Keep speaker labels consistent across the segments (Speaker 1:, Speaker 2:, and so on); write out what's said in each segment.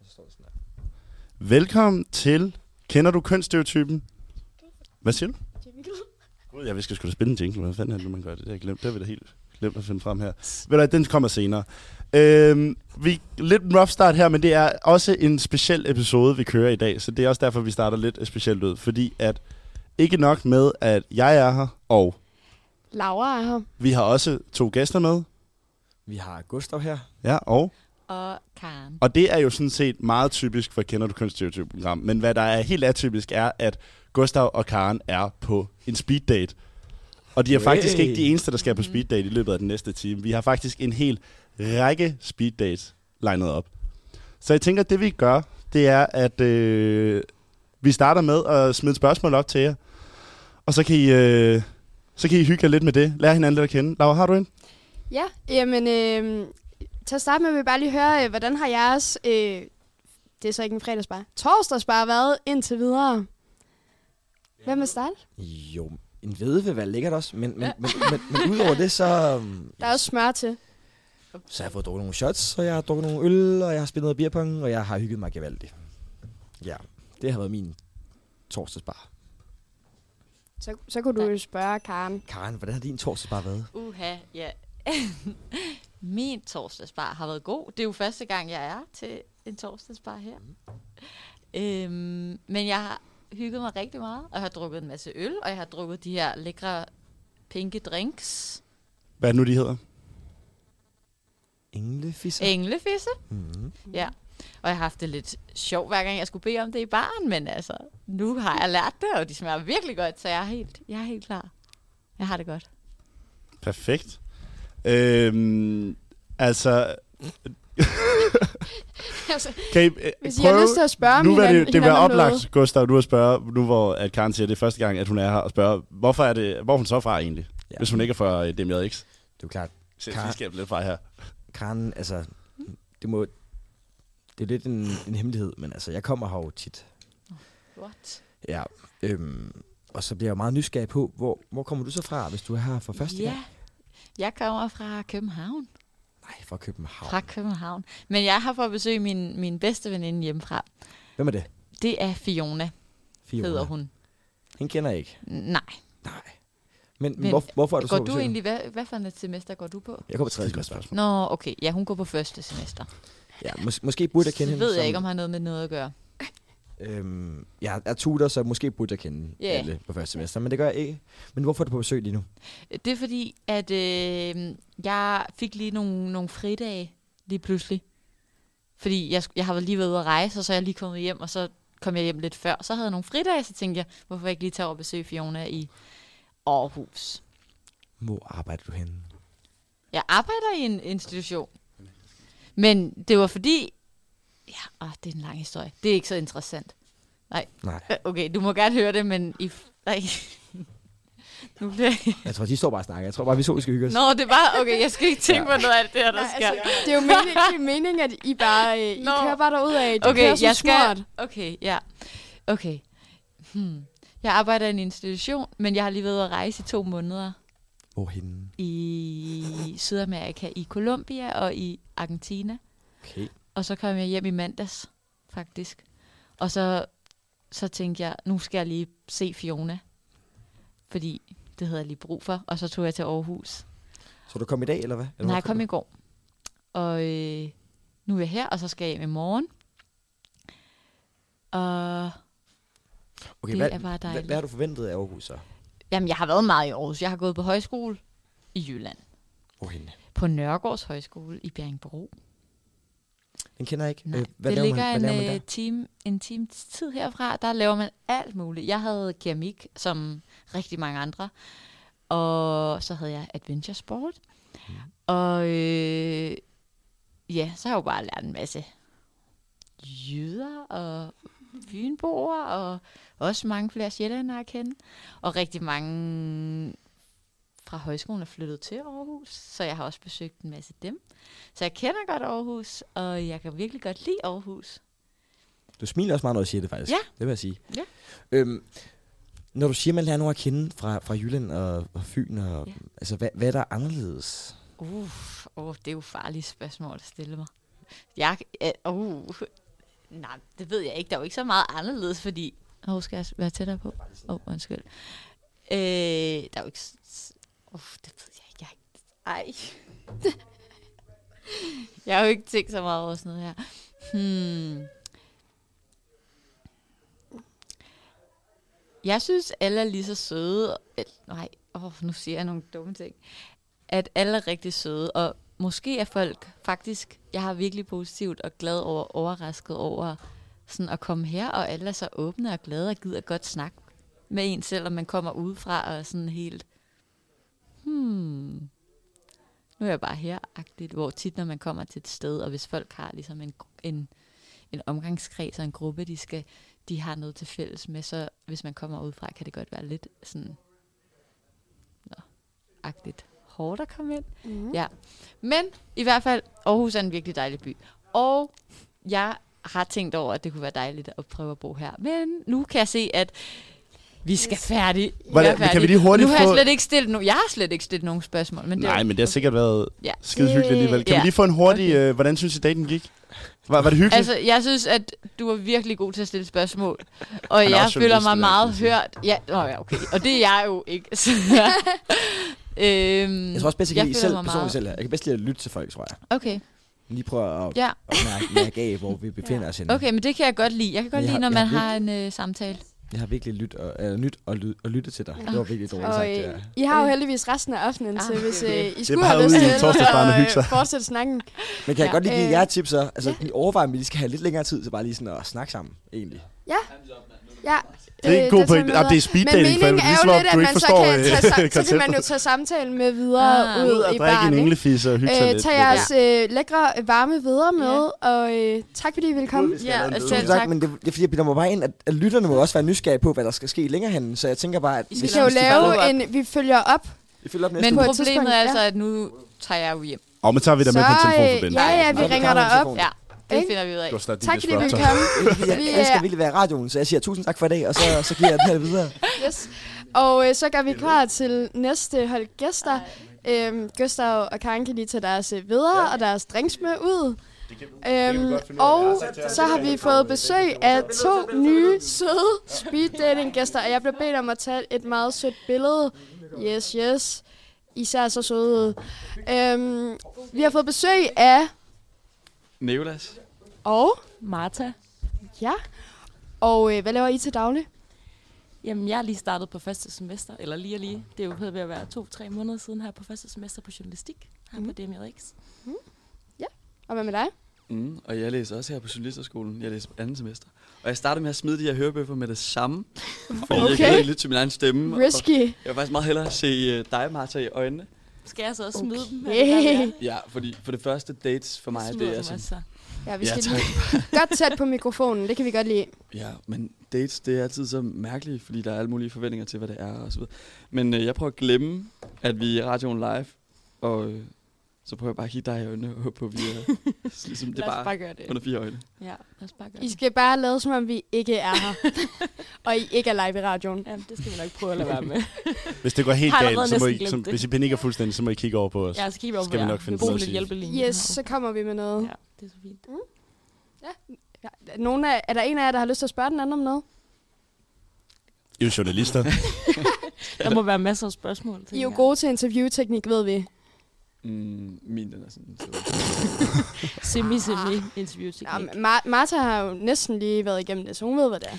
Speaker 1: misforståelsen er.
Speaker 2: Velkommen til Kender du kønsstereotypen? Hvad siger du? Gud, ja, vi skal sgu da spille en jingle. Hvad fanden er det, nu, man gør det? Det har jeg glemt. Det har vi da helt glemt at finde frem her. Ved du, hvad, den kommer senere. Øhm, vi lidt en rough start her, men det er også en speciel episode, vi kører i dag. Så det er også derfor, vi starter lidt specielt ud. Fordi at ikke nok med, at jeg er her, og
Speaker 3: Laura er her.
Speaker 2: vi har også to gæster med.
Speaker 1: Vi har Gustav her.
Speaker 2: Ja, og
Speaker 4: Og Karen.
Speaker 2: Og det er jo sådan set meget typisk for Kender du kønsstereotyp program. Men hvad der er helt atypisk er, at Gustav og Karen er på en speed date. Og de er
Speaker 1: Hey.
Speaker 2: faktisk ikke de eneste, der skal på speed date i løbet af den næste time. Vi har faktisk en hel række speed dates legnet op. Så jeg tænker, at det vi gør, det er, at øh, vi starter med at smide et spørgsmål op til jer. Og så kan I, øh, så kan I hygge jer lidt med det. Lær hinanden lidt at kende. Laura, har du en?
Speaker 3: Ja, jamen, øh, til at starte med vil jeg bare lige høre, øh, hvordan har jeres, øh, det er så ikke en fredagsbar, torsdagsbar været indtil videre? Hvem vil starte?
Speaker 1: Jo, en vedve vil være lækkert også, men, men,
Speaker 4: Ja.
Speaker 1: men, men, men udover det, så, øhm,
Speaker 3: Der er også smør til.
Speaker 1: så har jeg fået drukket nogle shots, og jeg har drukket nogle øl, og jeg har spillet noget beerpong, og jeg har hygget mig gevaldigt. Ja, det har været min torsdagsbar.
Speaker 3: Så, så kunne du jo spørge Karen.
Speaker 1: Karen, hvordan har din torsdagsbar været?
Speaker 4: Uha, ja. Min torsdagsbar har været god. Det er jo første gang, jeg er til en torsdagsbar her.
Speaker 1: Mhm.
Speaker 4: Øhm, men jeg har hygget mig rigtig meget, og jeg har drukket en masse øl, og jeg har drukket de her lækre pinke drinks.
Speaker 2: Hvad er det nu, de hedder?
Speaker 1: Englefisser?
Speaker 4: Englefisse.
Speaker 1: Mm-hmm.
Speaker 4: Ja. Og jeg har haft det lidt sjovt, hver gang jeg skulle bede om det i baren, men altså, nu har jeg lært det, og de smager virkelig godt, så jeg er helt, jeg er helt klar. Jeg har det godt.
Speaker 2: Perfekt. Øhm, altså, kan I, øh,
Speaker 3: Altså, Hvis I har lyst til at spørge om
Speaker 2: nu vil
Speaker 3: hinanden-
Speaker 2: det, det vil være
Speaker 3: hinanden om
Speaker 2: oplagt,
Speaker 3: noget.
Speaker 2: Gustav, nu at spørge, nu hvor at Karen siger, at det er første gang, at hun er her, og spørge, hvorfor er det, hvor er hun så fra egentlig? Ja.
Speaker 1: Ja.
Speaker 2: Hvis hun ikke er fra øh, DMJX. Så
Speaker 1: Det er jo klart,
Speaker 2: skal
Speaker 1: Karen-
Speaker 2: jeg skabe lidt fra her.
Speaker 1: Karen, altså, det må... Det er lidt en, en hemmelighed, men altså, jeg kommer her jo tit.
Speaker 4: What?
Speaker 1: Ja, øhm, og så bliver jeg jo meget nysgerrig på, hvor, hvor kommer du så fra, hvis du er her for første gang?
Speaker 4: Ja. Jeg kommer fra København.
Speaker 1: Nej, fra København.
Speaker 4: Fra København. Men jeg har for at besøge min, min bedste veninde hjemmefra.
Speaker 1: Hvem er det?
Speaker 4: Det er Fiona, Fiona. hedder hun.
Speaker 1: Hende kender jeg ikke.
Speaker 4: Nej.
Speaker 1: Nej. Men, men
Speaker 4: Men
Speaker 1: hvor, hvorfor er du
Speaker 4: går
Speaker 1: så på
Speaker 4: du
Speaker 1: besøg?
Speaker 4: egentlig, hvad, hvad for et semester går du på?
Speaker 1: Jeg går på tredje
Speaker 2: Skide godt
Speaker 1: semester.
Speaker 2: spørgsmål.
Speaker 4: Nå, okay. Ja, hun går på første semester.
Speaker 1: Ja, mås- måske burde jeg kende
Speaker 4: Det
Speaker 1: hende.
Speaker 4: ved jeg
Speaker 1: som-
Speaker 4: ikke, om har noget med noget at gøre.
Speaker 1: Øhm, jeg er tutor, så måske burde jeg kende
Speaker 4: Ja.
Speaker 1: yeah. alle på første semester, men det gør jeg ikke. Men hvorfor er du på besøg lige nu?
Speaker 4: Det er fordi, at øh, jeg fik lige nogle, nogle fridage lige pludselig. Fordi jeg, sk- jeg har været lige været ude at rejse, og så er jeg lige kommet hjem, og så kom jeg hjem lidt før. Så havde jeg nogle fridage, så tænkte jeg, hvorfor ikke lige tage over og besøge Fiona i Aarhus.
Speaker 1: Hvor arbejder du henne?
Speaker 4: Jeg arbejder i en institution. Men det var fordi... Ja, åh, det er en lang historie. Det er ikke så interessant.
Speaker 1: Nej,
Speaker 4: Øh, Okay, du må gerne høre det, men... I... f- Nej. Nu bliver jeg...
Speaker 1: jeg tror, de står bare og snakker. Jeg tror bare, vi så, vi skal hygge os.
Speaker 4: Nå, det er bare... Okay, jeg skal ikke tænke på noget af det her, der
Speaker 3: Nej,
Speaker 4: sker.
Speaker 3: altså, det er jo meningen, det er meningen at I bare øh, I
Speaker 4: Nå.
Speaker 3: kører bare derud af. Det
Speaker 4: Okay,
Speaker 3: kører som
Speaker 4: jeg
Speaker 3: smurt.
Speaker 4: skal... Okay, ja. Okay. Hmm. Jeg arbejder i en institution, men jeg har lige været ude at rejse i to måneder
Speaker 1: Hvor henne?
Speaker 4: i Sydamerika, i Colombia og i Argentina.
Speaker 1: Okay.
Speaker 4: Og så kom jeg hjem i mandags, faktisk. Og så, så tænkte jeg, nu skal jeg lige se Fiona. Fordi det havde jeg lige brug for. Og så tog jeg til Aarhus.
Speaker 1: Så du kom i dag, eller hvad? Eller hvorfor
Speaker 4: Nej, jeg kom
Speaker 1: du?
Speaker 4: i går. Og øh, nu er jeg her, og så skal jeg hjem i morgen. Og
Speaker 1: Okay,
Speaker 4: Det
Speaker 1: hvad,
Speaker 4: er bare
Speaker 1: hvad,
Speaker 4: dejligt.
Speaker 1: hvad har du forventet af Aarhus så?
Speaker 4: Jamen, jeg har været meget i Aarhus. Jeg har gået på højskole i Jylland.
Speaker 1: Hvor henne?
Speaker 4: På Nørregårds Højskole i Bjerringbro.
Speaker 1: Den kender jeg ikke.
Speaker 4: Nej,
Speaker 1: Øh, hvad
Speaker 4: det
Speaker 1: laver
Speaker 4: ligger
Speaker 1: man, hvad laver
Speaker 4: en,
Speaker 1: man
Speaker 4: øh,
Speaker 1: der?
Speaker 4: time, en times tid herfra. Der laver man alt muligt. Jeg havde keramik, som rigtig mange andre. Og så havde jeg adventure sport.
Speaker 1: Mm.
Speaker 4: Og øh, ja, så har jeg jo bare lært en masse jyder og fynboer og også mange flere sjællandere at kende. Og rigtig mange fra højskolen er flyttet til Aarhus, så jeg har også besøgt en masse dem. Så jeg kender godt Aarhus, og jeg kan virkelig godt lide Aarhus.
Speaker 1: Du smiler også meget, når du siger det, faktisk.
Speaker 4: Ja.
Speaker 1: Det vil jeg sige.
Speaker 4: Ja.
Speaker 1: Øhm, når du siger, man lærer nogen at kende fra, fra Jylland og, og Fyn, og,
Speaker 4: Ja. Mm.
Speaker 1: ja. altså, hvad, hvad er der anderledes?
Speaker 4: Uh, oh, det er jo farlige spørgsmål at stille mig. Jeg, uh, uh, Nej, det ved jeg ikke. Der er jo ikke så meget anderledes, fordi... Åh, oh, skal jeg s- være tættere på? Åh, oh, undskyld. Øh, der er jo ikke... s- s- Åh, oh, det ved jeg ikke. Jeg... har ikke- Ej. jeg har jo ikke tænkt så meget over sådan noget her. Hmm. Jeg synes, alle er lige så søde. Eh, Nej, oh, nu siger jeg nogle dumme ting. At alle er rigtig søde, og måske er folk faktisk, jeg har virkelig positivt og glad over, overrasket over sådan at komme her, og alle er så åbne og glade og gider godt snakke med en, selvom man kommer udefra og er sådan helt, hmm, nu er jeg bare her-agtigt, hvor tit når man kommer til et sted, og hvis folk har ligesom en, gru- en, en omgangskreds og en gruppe, de skal de har noget til fælles med, så hvis man kommer udefra, kan det godt være lidt sådan, nå, agtigt hårdt at komme ind.
Speaker 3: Mm.
Speaker 4: Ja. Men i hvert fald, Aarhus er en virkelig dejlig by. Og jeg har tænkt over, at det kunne være dejligt at prøve at bo her. Men nu kan jeg se, at vi skal færdige.
Speaker 2: Hvordan-
Speaker 4: Vi er
Speaker 2: kan vi lige
Speaker 4: færdige.
Speaker 2: hurtigt
Speaker 4: nu har jeg
Speaker 2: få-
Speaker 4: slet ikke stillet no- jeg har slet ikke stillet nogen spørgsmål. Men det er
Speaker 2: Nej,
Speaker 4: jo-
Speaker 2: men det har sikkert været
Speaker 4: Ja.
Speaker 2: ja. skide hyggeligt alligevel. Kan
Speaker 4: Ja.
Speaker 2: vi lige få en hurtig... Øh, hvordan synes I, dagen gik? Var, var det hyggeligt?
Speaker 4: Altså, jeg synes, at du er virkelig god til at stille spørgsmål. Og
Speaker 2: Han er
Speaker 4: jeg
Speaker 2: også
Speaker 4: føler
Speaker 2: journalist,
Speaker 4: mig
Speaker 2: det vil jeg
Speaker 4: meget
Speaker 2: altid sige.
Speaker 4: hørt. Ja, nå, ja, okay. Og det er jeg jo ikke. Så, øhm,
Speaker 5: Jeg tror også bedst, jeg kan lide
Speaker 4: føler
Speaker 5: selv,
Speaker 4: mig
Speaker 5: personligt
Speaker 4: meget-
Speaker 5: selv her. Jeg kan bedst lide at lytte til folk, tror jeg.
Speaker 4: Okay,
Speaker 5: Lige prøve at,
Speaker 4: ja.
Speaker 5: at mærke, mærke af, hvor vi befinder os henne.
Speaker 4: okay, men det kan jeg godt lide. Jeg kan
Speaker 5: Jeg
Speaker 4: godt lide,
Speaker 5: har-
Speaker 4: når
Speaker 5: jeg
Speaker 4: man
Speaker 5: har
Speaker 4: har en øh, samtale.
Speaker 5: Jeg har virkelig lyt og, øh, nyt og, lyd, og lytte til dig. Det var virkelig dårligt
Speaker 3: Og
Speaker 5: sagt.
Speaker 3: øh,
Speaker 5: Ja.
Speaker 3: I har jo heldigvis resten af aftenen,
Speaker 4: Ah,
Speaker 3: så hvis
Speaker 4: det er
Speaker 3: øh, I skulle
Speaker 2: bare
Speaker 3: have lyst
Speaker 2: ude i
Speaker 3: til
Speaker 2: torsdagsbaren og
Speaker 3: at
Speaker 2: hygge sig.
Speaker 3: øh, fortsætte snakken.
Speaker 5: Men kan jeg
Speaker 4: Ja.
Speaker 5: godt lige give
Speaker 3: Øh,
Speaker 5: jer tips så? Altså, ja. overvej, om vi lige skal have lidt længere tid til bare lige sådan at snakke sammen, egentlig.
Speaker 3: Ja,
Speaker 2: det er en
Speaker 3: øh,
Speaker 2: god
Speaker 3: tager
Speaker 2: point.
Speaker 3: vi
Speaker 2: Jamen,
Speaker 3: med.
Speaker 2: det er speed
Speaker 3: Men
Speaker 2: dating, for
Speaker 3: meningen er
Speaker 2: ligesom
Speaker 3: jo lidt,
Speaker 2: om du
Speaker 3: at
Speaker 2: ikke
Speaker 3: man så
Speaker 2: forstår
Speaker 3: kan,
Speaker 2: øh,
Speaker 3: tage, sam- så kan man jo
Speaker 2: konceptet.
Speaker 3: tage samtalen med videre
Speaker 4: Ah.
Speaker 3: ud
Speaker 2: og
Speaker 3: i
Speaker 2: drikke en
Speaker 3: baren. ikke?
Speaker 2: englefisse og hygge sig
Speaker 3: Øh,
Speaker 2: lidt.
Speaker 3: tag jeres øh, lækre øh, varme videre med, og øh, tak fordi I ville komme.
Speaker 4: Ja, altså,
Speaker 5: Som
Speaker 4: selv
Speaker 5: sagt,
Speaker 4: tak.
Speaker 5: men det, det er fordi, jeg bilder mig bare ind, at, at lytterne må også være nysgerrige på, hvad der skal ske længere hen. Så jeg tænker bare, at
Speaker 4: I skal
Speaker 3: Vi
Speaker 5: hvis,
Speaker 3: kan jo
Speaker 5: hvis de
Speaker 3: lave
Speaker 5: bare-
Speaker 3: en, vi følger op.
Speaker 5: Vi følger op næste
Speaker 4: Men
Speaker 5: uge.
Speaker 3: på et
Speaker 4: problemet
Speaker 3: tidspunkt,
Speaker 4: er
Speaker 3: ja.
Speaker 4: altså, at nu tager jeg jo hjem.
Speaker 2: Og man tager vi dig med på en
Speaker 3: Så, øh,
Speaker 2: telefonforbindelse.
Speaker 3: ja, ja,
Speaker 5: Nej,
Speaker 3: vi
Speaker 5: det
Speaker 3: ringer
Speaker 5: kan
Speaker 3: dig
Speaker 5: man
Speaker 3: op.
Speaker 5: ikke.
Speaker 4: Ja, det
Speaker 3: Ikke?
Speaker 4: finder vi ud af.
Speaker 2: Du har snart din
Speaker 3: Tak fordi I ville
Speaker 2: disruptor.
Speaker 3: komme.
Speaker 5: Jeg
Speaker 3: Vi,
Speaker 5: elsker
Speaker 3: øh,
Speaker 5: virkelig at være i radioen, så jeg siger tusind tak for i dag, og så, så giver jeg den her videre.
Speaker 3: Yes. Og øh, så gør vi klar til næste hold gæster. Øhm, Gustav og Karen kan lige tage deres øh, videre og deres drinks med ud. Øhm, og så har vi fået besøg af to nye søde speed dating gæster, og jeg blev bedt om at tage et meget sødt billede. Yes, yes. Især så søde. Øhm, vi har fået besøg af...
Speaker 6: Nicolas.
Speaker 3: Og?
Speaker 7: Marta.
Speaker 3: Ja. Og øh, hvad laver I til daglig?
Speaker 7: Jamen, jeg er lige startet på første semester, eller lige og lige. Det er jo ved at være to-tre måneder siden her på første semester på journalistik, her mm. på DMRX.
Speaker 3: Og hvad med dig?
Speaker 6: Mm, og jeg læser også her på journalisterskolen. Jeg læser på andet semester. Og jeg startede med at smide de her hørebøffer med det samme. Fordi okay. jeg
Speaker 3: Okay.
Speaker 6: kan ikke lytte til min egen stemme. Og
Speaker 3: Risky.
Speaker 6: jeg vil faktisk meget hellere se øh, dig, Martha, i øjnene.
Speaker 7: Skal jeg så også smide dem?
Speaker 3: Okay.
Speaker 7: eller hvad det er?
Speaker 6: Ja, fordi for det første dates for mig,
Speaker 7: Smider
Speaker 6: det er
Speaker 7: dem
Speaker 6: sådan...
Speaker 7: også, så.
Speaker 3: altså. Ja, vi
Speaker 6: Ja,
Speaker 3: skal
Speaker 6: tak.
Speaker 3: lige godt tæt på mikrofonen. Det kan vi godt lide.
Speaker 6: Ja, men dates, det er altid så mærkeligt, fordi der er alle mulige forventninger til, hvad det er og så videre. Men øh, jeg prøver at glemme, at vi er i radioen live, og øh, så prøver jeg bare at kigge dig i øjnene og håbe på, at vi er... ligesom, det
Speaker 7: Lad
Speaker 6: er
Speaker 7: os bare
Speaker 6: bare
Speaker 7: gøre det.
Speaker 6: under fire øjne.
Speaker 7: Ja, lad os bare gøre
Speaker 3: I
Speaker 7: det.
Speaker 3: skal bare lade, som om vi ikke er her. og I ikke er live i radioen.
Speaker 7: Jamen, det skal vi nok prøve at lade være med.
Speaker 2: Hvis det går helt
Speaker 7: Har allerede
Speaker 2: galt, så må
Speaker 7: næsten
Speaker 2: I, så,
Speaker 7: glemt det.
Speaker 2: hvis I panikker fuldstændig, så må I kigge over på os.
Speaker 7: Ja, så kigger vi over
Speaker 2: Skal
Speaker 7: på
Speaker 2: vi
Speaker 7: jer.
Speaker 2: nok finde
Speaker 7: bruger
Speaker 2: noget at
Speaker 7: lidt
Speaker 2: sige.
Speaker 7: hjælpelinje.
Speaker 3: Yes, så kommer vi med noget. Mm.
Speaker 7: Ja, det er så fint.
Speaker 3: Ja. Nogen af, er der en af jer, der har lyst til at spørge den anden om noget?
Speaker 2: I er jo journalister.
Speaker 7: Der må være masser af spørgsmål.
Speaker 3: I er
Speaker 7: tænker
Speaker 3: jo
Speaker 7: jeg.
Speaker 3: gode til interviewteknik, ved vi.
Speaker 6: Mm, min, den er sådan... Så.
Speaker 7: Semi, semi interview
Speaker 3: Nå, Mar- Ah. Martha har jo næsten lige været igennem det, så hun ved, hvad det er.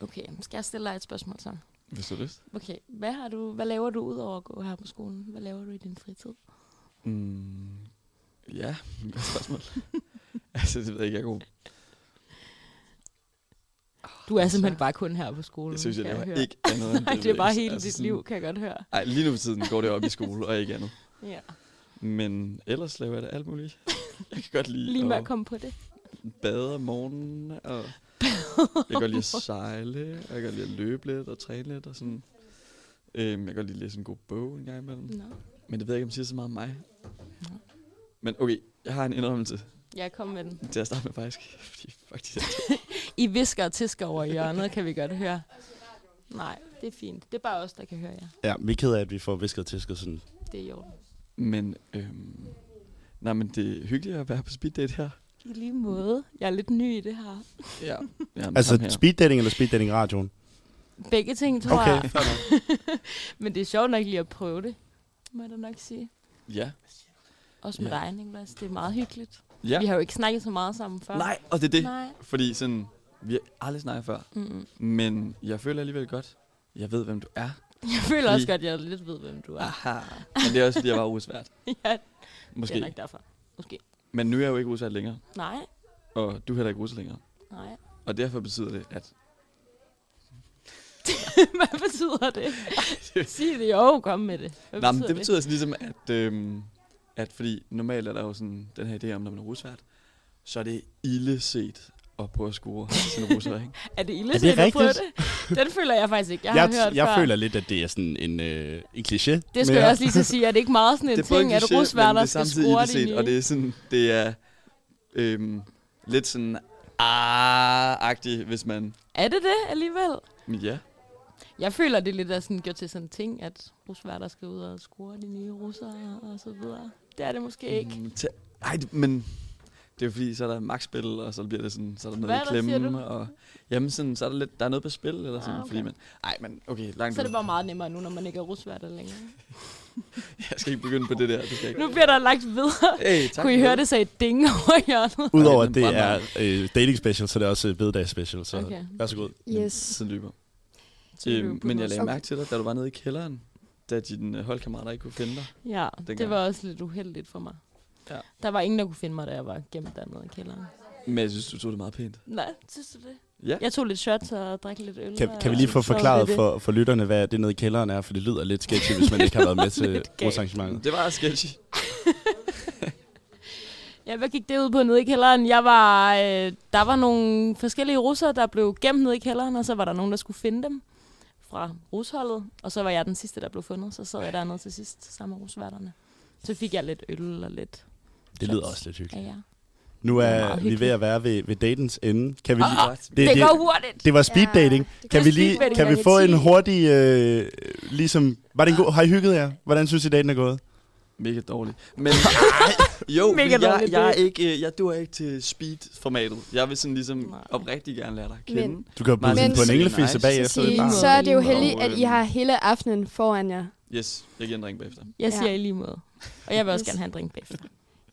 Speaker 7: Okay, skal jeg stille dig et spørgsmål så?
Speaker 6: Hvis du har lyst.
Speaker 7: Okay, hvad, har du, hvad laver du udover at gå her på skolen? Hvad laver du i din fritid?
Speaker 6: Mm, ja, godt spørgsmål. altså, det ved jeg ikke, jeg er god.
Speaker 7: Du er simpelthen bare kun her på skolen.
Speaker 6: Jeg synes, jeg
Speaker 7: kan
Speaker 6: laver
Speaker 7: høre.
Speaker 6: ikke andet end
Speaker 7: Nej, det er bare
Speaker 6: vil jeg-
Speaker 7: hele dit
Speaker 6: sådan-
Speaker 7: liv, kan jeg godt høre.
Speaker 6: Ej, lige nu for tiden går det op i skole og ikke andet.
Speaker 7: Ja.
Speaker 6: Men ellers laver jeg det alt muligt. Jeg kan godt lide
Speaker 7: Lige med at
Speaker 6: at
Speaker 7: komme på det.
Speaker 6: bade om morgenen, og jeg kan godt lide at sejle, og jeg kan godt lide at løbe lidt og træne lidt og sådan. Øhm, jeg kan godt lide at læse en god bog en gang imellem.
Speaker 7: Nå.
Speaker 6: Men det ved jeg ikke, om det siger så meget om mig.
Speaker 7: Nå.
Speaker 6: Men okay, jeg har en indrømmelse
Speaker 7: Jeg kom med den.
Speaker 6: til at starte med faktisk. Fordi fuck de der
Speaker 7: I visker og tisker over i hjørnet, kan vi godt høre. Nej, det er fint. Det er bare os, der kan høre jer.
Speaker 2: ja, vi er ked af, at vi får visket til sådan.
Speaker 7: Det er i orden.
Speaker 6: Men, øhm, nej, men det er hyggeligt at være på speed date her.
Speaker 7: I lige måde. Jeg er lidt ny i det her.
Speaker 6: Ja. Jamen,
Speaker 2: Altså
Speaker 6: ham her.
Speaker 2: speed dating eller speed dating i radioen?
Speaker 7: Begge ting, tror
Speaker 2: Okay,
Speaker 7: jeg.
Speaker 2: fair nok.
Speaker 7: Men det er sjovt nok lige at prøve det, må jeg da nok sige.
Speaker 6: Ja.
Speaker 7: Også med
Speaker 6: Ja.
Speaker 7: dig, Niklas. Det er meget hyggeligt.
Speaker 6: ja.
Speaker 7: Vi har jo ikke snakket så meget sammen før.
Speaker 6: Nej, og det er det.
Speaker 7: Nej.
Speaker 6: Fordi sådan, vi har aldrig snakket før.
Speaker 7: Mm-mm.
Speaker 6: Men jeg føler alligevel godt, jeg ved, hvem du er.
Speaker 7: Jeg føler også
Speaker 6: Fordi-
Speaker 7: godt, at jeg lidt ved, hvem du er.
Speaker 6: Aha. Men det er også, fordi jeg var usvært.
Speaker 7: ja, det
Speaker 6: Måske.
Speaker 7: er nok derfor. Måske.
Speaker 6: Men nu er jeg jo ikke usvært længere.
Speaker 7: Nej,
Speaker 6: Og du er heller ikke russer længere.
Speaker 7: nej.
Speaker 6: Og derfor betyder det, at...
Speaker 7: Hvad betyder det? Sig det jo, kom med det. Hvad
Speaker 6: Nej, men det betyder altså ligesom, at... Øhm, at fordi normalt er der jo sådan den her idé om, når man er rusvært, så er det ille set at prøve at score til en russer, ikke?
Speaker 7: Er det ille,
Speaker 2: Er
Speaker 7: er
Speaker 2: det
Speaker 7: det at prøve
Speaker 2: rigtigt?
Speaker 7: det? Den føler jeg faktisk ikke, jeg, har hørt
Speaker 2: jeg
Speaker 7: før.
Speaker 2: føler lidt, at det er sådan en, øh, en
Speaker 7: Det
Speaker 2: kliché.
Speaker 7: skal jeg
Speaker 2: mere.
Speaker 7: også lige til at sige, er det ikke meget sådan en
Speaker 6: både
Speaker 7: ting, at
Speaker 6: kliché, men det
Speaker 7: rusværter
Speaker 6: er
Speaker 7: skal
Speaker 6: samtidig
Speaker 7: score
Speaker 6: ildeset,
Speaker 7: de nye?
Speaker 6: Og det er sådan, det er øhm, lidt sådan ah-agtigt, hvis man...
Speaker 7: Er det det alligevel?
Speaker 6: Men ja,
Speaker 7: Jeg føler, det lidt er sådan gjort til sådan en ting, at rusværter skal ud og score de nye russere og så videre. Det er det måske ikke.
Speaker 6: Mm, tæ- Ej, det- men det er jo fordi, så er der magtspil, og så bliver det sådan, så er der noget
Speaker 7: Hvad
Speaker 6: med
Speaker 7: er der, siger
Speaker 6: klemme,
Speaker 7: du?
Speaker 6: og jamen sådan, så er der lidt, der er noget på spil, eller sådan,
Speaker 7: Ah,
Speaker 6: ah,
Speaker 7: okay.
Speaker 6: okay. fordi man, ej, men okay, langt
Speaker 7: Så er det
Speaker 6: ud.
Speaker 7: bare meget nemmere nu, når man ikke er rusværter længere.
Speaker 6: Jeg skal ikke begynde på det der, det skal jeg ikke.
Speaker 7: Nu bliver der lagt videre.
Speaker 6: Hey, tak
Speaker 7: Tak, Kunne I
Speaker 6: for
Speaker 7: høre det sagde ding over hjørnet?
Speaker 2: Udover
Speaker 6: Ej,
Speaker 2: at
Speaker 6: den
Speaker 2: det er
Speaker 6: brænder.
Speaker 2: øh, dating special, så er det også øh, bededags special. Så okay.
Speaker 7: Okay.
Speaker 2: vær så god.
Speaker 3: Yes.
Speaker 6: Sådan løber.
Speaker 7: løber
Speaker 6: Øhm, men jeg lagde
Speaker 3: Okay.
Speaker 6: mærke til dig, da du var nede i kælderen, da dine øh, holdkammerater ikke kunne finde dig.
Speaker 7: Ja, det
Speaker 6: Dengang.
Speaker 7: var også lidt uheldigt for mig.
Speaker 6: Ja.
Speaker 7: Der var ingen, der kunne finde mig, da jeg var gemt dernede i kælderen.
Speaker 6: Men jeg synes, du tog det meget pænt.
Speaker 7: Nej, synes du det?
Speaker 6: Ja.
Speaker 7: Jeg tog lidt shots og drak lidt øl.
Speaker 2: Kan,
Speaker 7: og-
Speaker 2: kan vi lige få
Speaker 7: så var det
Speaker 2: forklaret
Speaker 7: det.
Speaker 2: for, for lytterne, hvad det nede i kælderen er? For det lyder lidt sketchy, hvis man ikke har været med til
Speaker 7: lidt galt.
Speaker 2: rusarrangementet.
Speaker 6: Det var sketchy.
Speaker 7: Ja, hvad gik det ud på nede i kælderen? Jeg var, øh, der var nogle forskellige russere, der blev gemt nede i kælderen, og så var der nogen, der skulle finde dem fra rusholdet. Og så var jeg den sidste, der blev fundet, så sad jeg dernede til sidst sammen med rusværterne. Så fik jeg lidt øl og lidt
Speaker 2: Det lyder også lidt hyggeligt.
Speaker 7: af jer.
Speaker 2: Nu
Speaker 7: Det er
Speaker 2: er
Speaker 7: meget
Speaker 2: vi ved
Speaker 7: hyggeligt.
Speaker 2: at være ved, ved datens ende. Kan vi lige,
Speaker 6: Ah,
Speaker 7: Det, det
Speaker 2: det,
Speaker 7: går hurtigt!
Speaker 2: det var speed dating.
Speaker 3: Ja, det
Speaker 2: Kan
Speaker 3: går
Speaker 2: vi
Speaker 3: speed
Speaker 2: lige
Speaker 3: dating
Speaker 2: kan vi
Speaker 3: gange
Speaker 2: få
Speaker 3: 10.
Speaker 2: en hurtig øh, ligesom var det en god har I hygget jer? Hvordan synes I daten er gået?
Speaker 6: Mega dårlig. Men jo,
Speaker 7: Mega
Speaker 6: Mega jeg,
Speaker 7: dårlig,
Speaker 6: dårlig, jeg, er
Speaker 7: det-
Speaker 6: ikke, øh, jeg dur ikke til speed-formatet. Jeg vil sådan ligesom
Speaker 7: Nej.
Speaker 6: oprigtigt gerne lære dig at kende.
Speaker 3: Men-
Speaker 2: Du kan jo
Speaker 6: Men-
Speaker 2: byde hende på en
Speaker 6: Men-
Speaker 2: englefisse
Speaker 6: Nice.
Speaker 2: bagefter.
Speaker 7: Sige-
Speaker 2: Det er bare-
Speaker 3: Så er det jo heldigt,
Speaker 6: Og,
Speaker 3: at
Speaker 6: øhm,
Speaker 3: I har hele aftenen foran jer.
Speaker 6: Yes, jeg giver en drink bagefter.
Speaker 7: Jeg siger
Speaker 3: Ja.
Speaker 7: i lige måde. Og jeg vil også
Speaker 3: Yes.
Speaker 7: gerne have en drink bagefter.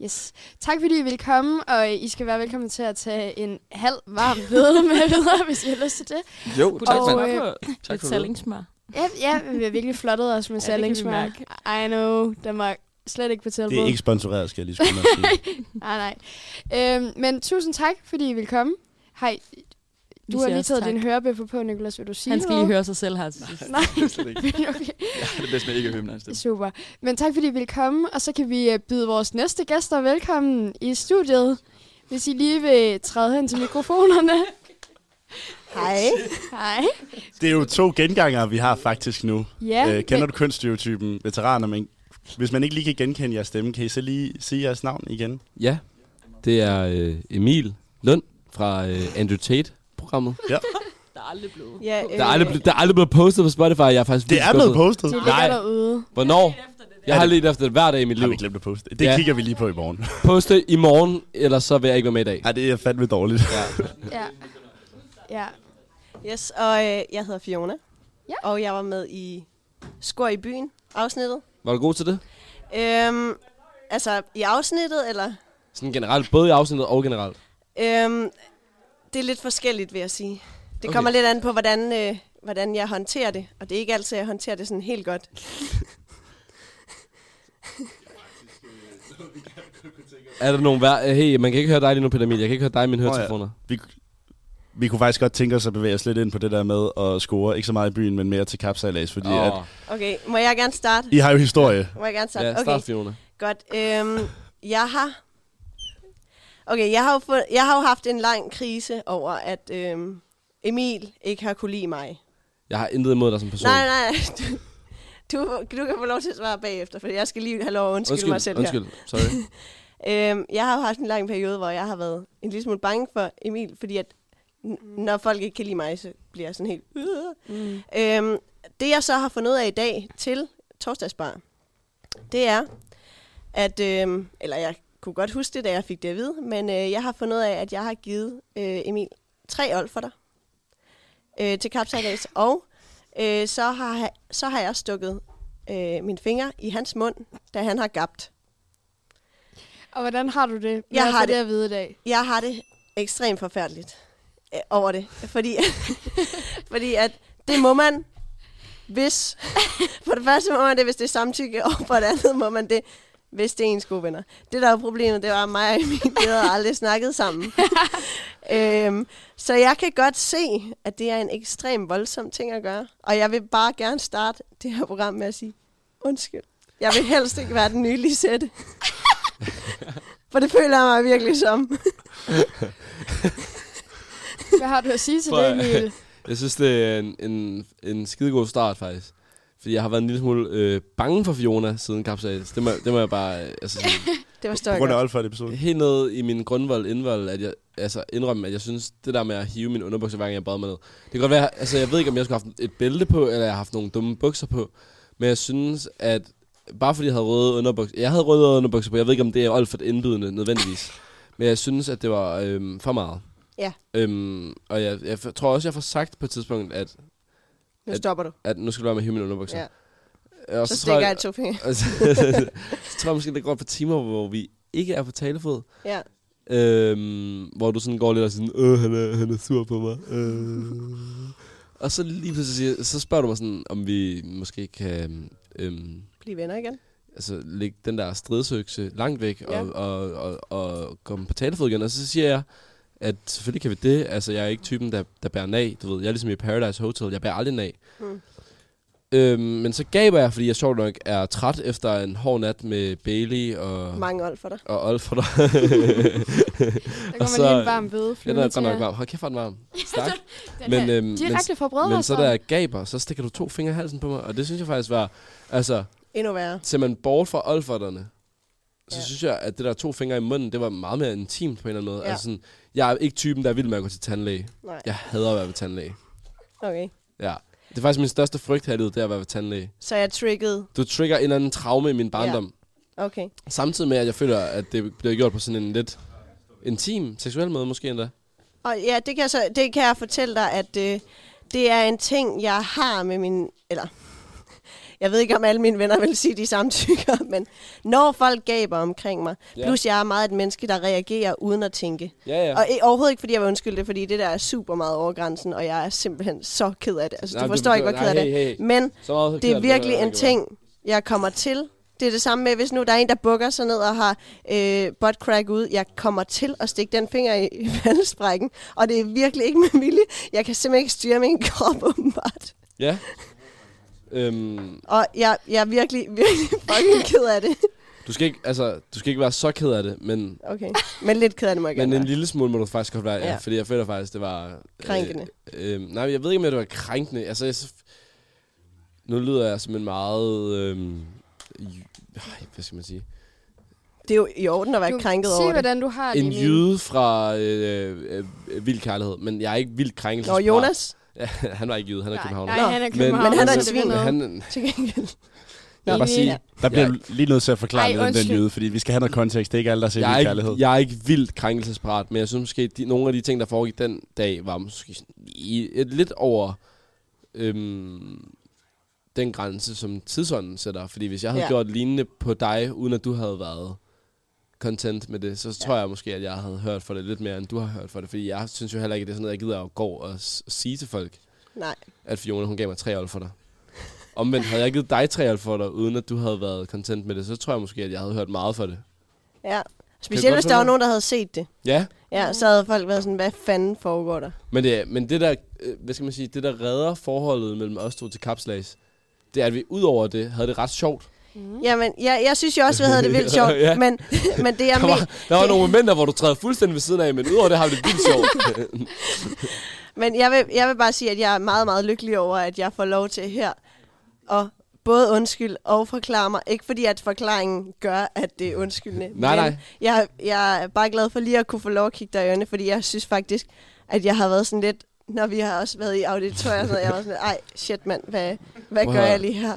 Speaker 3: Yes. Tak fordi I vil komme, og I skal være velkommen til at tage en halv varm hvede med videre, hvis I har lyst til det.
Speaker 6: Jo,
Speaker 7: Kunne
Speaker 6: tak,
Speaker 7: du
Speaker 3: Og,
Speaker 6: mand.
Speaker 3: øh,
Speaker 7: smage på
Speaker 6: Tak
Speaker 7: lidt
Speaker 6: for det.
Speaker 7: sallingsmør?
Speaker 3: Ja, ja vi har virkelig flottet os med
Speaker 7: Ja, det kan vi
Speaker 3: salgingsmør.
Speaker 7: mærke.
Speaker 3: I know, den var slet ikke på tilbud.
Speaker 2: Det er ikke sponsoreret, skal jeg lige skulle nok sige.
Speaker 3: Nej, nej. Øhm, men tusind tak, fordi I vil komme. Hej, du har lige taget din hørebøffer på, Nicolas. Vil du sige
Speaker 7: Han skal lige
Speaker 3: noget?
Speaker 7: høre sig selv her til sidst.
Speaker 3: Nej,
Speaker 6: Det er slet ikke.
Speaker 3: okay.
Speaker 6: Jeg har det bedst med ikke at høre min egen stemme.
Speaker 3: Super. Men tak, fordi I vil komme, og så kan vi øh, byde vores næste gæster velkommen i studiet. Hvis I lige vil træde hen til mikrofonerne. Hej. Hej.
Speaker 2: Det er jo to gengangere, vi har faktisk nu.
Speaker 3: Ja,
Speaker 2: øh, kender
Speaker 3: men-
Speaker 2: du kønsstereotypen veteraner? Men hvis man ikke lige kan genkende jeres stemme, kan I så lige sige jeres navn igen?
Speaker 8: Ja, det er øh, Emil Lund fra øh, Andrew Tate-programmet.
Speaker 7: Der er aldrig blevet.
Speaker 9: Ja, øh,
Speaker 8: Der er, aldrig, ble- der er aldrig blevet postet på Spotify. Jeg er faktisk
Speaker 2: Det
Speaker 8: virkelig
Speaker 2: er blevet
Speaker 8: skuffet.
Speaker 2: postet.
Speaker 3: De
Speaker 8: Nej.
Speaker 3: ligger derude.
Speaker 8: Hvornår? Jeg har let efter det hver dag i mit
Speaker 2: Har
Speaker 8: liv.
Speaker 2: vi glemt at poste? Det
Speaker 8: Ja.
Speaker 2: kigger vi lige på i morgen.
Speaker 8: Poste i morgen, ellers så vil jeg ikke være med i dag.
Speaker 2: Ej, det er fandme dårligt.
Speaker 3: Ja. Ja.
Speaker 9: yes, og øh, jeg hedder Fiona.
Speaker 3: Ja.
Speaker 9: Og jeg var med i Skor i byen, afsnittet.
Speaker 8: Var du god til det?
Speaker 9: Øhm, altså, i afsnittet, eller?
Speaker 8: Sådan generelt, både i afsnittet og generelt.
Speaker 9: Øhm, det er lidt forskelligt, vil jeg sige. Det
Speaker 8: Okay.
Speaker 9: okay. kommer lidt an på, hvordan, øh, hvordan jeg håndterer det. Og det er ikke altid, jeg håndterer det sådan helt godt.
Speaker 8: Er der nogen vær... øh, Hey, man kan ikke høre dig lige nu, Peter Emil. Jeg kan ikke høre dig i mine
Speaker 2: Nå ja.
Speaker 8: høretelefoner.
Speaker 2: Vi, vi kunne faktisk godt tænke os at bevæge os lidt ind på det der med at score. Ikke så meget i byen, men mere til kapsejlads, fordi oh. at
Speaker 8: Åh.
Speaker 9: Okay, må jeg gerne starte?
Speaker 2: I har jo historie.
Speaker 9: Må jeg gerne starte?
Speaker 8: Ja,
Speaker 9: okay.
Speaker 8: start, Fiona.
Speaker 9: Godt. Øhm, jeg har... Okay, jeg har, jo fået, jeg har jo haft en lang krise over, at øhm, Emil ikke har kunne lide mig.
Speaker 8: Jeg har intet imod dig som person.
Speaker 9: Nej, nej, nej. Du, du kan få lov til at svare bagefter, for jeg skal lige have lov at undskylde
Speaker 8: undskyld,
Speaker 9: mig selv
Speaker 8: undskyld. Sorry.
Speaker 9: her. Øhm, jeg har jo haft en lang periode, hvor jeg har været en lille smule bange for Emil, fordi at n- når folk ikke kan lide mig, så bliver jeg sådan helt...
Speaker 3: Mm.
Speaker 9: Øhm, det jeg så har fundet ud af i dag til torsdagsbar, det er, at, øhm, eller jeg kunne godt huske det, da jeg fik det at vide, men øh, jeg har fundet ud af, at jeg har givet øh, Emil tre old for dig øh, til kapsejlads, og øh, så, har, ha- så har jeg stukket øh, min finger i hans mund, da han har gabt.
Speaker 3: Og hvordan har du det?
Speaker 9: Jeg
Speaker 3: at
Speaker 9: har
Speaker 3: få
Speaker 9: det.
Speaker 3: at vide i dag.
Speaker 9: Jeg har det ekstremt forfærdeligt øh, over det, fordi, fordi at det må man, hvis... For det første må man det, hvis det er samtykke, og for det andet må man det, hvis det er ens gode venner. Det, der var problemet, det var at mig og Emil, vi havde aldrig snakket sammen. øhm, så jeg kan godt se, at det er en ekstrem voldsom ting at gøre. Og jeg vil bare gerne starte det her program med at sige, undskyld. Jeg vil helst ikke være den nye Lisette. for det føler jeg mig virkelig som.
Speaker 3: Hvad har du at sige til
Speaker 8: Prøv
Speaker 3: det,
Speaker 8: at-
Speaker 3: Emil?
Speaker 8: Jeg synes, det er en, en, en skidegod start, faktisk. Fordi jeg har været en lille smule øh, bange for Fiona siden kapsejlads. Det må, det må jeg bare... Øh, altså, sådan,
Speaker 9: Det var
Speaker 2: På
Speaker 9: stort.
Speaker 2: grund af Olfert episode.
Speaker 8: helt ned i min grundvold, indvold, at jeg altså, indrømme, at jeg synes, det der med at hive min underbukser, hver gang jeg bad mig ned. Det kan godt være, altså jeg ved ikke, om jeg skulle have haft et bælte på, eller jeg har haft nogle dumme bukser på. Men jeg synes, at bare fordi jeg havde røde underbukser, jeg havde røde underbukser på, jeg ved ikke, om det er Olfert indbydende nødvendigvis. Men jeg synes, at det var øhm, for meget.
Speaker 9: Ja.
Speaker 8: Øhm, og jeg, jeg f- tror også, jeg får sagt på et tidspunkt, at
Speaker 9: Nu stopper du.
Speaker 8: at nu skal du være med at hive mine underbukser.
Speaker 9: Ja.
Speaker 8: Og
Speaker 9: Så
Speaker 8: tror
Speaker 9: stikker jeg to fingre.
Speaker 8: og så, så, tror jeg måske, der går et par timer, hvor vi ikke er på talefod.
Speaker 9: Ja.
Speaker 8: Øhm, hvor du sådan går lidt og sådan, øh, han er, han er sur på mig. Øh. og så lige pludselig siger, så spørger du mig sådan, om vi måske kan øhm,
Speaker 9: Bliv venner igen.
Speaker 8: altså, lægge den der stridsøkse langt væk og,
Speaker 9: Ja.
Speaker 8: og, og, og, og komme på talefod igen. Og så siger jeg, at selvfølgelig kan vi det. Altså, jeg er ikke typen, der, der bærer nag. Du ved, jeg er ligesom i Paradise Hotel. Jeg bærer aldrig nag.
Speaker 9: Mm.
Speaker 8: Øhm, men så gaber jeg, fordi jeg sjovt nok er træt efter en hård nat med Bailey og,
Speaker 9: Mange old for dig.
Speaker 8: og Olf for dig.
Speaker 3: Der kommer
Speaker 8: så-
Speaker 3: lige en varm bøde
Speaker 8: Den
Speaker 3: flyvende
Speaker 8: er
Speaker 3: til
Speaker 8: godt nok
Speaker 3: jer.
Speaker 8: varm. Hold kæft, hvor er den varm. Stak.
Speaker 3: Den
Speaker 8: men,
Speaker 3: er
Speaker 8: øhm, men,
Speaker 3: Direkte fra
Speaker 8: men så
Speaker 3: brødresteren.
Speaker 8: da jeg gaber, så stikker du to fingre i halsen på mig. Og det synes jeg faktisk var... Altså,
Speaker 9: Endnu værre.
Speaker 8: ser man bort fra olferterne, så
Speaker 9: Ja.
Speaker 8: ja. synes jeg, at det der to fingre i munden, det var meget mere intimt på en eller anden måde.
Speaker 9: Ja.
Speaker 8: Ja. Altså sådan, jeg er ikke typen, der er vild med at gå til tandlæge.
Speaker 9: Nej,
Speaker 8: Jeg hader at være ved tandlæge.
Speaker 9: okay.
Speaker 8: Ja. Det er faktisk min største frygt her i livet, det er at være ved tandlæge.
Speaker 9: Så jeg triggede.
Speaker 8: Du trigger en eller anden traume i min barndom.
Speaker 9: Okay.
Speaker 8: Samtidig med, at jeg føler, at det bliver gjort på sådan en lidt intim, seksuel måde måske endda.
Speaker 9: Og ja, det kan, jeg så, det kan jeg fortælle dig, at øh, det er en ting, jeg har med min... Eller, jeg ved ikke, om alle mine venner vil sige, de samtykker, men når folk gaber omkring mig,
Speaker 8: Ja.
Speaker 9: plus jeg er meget et menneske, der reagerer uden at tænke.
Speaker 8: Ja, ja.
Speaker 9: Og øh, overhovedet ikke, fordi jeg vil undskylde det, fordi det der er super meget over grænsen, og jeg er simpelthen så ked af det. Altså,
Speaker 8: Nej,
Speaker 9: du
Speaker 8: du
Speaker 9: forstår ikke, hvor
Speaker 8: forstår-
Speaker 9: ked af
Speaker 8: nej,
Speaker 9: det.
Speaker 8: hey, hey.
Speaker 9: Men
Speaker 8: Så meget
Speaker 9: det er
Speaker 8: forkert,
Speaker 9: virkelig
Speaker 8: jeg
Speaker 9: en
Speaker 8: gør.
Speaker 9: ting, jeg kommer til. Det er det samme med, hvis nu der er en, der bukker sig ned og har øh, butt crack ud. Jeg kommer til at stikke den finger i, i vandsprækken, og det er virkelig ikke med vilje. Jeg kan simpelthen ikke styre min krop, åbenbart.
Speaker 8: Ja. Øhm,
Speaker 9: Og jeg, jeg er virkelig, virkelig fucking ked af det.
Speaker 8: du, skal ikke, altså, du skal ikke være så ked af det, men,
Speaker 9: Okay, men lidt ked af det må jeg
Speaker 8: men
Speaker 9: gerne
Speaker 8: en
Speaker 9: være.
Speaker 8: lille smule må du faktisk godt være. Ja.
Speaker 9: Ja.
Speaker 8: Fordi jeg føler faktisk, det var...
Speaker 9: Krænkende.
Speaker 8: Øh, øh, nej, jeg ved ikke, om det var krænkende. Altså, jeg, nu lyder jeg som en meget... Øh, hvad skal man sige?
Speaker 9: Det er jo i orden at være
Speaker 3: Du-
Speaker 9: krænket
Speaker 3: Sig,
Speaker 9: over det.
Speaker 3: hvordan du har det,
Speaker 8: En
Speaker 3: Emil.
Speaker 8: jyde fra øh, øh, øh, Vild Kærlighed, men jeg er ikke vild krænkelse.
Speaker 9: Nå, Jonas,
Speaker 8: Ja, han var ikke jyde, han er
Speaker 3: Nej,
Speaker 8: københavner.
Speaker 3: nej,
Speaker 9: Nå,
Speaker 3: han er
Speaker 8: men-
Speaker 3: københavner.
Speaker 9: men han er en
Speaker 3: så det
Speaker 9: svin.
Speaker 3: noget.
Speaker 8: Men han,
Speaker 9: til gengæld.
Speaker 8: jeg vil bare sige,
Speaker 2: Der bliver
Speaker 8: Ja.
Speaker 2: du lige nødt til at forklare
Speaker 3: Ej,
Speaker 2: Ej, noget om den
Speaker 3: undskyld.
Speaker 2: jøde, fordi vi skal have noget kontekst. Det er ikke alle, der ser
Speaker 8: jeg er,
Speaker 2: jeg kærlighed.
Speaker 8: ikke, jeg er ikke vildt krænkelsesparat, men jeg synes måske, at de, nogle af de ting, der foregik den dag, var måske sådan i, et, lidt over øhm, den grænse, som tidsånden sætter. Fordi hvis jeg havde
Speaker 9: Ja.
Speaker 8: ja. gjort lignende på dig, uden at du havde været content med det, så tror jeg måske, at jeg havde hørt for det lidt mere, end du har hørt for det. Fordi jeg synes jo heller ikke, at det er sådan noget, jeg gider at gå og s- sige til folk,
Speaker 9: Nej,
Speaker 8: at Fiona, hun gav mig tre øl for dig. Omvendt havde jeg givet dig tre øl for dig, uden at du havde været content med det, så tror jeg måske, at jeg havde hørt meget for det.
Speaker 9: ja. Specielt hvis
Speaker 8: følge
Speaker 9: der var
Speaker 8: dig?
Speaker 9: nogen, der havde set det.
Speaker 8: Ja,
Speaker 9: Ja, så havde folk været sådan, hvad fanden foregår der?
Speaker 8: Men det, er- men det der, øh, hvad skal man sige, det der redder forholdet mellem os to til kapslags, det er, at vi udover det, havde det ret sjovt.
Speaker 9: Mm. Jamen, jeg, jeg synes jo også, vi havde det vildt sjovt,
Speaker 8: Ja.
Speaker 9: men, men det jeg
Speaker 8: Der
Speaker 9: mener...
Speaker 8: var, der var
Speaker 9: det-
Speaker 8: nogle momenter, hvor du træder fuldstændig ved siden af, men udover det har vi det vildt sjovt.
Speaker 9: Men jeg vil, jeg vil bare sige, at jeg er meget, meget lykkelig over, at jeg får lov til her at både undskyld og forklare mig. Ikke fordi, at forklaringen gør, at det er undskyldende.
Speaker 8: Nej, nej.
Speaker 9: Jeg, jeg er bare glad for lige at kunne få lov at kigge dig i øjnene, fordi jeg synes faktisk, at jeg har været sådan lidt... når vi har også været i auditoriet, så jeg var sådan, ej, shit mand, hvad, hvad
Speaker 8: Prøv
Speaker 9: gør
Speaker 8: at høre.
Speaker 9: jeg lige her?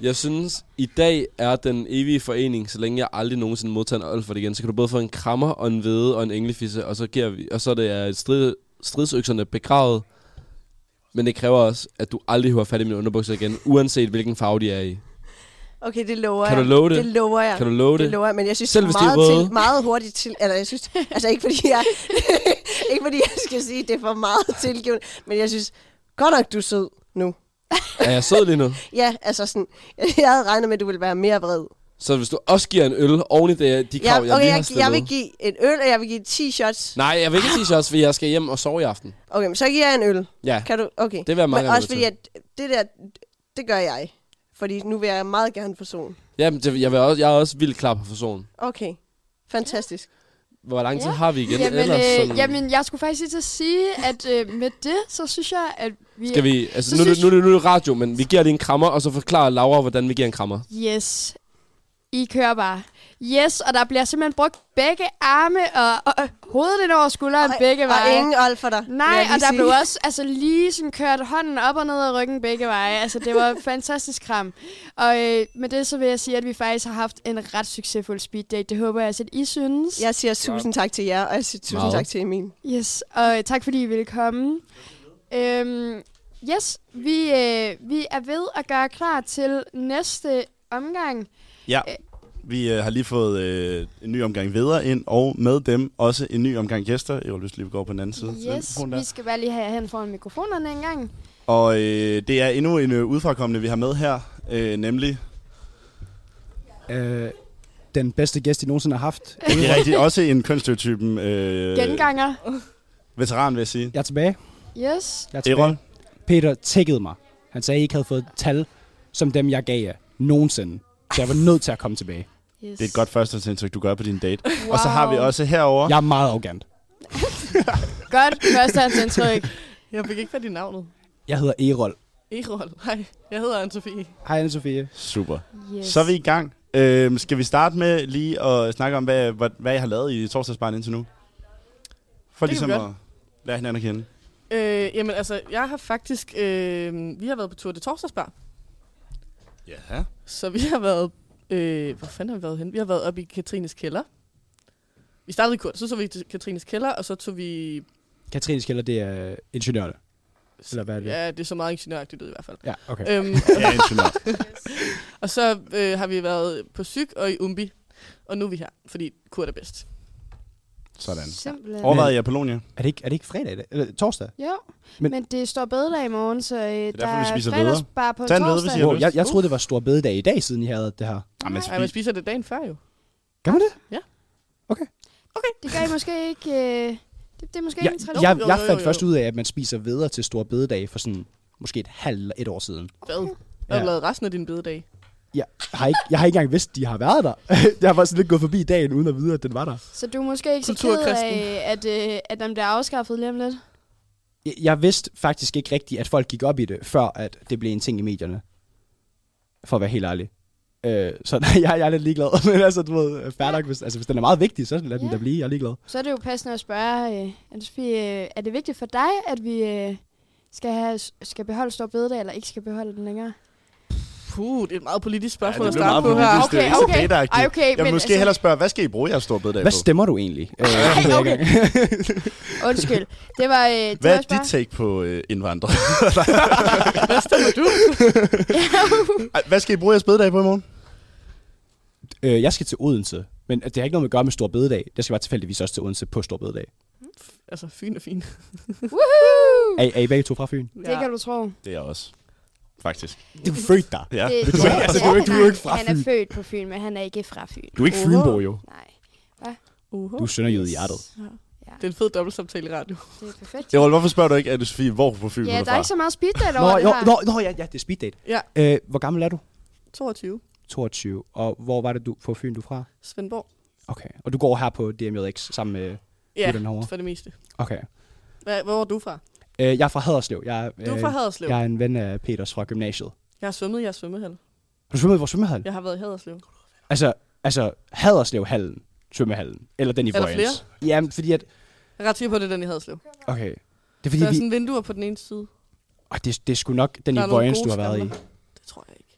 Speaker 8: Jeg synes, i dag er den evige forening, så længe jeg aldrig nogensinde modtager en Olfert igen, så kan du både få en krammer og en hvede og en englefisse, og så, giver vi, og så er det er strid, stridsøkserne begravet. Men det kræver også, at du aldrig hører fat i mine underbukser igen, uanset hvilken farve de er i.
Speaker 9: Okay, det lover
Speaker 8: Kan
Speaker 9: jeg.
Speaker 8: du love det?
Speaker 9: Det lover jeg.
Speaker 8: Kan du love
Speaker 9: det
Speaker 8: det?
Speaker 9: lover jeg, men jeg synes,
Speaker 8: Selv
Speaker 9: Selv
Speaker 8: hvis de er
Speaker 9: meget,
Speaker 8: våde?
Speaker 9: til, meget hurtigt til... Eller jeg synes, altså ikke fordi jeg, ikke fordi jeg skal sige, at det er for meget tilgivende, men jeg synes, godt nok, du er sød nu.
Speaker 8: Er jeg sød lige nu?
Speaker 9: Ja, altså sådan, jeg havde regnet med, at du ville være mere vred.
Speaker 8: Så hvis du også giver en øl oven i det, de krav,
Speaker 9: Ja,
Speaker 8: ja, jeg
Speaker 9: okay,
Speaker 8: lige har
Speaker 9: jeg,
Speaker 8: stillet.
Speaker 9: jeg vil give en øl, og jeg vil give 10 shots.
Speaker 8: Nej, jeg vil ikke sige shots, fordi jeg skal hjem og sove i aften.
Speaker 9: Okay, men så giver jeg en øl.
Speaker 8: Ja,
Speaker 9: Kan du? Okay.
Speaker 8: det vil jeg meget
Speaker 9: Men
Speaker 8: gerne
Speaker 9: også
Speaker 8: være med
Speaker 9: fordi, at
Speaker 8: til.
Speaker 9: det der, det gør jeg. Fordi nu vil jeg meget gerne person.
Speaker 8: Ja, men det, jeg, vil også, jeg er også vildt klar på personen.
Speaker 9: Okay. Fantastisk.
Speaker 8: Hvor lang tid
Speaker 3: Ja.
Speaker 8: har vi igen
Speaker 3: Jamen,
Speaker 8: ellers?
Speaker 3: øh, jamen, jeg skulle faktisk lige til at sige, at øh, med det, så synes jeg, at vi...
Speaker 8: Skal vi, altså
Speaker 3: Så
Speaker 8: nu, er det-
Speaker 3: synes-
Speaker 8: nu, nu, nu er det radio, men vi giver lige en krammer, og så forklarer Laura, hvordan vi giver en krammer.
Speaker 3: Yes. I kører bare. Yes, og der bliver simpelthen brugt begge arme og, og, og hovedet ind over skulderen
Speaker 9: Og-
Speaker 3: begge veje.
Speaker 9: Og ingen old for dig. vil jeg
Speaker 3: Nej,
Speaker 9: lige
Speaker 3: og der
Speaker 9: sige.
Speaker 3: blev også altså, lige sådan kørt hånden op og ned af ryggen begge veje. Altså, det var fantastisk kram. Og øh, med det så vil jeg sige, at vi faktisk har haft en ret succesfuld speed date. Det håber jeg også, at I synes.
Speaker 9: Jeg siger tusind tak til jer, og jeg siger tusind
Speaker 8: Meget.
Speaker 9: tak til Emil.
Speaker 3: Yes, og øh, tak fordi I ville komme. Øhm, yes, vi, øh, vi er ved at gøre klar til næste omgang.
Speaker 2: Ja. Vi øh, har lige fået øh, en ny omgang videre ind, og med dem også en ny omgang gæster. Jeg lyst lige går på den anden side. til den
Speaker 3: Yes,
Speaker 2: mikrofon der.
Speaker 3: vi skal bare lige have hen foran mikrofonerne en gang.
Speaker 2: Og øh, det er endnu en øh, udfrakommende, vi har med her, øh, nemlig...
Speaker 10: Øh, den bedste gæst, I nogensinde har haft.
Speaker 2: Ja, det er rigtigt, også en kønsstereotypen øh,
Speaker 3: Genganger.
Speaker 2: veteran, vil jeg sige.
Speaker 10: Jeg er tilbage.
Speaker 3: Yes.
Speaker 10: Jeg er tilbage.
Speaker 2: Erol,
Speaker 10: Peter tækkede mig. Han sagde, at I ikke havde fået tal, som dem, jeg gav jer nogensinde. Så jeg var nødt til at komme tilbage.
Speaker 3: yes.
Speaker 2: det er et godt førstehåndsindtryk, du gør på din date.
Speaker 3: wow.
Speaker 2: Og så har vi også herover.
Speaker 10: Jeg er meget arrogant.
Speaker 3: Godt førstehåndsindtryk.
Speaker 11: Jeg fik ikke fat i navnet.
Speaker 10: Jeg hedder Erol.
Speaker 11: Erol. Nej, jeg hedder Anne-Sophie.
Speaker 10: Hej, Anne-Sophie.
Speaker 2: Super.
Speaker 3: Yes.
Speaker 2: Så er vi i gang. Øhm, skal vi starte med lige at snakke om, hvad, hvad, hvad jeg har lavet i torsdagsbaren indtil nu? For
Speaker 11: Det kan vi
Speaker 2: ligesom at lære hinanden at kende.
Speaker 11: Øh, jamen altså, jeg har faktisk... Øh, vi har været på tur til Torsdagsbar.
Speaker 2: Ja.
Speaker 11: Så vi har været... Øh, hvor fanden har vi været henne? Vi har været oppe i Katrines kælder. Vi startede i kurs, så tog vi til Katrines kælder, og så tog vi...
Speaker 10: Katrine Skælder, det er ingeniørerne. Eller hvad er det?
Speaker 11: Ja, det er så meget ingeniøragtigt ud i hvert fald.
Speaker 10: Ja, okay.
Speaker 11: Øhm,
Speaker 2: Ja, indtil nu.
Speaker 11: og så øh, har vi været på Syk og i Umbi. Og nu er vi her, fordi Kurt er bedst.
Speaker 2: Sådan.
Speaker 3: Simpelthen.
Speaker 10: Og-
Speaker 2: Overvejede jeg Polonia.
Speaker 10: Er det ikke, er det ikke fredag i dag? Eller torsdag?
Speaker 3: Jo,
Speaker 10: Men-
Speaker 3: men, men det står bededag i morgen, så øh, der
Speaker 2: derfor, vi spiser
Speaker 3: er
Speaker 2: bedre.
Speaker 3: fredagsbar på
Speaker 2: Tag en hvede, hvis I
Speaker 3: torsdag.
Speaker 2: har
Speaker 10: Wow,
Speaker 2: lyst.
Speaker 10: jeg, jeg troede, det var stor bededag i dag, siden I havde det her.
Speaker 2: Jamen,
Speaker 11: Ej, man
Speaker 2: spi-
Speaker 11: Uh, spiser det dagen før jo.
Speaker 10: Gør man det?
Speaker 3: Det gør I måske ikke... Øh, det, det er måske
Speaker 10: Jeg,
Speaker 3: ikke en
Speaker 10: jeg,
Speaker 3: tradition.
Speaker 10: jeg,
Speaker 11: Jo,
Speaker 10: jeg
Speaker 11: jo,
Speaker 10: fandt
Speaker 11: jo,
Speaker 10: først
Speaker 11: jo.
Speaker 10: ud af, at man spiser videre til stor bededag for sådan måske et halvt eller et år siden.
Speaker 11: Hvad? Hvad har
Speaker 10: Ja.
Speaker 11: du lavet resten af din bededag?
Speaker 10: Har ikke, jeg har ikke engang vidst, at de har været der. jeg har bare sådan lidt gået forbi dagen, uden at vide, at den var der.
Speaker 3: Så du er måske ikke så ked
Speaker 11: Kulturkristen.
Speaker 3: af, at, øh, at den bliver afskaffet lige om lidt?
Speaker 10: Jeg, jeg vidste faktisk ikke rigtigt, at folk gik op i det, før at det blev en ting i medierne. For at være helt ærlig. Øh, så nej, jeg, jeg er lidt ligeglad. Men altså, du ved, fair nok, hvis, altså, hvis den er meget vigtig, så lad den
Speaker 3: Ja.
Speaker 10: da blive. Jeg er ligeglad.
Speaker 3: Så er det jo passende at spørge, øh, Anne-Sophie, øh, er det vigtigt for dig, at vi øh, skal, have, skal beholde stor bededag, eller ikke skal beholde den længere?
Speaker 11: Puh, det er et meget politisk
Speaker 2: Ja, det
Speaker 11: spørgsmål
Speaker 2: blev
Speaker 11: at starte
Speaker 2: meget
Speaker 11: på her.
Speaker 2: politisk. Det er jo ikke så
Speaker 3: okay.
Speaker 2: dateagtigt.
Speaker 3: Ej, okay,
Speaker 2: Jeg vil
Speaker 3: men
Speaker 2: måske
Speaker 3: altså-
Speaker 2: hellere spørge, hvad skal I bruge jeres store bededag
Speaker 10: Hvad
Speaker 2: på?
Speaker 10: stemmer du egentlig? Øh, det ved jeg ikke engang.
Speaker 3: Undskyld. Det var, øh, det var
Speaker 2: Hvad er
Speaker 3: også bare-
Speaker 2: dit take på øh, indvandrere?
Speaker 11: Hvad stemmer du?
Speaker 2: Ej, Hvad skal I bruge jeres bededag på i morgen?
Speaker 10: Øh, jeg skal til Odense, men det har ikke noget med at gøre med Stor Bededag. Jeg skal bare tilfældigvis også til Odense på Stor Bededag.
Speaker 11: altså, fyn er fin.
Speaker 3: Woohoo!
Speaker 10: Er, er I begge to fra Fyn?
Speaker 3: Det kan du tro.
Speaker 2: Det er jeg også. Faktisk.
Speaker 10: Du er født der.
Speaker 2: Ja.
Speaker 3: Det,
Speaker 10: du er ikke- altså, du er ikke- du er ikke fra
Speaker 3: Han er
Speaker 10: Fyn.
Speaker 3: født på Fyn, men han er ikke fra Fyn.
Speaker 10: Du er ikke Fynbo, jo.
Speaker 3: Nej.
Speaker 11: Uhu.
Speaker 10: Du er sønderjyde i hjertet.
Speaker 11: Det er en fed dobbeltsamtale i radio.
Speaker 3: Det er perfekt.
Speaker 2: Erol, hvorfor spørger du ikke, Anne Sofie, hvor på Fyn
Speaker 3: Ja,
Speaker 2: hun
Speaker 3: der er
Speaker 2: fra?
Speaker 3: ikke så meget speeddate
Speaker 10: Nå,
Speaker 3: over det
Speaker 10: jo,
Speaker 3: her.
Speaker 10: nå, nå ja, ja, det er speed date.
Speaker 11: Ja.
Speaker 10: Øh, hvor gammel er du?
Speaker 11: 22.
Speaker 10: 22. Og hvor var det du på Fyn, du er fra?
Speaker 11: Svendborg.
Speaker 10: Okay. Og du går her på DMJX sammen med...
Speaker 11: Ja,
Speaker 10: Gutterne herovre.
Speaker 11: for det meste.
Speaker 10: Okay.
Speaker 11: Hvad, hvor er du fra?
Speaker 10: Øh, jeg er fra Haderslev. Jeg,
Speaker 11: Du er fra Haderslev.
Speaker 10: Jeg er en ven af Peters fra gymnasiet.
Speaker 11: Jeg har svømmet i jeres svømmehal.
Speaker 10: Har du svømmet i vores svømmehal?
Speaker 11: Jeg har været i Haderslev.
Speaker 10: Altså, altså Haderslevhallen, svømmehallen. Eller den i
Speaker 11: Er der
Speaker 10: Vojens. Jamen, fordi at...
Speaker 11: Jeg er ret sikker på, at det er den i Haderslev.
Speaker 10: Okay. Det er
Speaker 11: Fordi
Speaker 10: fordi,
Speaker 11: der er
Speaker 10: vi...
Speaker 11: sådan vinduer på den ene side.
Speaker 10: Åh, det, det er sgu nok den
Speaker 11: Der
Speaker 10: i
Speaker 11: er nogle
Speaker 10: Vojens, du
Speaker 11: gode
Speaker 10: har været i.
Speaker 11: skaller. Det tror jeg ikke.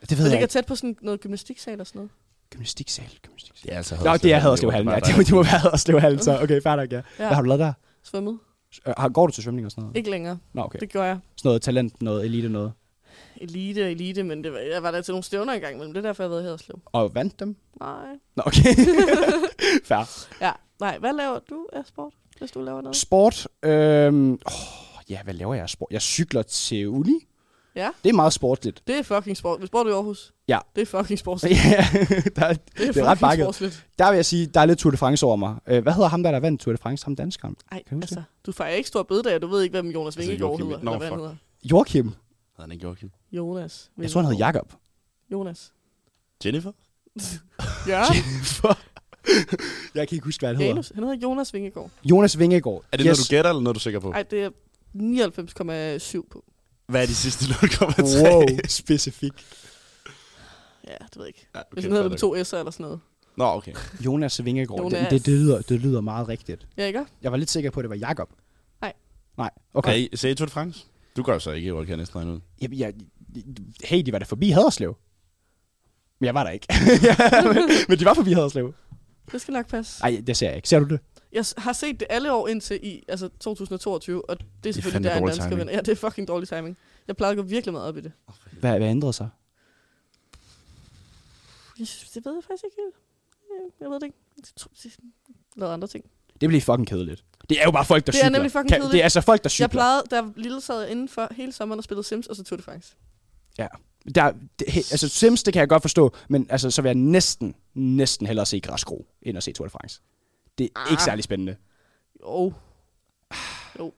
Speaker 10: Det ved
Speaker 11: Det
Speaker 10: jeg
Speaker 11: ligger
Speaker 10: ikke.
Speaker 11: tæt på sådan noget gymnastiksal eller sådan noget.
Speaker 10: Gymnastiksal, gymnastiksal.
Speaker 8: Det er altså
Speaker 10: Nå, det er Haderslev-hallen, ja. Det må, det må være Haderslev-hallen, så. Okay, fair nok, ja.
Speaker 11: Ja,
Speaker 10: Hvad har du lavet der?
Speaker 11: svømmet.
Speaker 10: Øh, har- Går du til svømning og sådan noget?
Speaker 11: Ikke længere.
Speaker 10: Nå, okay.
Speaker 11: Det gjorde jeg.
Speaker 10: Sådan noget talent, noget elite, noget.
Speaker 11: Elite og elite, men det var, jeg var der til nogle stævner engang, men det er derfor, jeg har været i Haderslev.
Speaker 10: Og vandt dem?
Speaker 11: Nej.
Speaker 10: Nå, okay. fair.
Speaker 11: Ja, nej. Hvad laver du af sport, hvis du laver noget?
Speaker 10: Sport. Øhm, åh, ja, hvad laver jeg af sport? Jeg cykler til uni.
Speaker 11: Ja.
Speaker 10: Det er meget sportligt.
Speaker 11: Det er fucking sport. Hvis bor du i Aarhus?
Speaker 10: Ja.
Speaker 11: Det er fucking sport.
Speaker 10: Ja,
Speaker 11: Det
Speaker 10: der, er-
Speaker 11: er,
Speaker 10: det er ret
Speaker 11: fucking
Speaker 10: bakket.
Speaker 11: sportsligt.
Speaker 10: Der vil jeg sige, der er lidt Tour de France over mig. Øh, hvad hedder ham, der, der vandt Tour de France? Ham danskeren.
Speaker 11: Ej,
Speaker 10: Kan du
Speaker 11: altså, du fejrer ikke stor bededag, og du ved ikke, hvem Jonas
Speaker 2: Altså,
Speaker 11: Vingegaard
Speaker 2: Joachim-
Speaker 11: hedder.
Speaker 2: Nå,
Speaker 11: eller hvad han
Speaker 2: fuck.
Speaker 11: hedder.
Speaker 10: Joachim.
Speaker 2: Havde han ikke Joachim?
Speaker 11: Jonas.
Speaker 10: Jeg tror, han hed Jakob.
Speaker 11: Jonas.
Speaker 2: Jennifer?
Speaker 11: Ja,
Speaker 10: jeg kan ikke huske, hvad han hedder.
Speaker 11: Janus. Han hedder Jonas Vingegaard.
Speaker 10: Jonas Vingegaard.
Speaker 2: Er det yes. noget, du gætter, eller noget, du er sikker på?
Speaker 11: Ej, det er 99,7 på.
Speaker 2: Hvad er de sidste 0,3?
Speaker 10: Wow, specifik.
Speaker 11: Ja, det ved jeg ikke.
Speaker 2: Ja,
Speaker 11: Hvis
Speaker 2: okay,
Speaker 11: han hedder det med
Speaker 2: fair
Speaker 11: to
Speaker 2: nok.
Speaker 11: S'er eller sådan noget.
Speaker 2: Nå, okay.
Speaker 10: Jonas Vingegaard.
Speaker 11: Jonas.
Speaker 10: Det, det, det, lyder, det lyder meget rigtigt.
Speaker 11: Ja, ikke?
Speaker 10: Jeg var lidt sikker på, at det var Jakob.
Speaker 11: Nej.
Speaker 10: Nej,
Speaker 2: okay.
Speaker 10: okay.
Speaker 2: Er I, ser I Tour de France? Du gør jo så ikke, hvor kan jeg næsten regne ud.
Speaker 10: Jamen, jeg, hey, de var da forbi Haderslev. Men jeg var der ikke. ja, men, men de var forbi Haderslev.
Speaker 11: Det skal nok passe.
Speaker 10: Nej, det ser jeg ikke. Ser du det?
Speaker 11: Jeg s- har set det alle år indtil i altså 2022, og det er selvfølgelig
Speaker 2: fandme
Speaker 11: der, en
Speaker 2: dårlig
Speaker 11: dansker
Speaker 2: timing.
Speaker 11: vinder. Ja, det er fucking dårlig timing. Jeg plejede at gå virkelig meget op i det.
Speaker 10: Hvad, hvad ændrede sig?
Speaker 11: Jeg synes, det ved jeg faktisk ikke helt. Ja, Jeg ved det ikke. Jeg tror, det er lavet andre ting.
Speaker 10: Det bliver fucking kedeligt. Det er jo bare folk, der
Speaker 11: Det er
Speaker 10: cykler.
Speaker 11: nemlig fucking kedeligt.
Speaker 10: Det er altså folk, der cykler.
Speaker 11: Jeg plejede, da jeg var lille sad jeg indenfor hele sommeren og spillede Sims, og så Tour de France.
Speaker 10: Der, det, he, altså Sims, det kan jeg godt forstå, men altså, så vil jeg næsten, næsten hellere se Græskro, end at se Tour de France. Det er ah. ikke særlig spændende. Oh.
Speaker 11: Jo. Jo.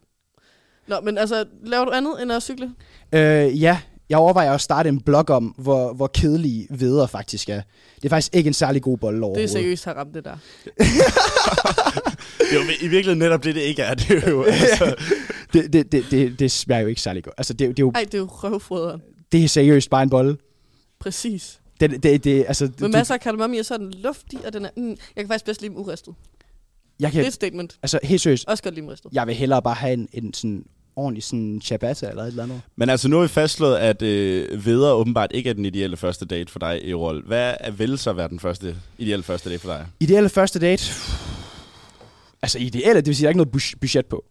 Speaker 11: Nå, men altså, laver du andet end at cykle?
Speaker 10: Øh, ja, jeg overvejer at starte en blog om, hvor, hvor kedelige veder faktisk er. Det er faktisk ikke en særlig god bolle
Speaker 11: Det er
Speaker 10: overhovedet.
Speaker 11: seriøst har ramt det der.
Speaker 2: Det er jo i virkeligheden netop det, det ikke er. Det er jo, altså,
Speaker 10: Det, det, det, det, det smager jo ikke særlig godt. Altså, det, er jo- det, er jo,
Speaker 11: Ej, det er jo røvfoderen.
Speaker 10: det er seriøst bare en bolle.
Speaker 11: Præcis.
Speaker 10: Det, det, det, altså, det,
Speaker 11: Med
Speaker 10: det-
Speaker 11: masser af kardemomme i, og så er den luftig, og den er... Mm, jeg kan faktisk bedst lide dem uristet.
Speaker 10: jeg
Speaker 11: Det er
Speaker 10: kan,
Speaker 11: et statement.
Speaker 10: altså, helt seriøst,
Speaker 11: Også godt lide dem ristet.
Speaker 10: jeg vil hellere bare have en, en sådan ordentlig sådan ciabatta eller et eller andet.
Speaker 2: men altså, nu har vi fastslået, at øh, veder åbenbart ikke er den ideelle første date for dig, Erol. Hvad er vel så være den første, ideelle første date for dig?
Speaker 10: Ideelle første date? Altså ideelle, det vil sige, der er ikke noget bus- budget på.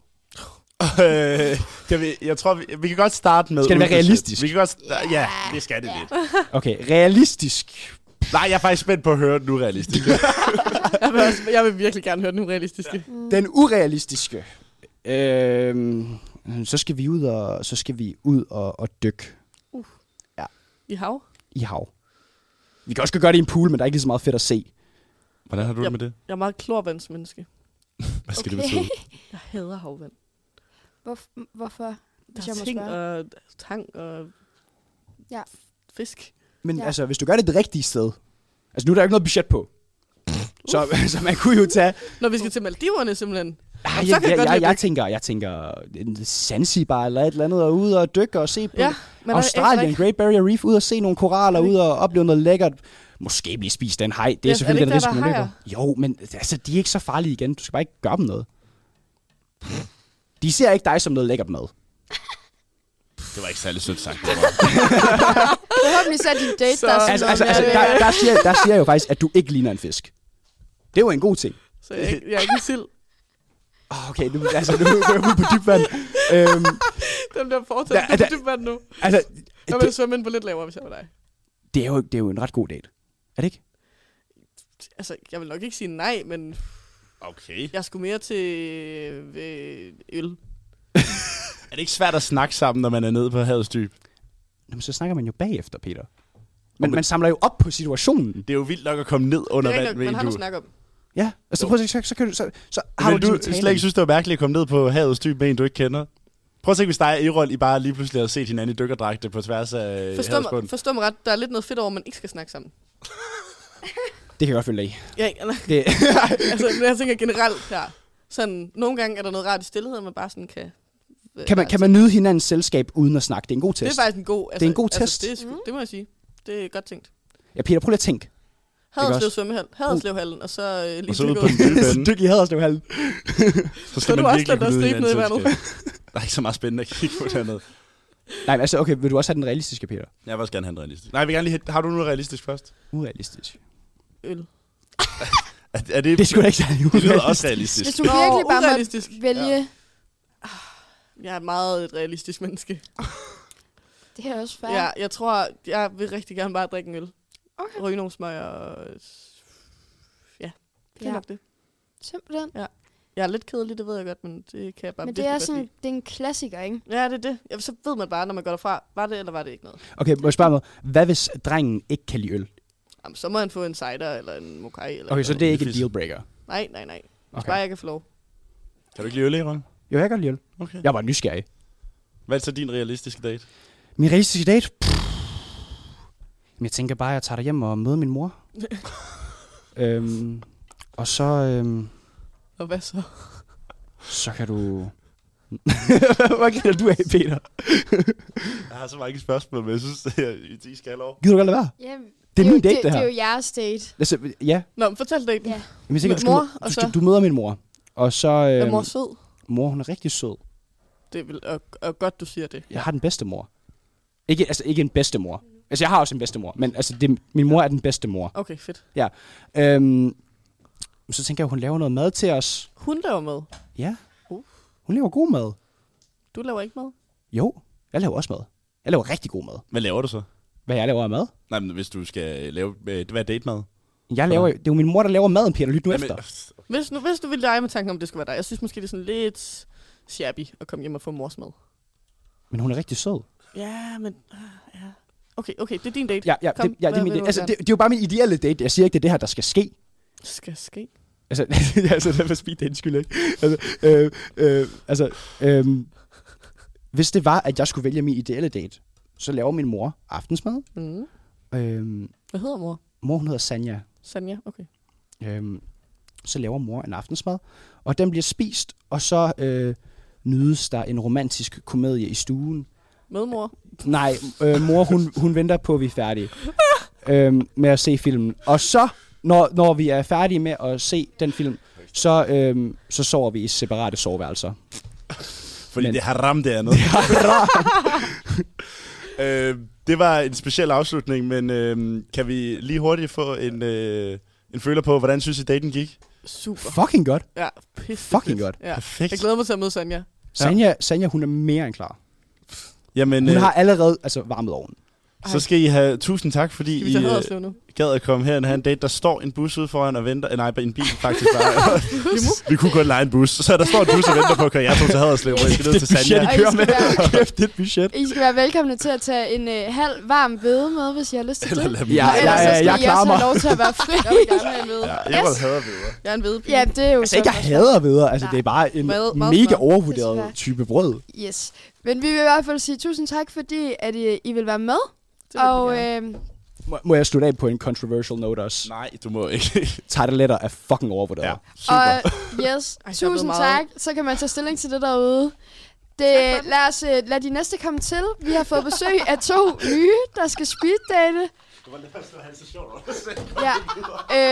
Speaker 2: Øh, kan vi, jeg tror, vi, vi kan godt starte med...
Speaker 10: Skal det være
Speaker 2: uden budget.
Speaker 10: realistisk?
Speaker 2: Vi kan godt... sta- Ja, det skal det lidt.
Speaker 10: Okay, realistisk.
Speaker 2: Nej, jeg er faktisk spændt på at høre den urealistiske.
Speaker 11: Jeg vil, også, jeg vil virkelig gerne høre den urealistiske. Ja.
Speaker 10: Den urealistiske. Øhm, så skal vi ud og så skal vi ud og, og dykke
Speaker 11: I hav?
Speaker 10: i hav. Vi kan også godt gøre det i en pool, men der er ikke lige så meget fedt at se.
Speaker 2: Hvordan har du
Speaker 11: det
Speaker 2: med det?
Speaker 11: Jeg er meget klorvandsmenneske.
Speaker 2: Hvad skal okay. det
Speaker 3: Okay.
Speaker 2: betyde?
Speaker 11: Jeg hader havvand.
Speaker 3: Hvor, hvorfor?
Speaker 11: Der
Speaker 3: Hvis jeg
Speaker 11: er
Speaker 3: må
Speaker 11: ting
Speaker 3: spørge.
Speaker 11: og tang og
Speaker 3: Ja.
Speaker 11: fisk.
Speaker 10: Men ja.
Speaker 3: Ja.
Speaker 10: altså, hvis du gør det det rigtige sted. Altså, nu er der jo ikke noget budget på. Så, så man kunne jo tage...
Speaker 11: Når vi skal til Maldiverne simpelthen.
Speaker 10: Ah,
Speaker 11: Jamen,
Speaker 10: jeg,
Speaker 11: så kan jeg
Speaker 10: jeg,
Speaker 11: godt
Speaker 10: jeg, jeg,
Speaker 11: lide at
Speaker 10: tænker, jeg tænker en Zanzibar eller et eller andet, og ud og dykke og se på
Speaker 11: Ja, men
Speaker 10: Australien, Great Barrier Reef, ud og se nogle koraller,
Speaker 11: Er det
Speaker 10: ud og opleve noget lækkert. Måske blive spist af en haj. Det er
Speaker 11: Ja, er
Speaker 10: selvfølgelig
Speaker 11: det
Speaker 10: den
Speaker 11: ikke der,
Speaker 10: risiko, man
Speaker 11: der er
Speaker 10: løber. Jo, men altså, de er ikke så farlige igen. Du skal bare ikke gøre dem noget. De ser ikke dig som noget lækkert mad.
Speaker 2: Det var ikke særlig sødt sagt. det var.
Speaker 3: Forhåbentlig så er din date,
Speaker 11: Så-
Speaker 3: der er sådan
Speaker 10: Altså,
Speaker 3: noget
Speaker 10: altså, altså
Speaker 3: med,
Speaker 10: der, der, siger, der siger jeg jo faktisk, at du ikke ligner en fisk. Det er jo en god ting.
Speaker 11: Så jeg, er ikke- jeg er ikke en sild.
Speaker 10: Oh, okay, nu, altså, nu går jeg ud på dybt vand. Øhm,
Speaker 11: Dem der fortsætter,
Speaker 10: Ja,
Speaker 11: ja, det
Speaker 10: der-
Speaker 11: er dybt vand nu.
Speaker 10: altså,
Speaker 11: Jeg vil
Speaker 10: det,
Speaker 11: svømme ind på lidt lavere, hvis jeg var dig.
Speaker 10: det, er jo, det er jo en ret god date. Er det ikke?
Speaker 11: Altså, jeg vil nok ikke sige nej, men
Speaker 2: Okay.
Speaker 11: jeg skulle mere til øh, øl.
Speaker 2: Er det ikke svært at snakke sammen, når man er nede på havets dyb?
Speaker 10: Jamen, så snakker man jo bagefter, Peter. Men man samler jo op på situationen.
Speaker 2: Det er jo vildt nok at komme ned
Speaker 11: Det
Speaker 2: under
Speaker 11: er
Speaker 2: vand,
Speaker 11: rigtigt, nok,
Speaker 2: men
Speaker 11: man har
Speaker 2: du...
Speaker 11: noget at snakke om.
Speaker 10: Ja, altså, prøv at se, så, så, kan du, så, så har
Speaker 2: Men
Speaker 10: du,
Speaker 2: du
Speaker 10: ligesom talen.
Speaker 2: slet ikke synes, det var mærkeligt at komme ned på havets dyb med en, du ikke kender? Prøv at se, hvis dig og Erol, I bare lige pludselig havde set hinanden i dykkerdragte på tværs af
Speaker 11: Forstå mig,
Speaker 2: havets
Speaker 11: forstå mig ret, der er lidt noget fedt over, at man ikke skal snakke sammen.
Speaker 10: Det kan jeg godt følge dig i.
Speaker 11: Ja, eller,
Speaker 10: Det,
Speaker 11: altså, men jeg tænker generelt her. Sådan, nogle gange er der noget rart i stillhed, og man bare sådan kan... øh,
Speaker 10: kan, man,
Speaker 11: være
Speaker 10: kan man nyde hinandens selskab uden at snakke? Det er en god
Speaker 11: Det er
Speaker 10: test.
Speaker 11: faktisk en god... Altså,
Speaker 10: en god
Speaker 3: Mm.
Speaker 11: altså,
Speaker 10: test.
Speaker 11: Det, er sgu, det må jeg sige. Det er godt tænkt.
Speaker 10: Ja, Peter, prøv lige at tænke.
Speaker 11: Haderslev svømmehal, Haderslevhallen, og så øh, lige
Speaker 2: Og så ud på
Speaker 11: Dyrgården.
Speaker 2: den lille bane.
Speaker 10: Dyk i Haderslev-hallen.
Speaker 2: Så
Speaker 11: Skal du også lade dig
Speaker 2: kunne nyde
Speaker 11: stribe ned i vandet?
Speaker 2: landskab. Der er ikke så meget spændende at kigge på dernede.
Speaker 10: Nej, men altså, okay, vil du også have den realistiske, Peter?
Speaker 2: Jeg vil også gerne have en realistisk. Nej, jeg vil gerne lige have, har du noget realistisk først?
Speaker 10: Urealistisk.
Speaker 11: Øl.
Speaker 2: Er, er det,
Speaker 10: Det skulle da ikke særlig
Speaker 2: det lyder også
Speaker 10: urealistisk.
Speaker 2: realistisk.
Speaker 3: Hvis du virkelig bare måtte
Speaker 11: urealistisk. Ah,
Speaker 3: vælge...
Speaker 11: Jeg er et meget et realistisk menneske.
Speaker 10: altså-
Speaker 3: Det er også fair.
Speaker 11: Ja, jeg tror, jeg vil rigtig gerne bare drikke en øl.
Speaker 3: Okay.
Speaker 11: Ryge nogle smøger og... Ja, det er
Speaker 3: Ja.
Speaker 11: nok det.
Speaker 3: Simpelthen.
Speaker 11: Jeg er lidt kedelig, det ved jeg godt, men det kan jeg bare
Speaker 3: Men det
Speaker 11: virkelig
Speaker 3: er
Speaker 11: godt
Speaker 3: sådan,
Speaker 11: lide.
Speaker 3: det er en klassiker, ikke?
Speaker 11: Ja, det er det. Ja, så ved man bare, når man går derfra, var det eller var det ikke noget.
Speaker 10: Okay, må jeg spørge mig, hvad hvis drengen ikke kan lide øl?
Speaker 11: Jamen, så må han få en cider eller en mokai. Eller
Speaker 10: Okay, så det er ikke en
Speaker 2: Fisk.
Speaker 10: dealbreaker.
Speaker 11: Nej, nej, nej. Hvis
Speaker 10: Okay.
Speaker 11: bare jeg kan få lov.
Speaker 2: Kan du ikke lide øl, Eron?
Speaker 10: Jo, jeg kan godt lide øl.
Speaker 2: Okay.
Speaker 10: Jeg var nysgerrig.
Speaker 2: Hvad er så din realistiske date?
Speaker 10: Min realistiske date? Pff. Jamen, jeg tænker bare, at jeg tager dig hjem og møder min mor. øhm, og så, øhm,
Speaker 11: Og hvad så?
Speaker 10: så kan du... Hvad griner du af, Peter?
Speaker 2: Jeg har så mange spørgsmål, men jeg synes, at I skal over.
Speaker 10: Gider du godt lade være?
Speaker 3: Ja,
Speaker 10: Det er min date,
Speaker 3: det,
Speaker 10: det
Speaker 3: det
Speaker 10: her.
Speaker 3: er jo jeres date.
Speaker 10: Altså, ja,
Speaker 11: Nå, men fortæl det ikke.
Speaker 3: Ja.
Speaker 11: Ja.
Speaker 10: men jeg tænker,
Speaker 11: Med
Speaker 10: du, skal,
Speaker 11: mor,
Speaker 10: møde-
Speaker 11: og
Speaker 10: du,
Speaker 11: så-
Speaker 10: skal, du møder min mor. Og så... Øhm,
Speaker 11: Er mor sød?
Speaker 10: mor, hun er rigtig sød.
Speaker 11: Det er vel, og, og godt, du siger det.
Speaker 10: Jeg har den bedste mor. Ikke, altså, ikke en bedste mor. Altså, jeg har også en bedste mor, men altså, det, min mor er den bedste mor.
Speaker 11: Okay, fedt.
Speaker 10: Øhm, så tænker jeg, hun laver noget mad til os.
Speaker 11: Hun laver mad.
Speaker 10: Ja.
Speaker 11: Uh.
Speaker 10: Hun laver god mad.
Speaker 11: Du laver ikke mad.
Speaker 10: Jo, jeg laver også mad. Jeg laver rigtig god mad.
Speaker 2: Hvad laver du så?
Speaker 10: Hvad jeg laver af mad?
Speaker 2: Nej, men hvis du skal lave... øh, Hvad er date mad?
Speaker 10: Jeg laver, det er jo min mor, der laver maden, Peter. Lyt nu efter.
Speaker 2: øh,
Speaker 11: Hvis nu, hvis du ville lege med tanken om, det skulle være dig. Jeg synes måske, det er sådan lidt shabby at komme hjem og få mors mad.
Speaker 10: Men hun er rigtig sød.
Speaker 11: Ja, men... ah, Ja. Okay, okay, det er din date.
Speaker 10: Ja, ja,
Speaker 11: Kom,
Speaker 10: det, ja, det
Speaker 11: hvad
Speaker 10: er min
Speaker 11: vil
Speaker 10: date.
Speaker 11: du
Speaker 10: Altså,
Speaker 11: gerne?
Speaker 10: det, det, er jo bare min ideelle date. Jeg siger ikke, det er det her, der skal ske.
Speaker 11: Skal ske.
Speaker 10: Altså, altså det er for speed dating skyld, ikke? Altså, øh, øh, altså øh, hvis det var, at jeg skulle vælge min ideelle date, så laver min mor aftensmad.
Speaker 11: Mm.
Speaker 10: Øh,
Speaker 11: Hvad hedder mor?
Speaker 10: mor, hun hedder Sanja.
Speaker 11: Sanja, okay.
Speaker 10: Øh, så laver mor en aftensmad, og den bliver spist, og så øh, nydes der en romantisk komedie i stuen.
Speaker 11: Med mor.
Speaker 10: Nej, øh, mor, hun, hun venter på, at vi er færdige øh, med at se filmen. Og så, når, når vi er færdige med at se den film, så, øh, så sover vi i separate soveværelser.
Speaker 2: Fordi
Speaker 10: Men-
Speaker 2: men... det har ramt det andet. øh, det var en speciel afslutning, men øh, kan vi lige hurtigt få en, øh, en føler på, hvordan synes I daten gik?
Speaker 11: Super.
Speaker 10: Fucking godt.
Speaker 11: Ja, pisse
Speaker 10: Fucking
Speaker 11: fedt.
Speaker 10: godt.
Speaker 11: Ja.
Speaker 2: Perfekt.
Speaker 11: Jeg glæder mig til at møde Sanja.
Speaker 10: Sanja, Sanja, hun er mere end klar.
Speaker 2: Jamen,
Speaker 10: Hun
Speaker 2: øh,
Speaker 10: har allerede altså, varmet ovnen.
Speaker 2: så skal I have tusind tak, fordi
Speaker 11: Skal vi
Speaker 2: I
Speaker 11: tage
Speaker 2: øh,
Speaker 11: Haderslev nu?
Speaker 2: gad at komme her og have en date. Der står en bus ude foran og venter. Eh, Nej, en bil faktisk bare. vi kunne godt lege en bus. Så der står en bus og venter på, at køre jer to til Haderslev, hvor I skal ned til Sanja.
Speaker 3: Og I skal, være,
Speaker 10: Kæft, det er et budget.
Speaker 3: I skal være velkomne til at tage en øh, halv varm hvede med, hvis I har lyst til det.
Speaker 2: Eller lad dem.
Speaker 10: Ja,
Speaker 3: Og
Speaker 10: ja,
Speaker 3: ellers så
Speaker 10: ja,
Speaker 3: skal
Speaker 10: jeg
Speaker 3: I
Speaker 10: klarer
Speaker 3: også
Speaker 10: mig.
Speaker 3: have lov til at være fri.
Speaker 11: Jeg vil gerne have en hvide.
Speaker 2: Ja, jeg
Speaker 3: Yes.
Speaker 2: yes. hader videre.
Speaker 11: Jeg er en hvide pige.
Speaker 3: Ja, det er jo
Speaker 10: Altså ikke, jeg
Speaker 3: sundt.
Speaker 10: hader videre. Altså,
Speaker 3: Nej.
Speaker 10: det er bare en
Speaker 11: Meget- meget
Speaker 10: mega
Speaker 11: smart.
Speaker 10: overvurderet
Speaker 3: Desværre.
Speaker 10: type brød.
Speaker 3: Yes. Men vi vil i hvert fald sige tusind tak, fordi at øh, I, I vil være med.
Speaker 11: Det vil vi
Speaker 3: og
Speaker 11: gerne.
Speaker 3: øh,
Speaker 10: Må, må jeg slutte af på en controversial note også?
Speaker 2: Nej, du må ikke.
Speaker 10: Tarteletter er fucking overvurderet.
Speaker 2: ja,
Speaker 10: Ja.
Speaker 3: Og øh, yes,
Speaker 2: super.
Speaker 11: Ej, der er blevet
Speaker 3: tusind tak.
Speaker 11: meget.
Speaker 3: Så kan man tage stilling til det derude. Det, lad, os, øh, lad de næste komme til. Vi har fået besøg af to nye, der skal speeddate. Ja,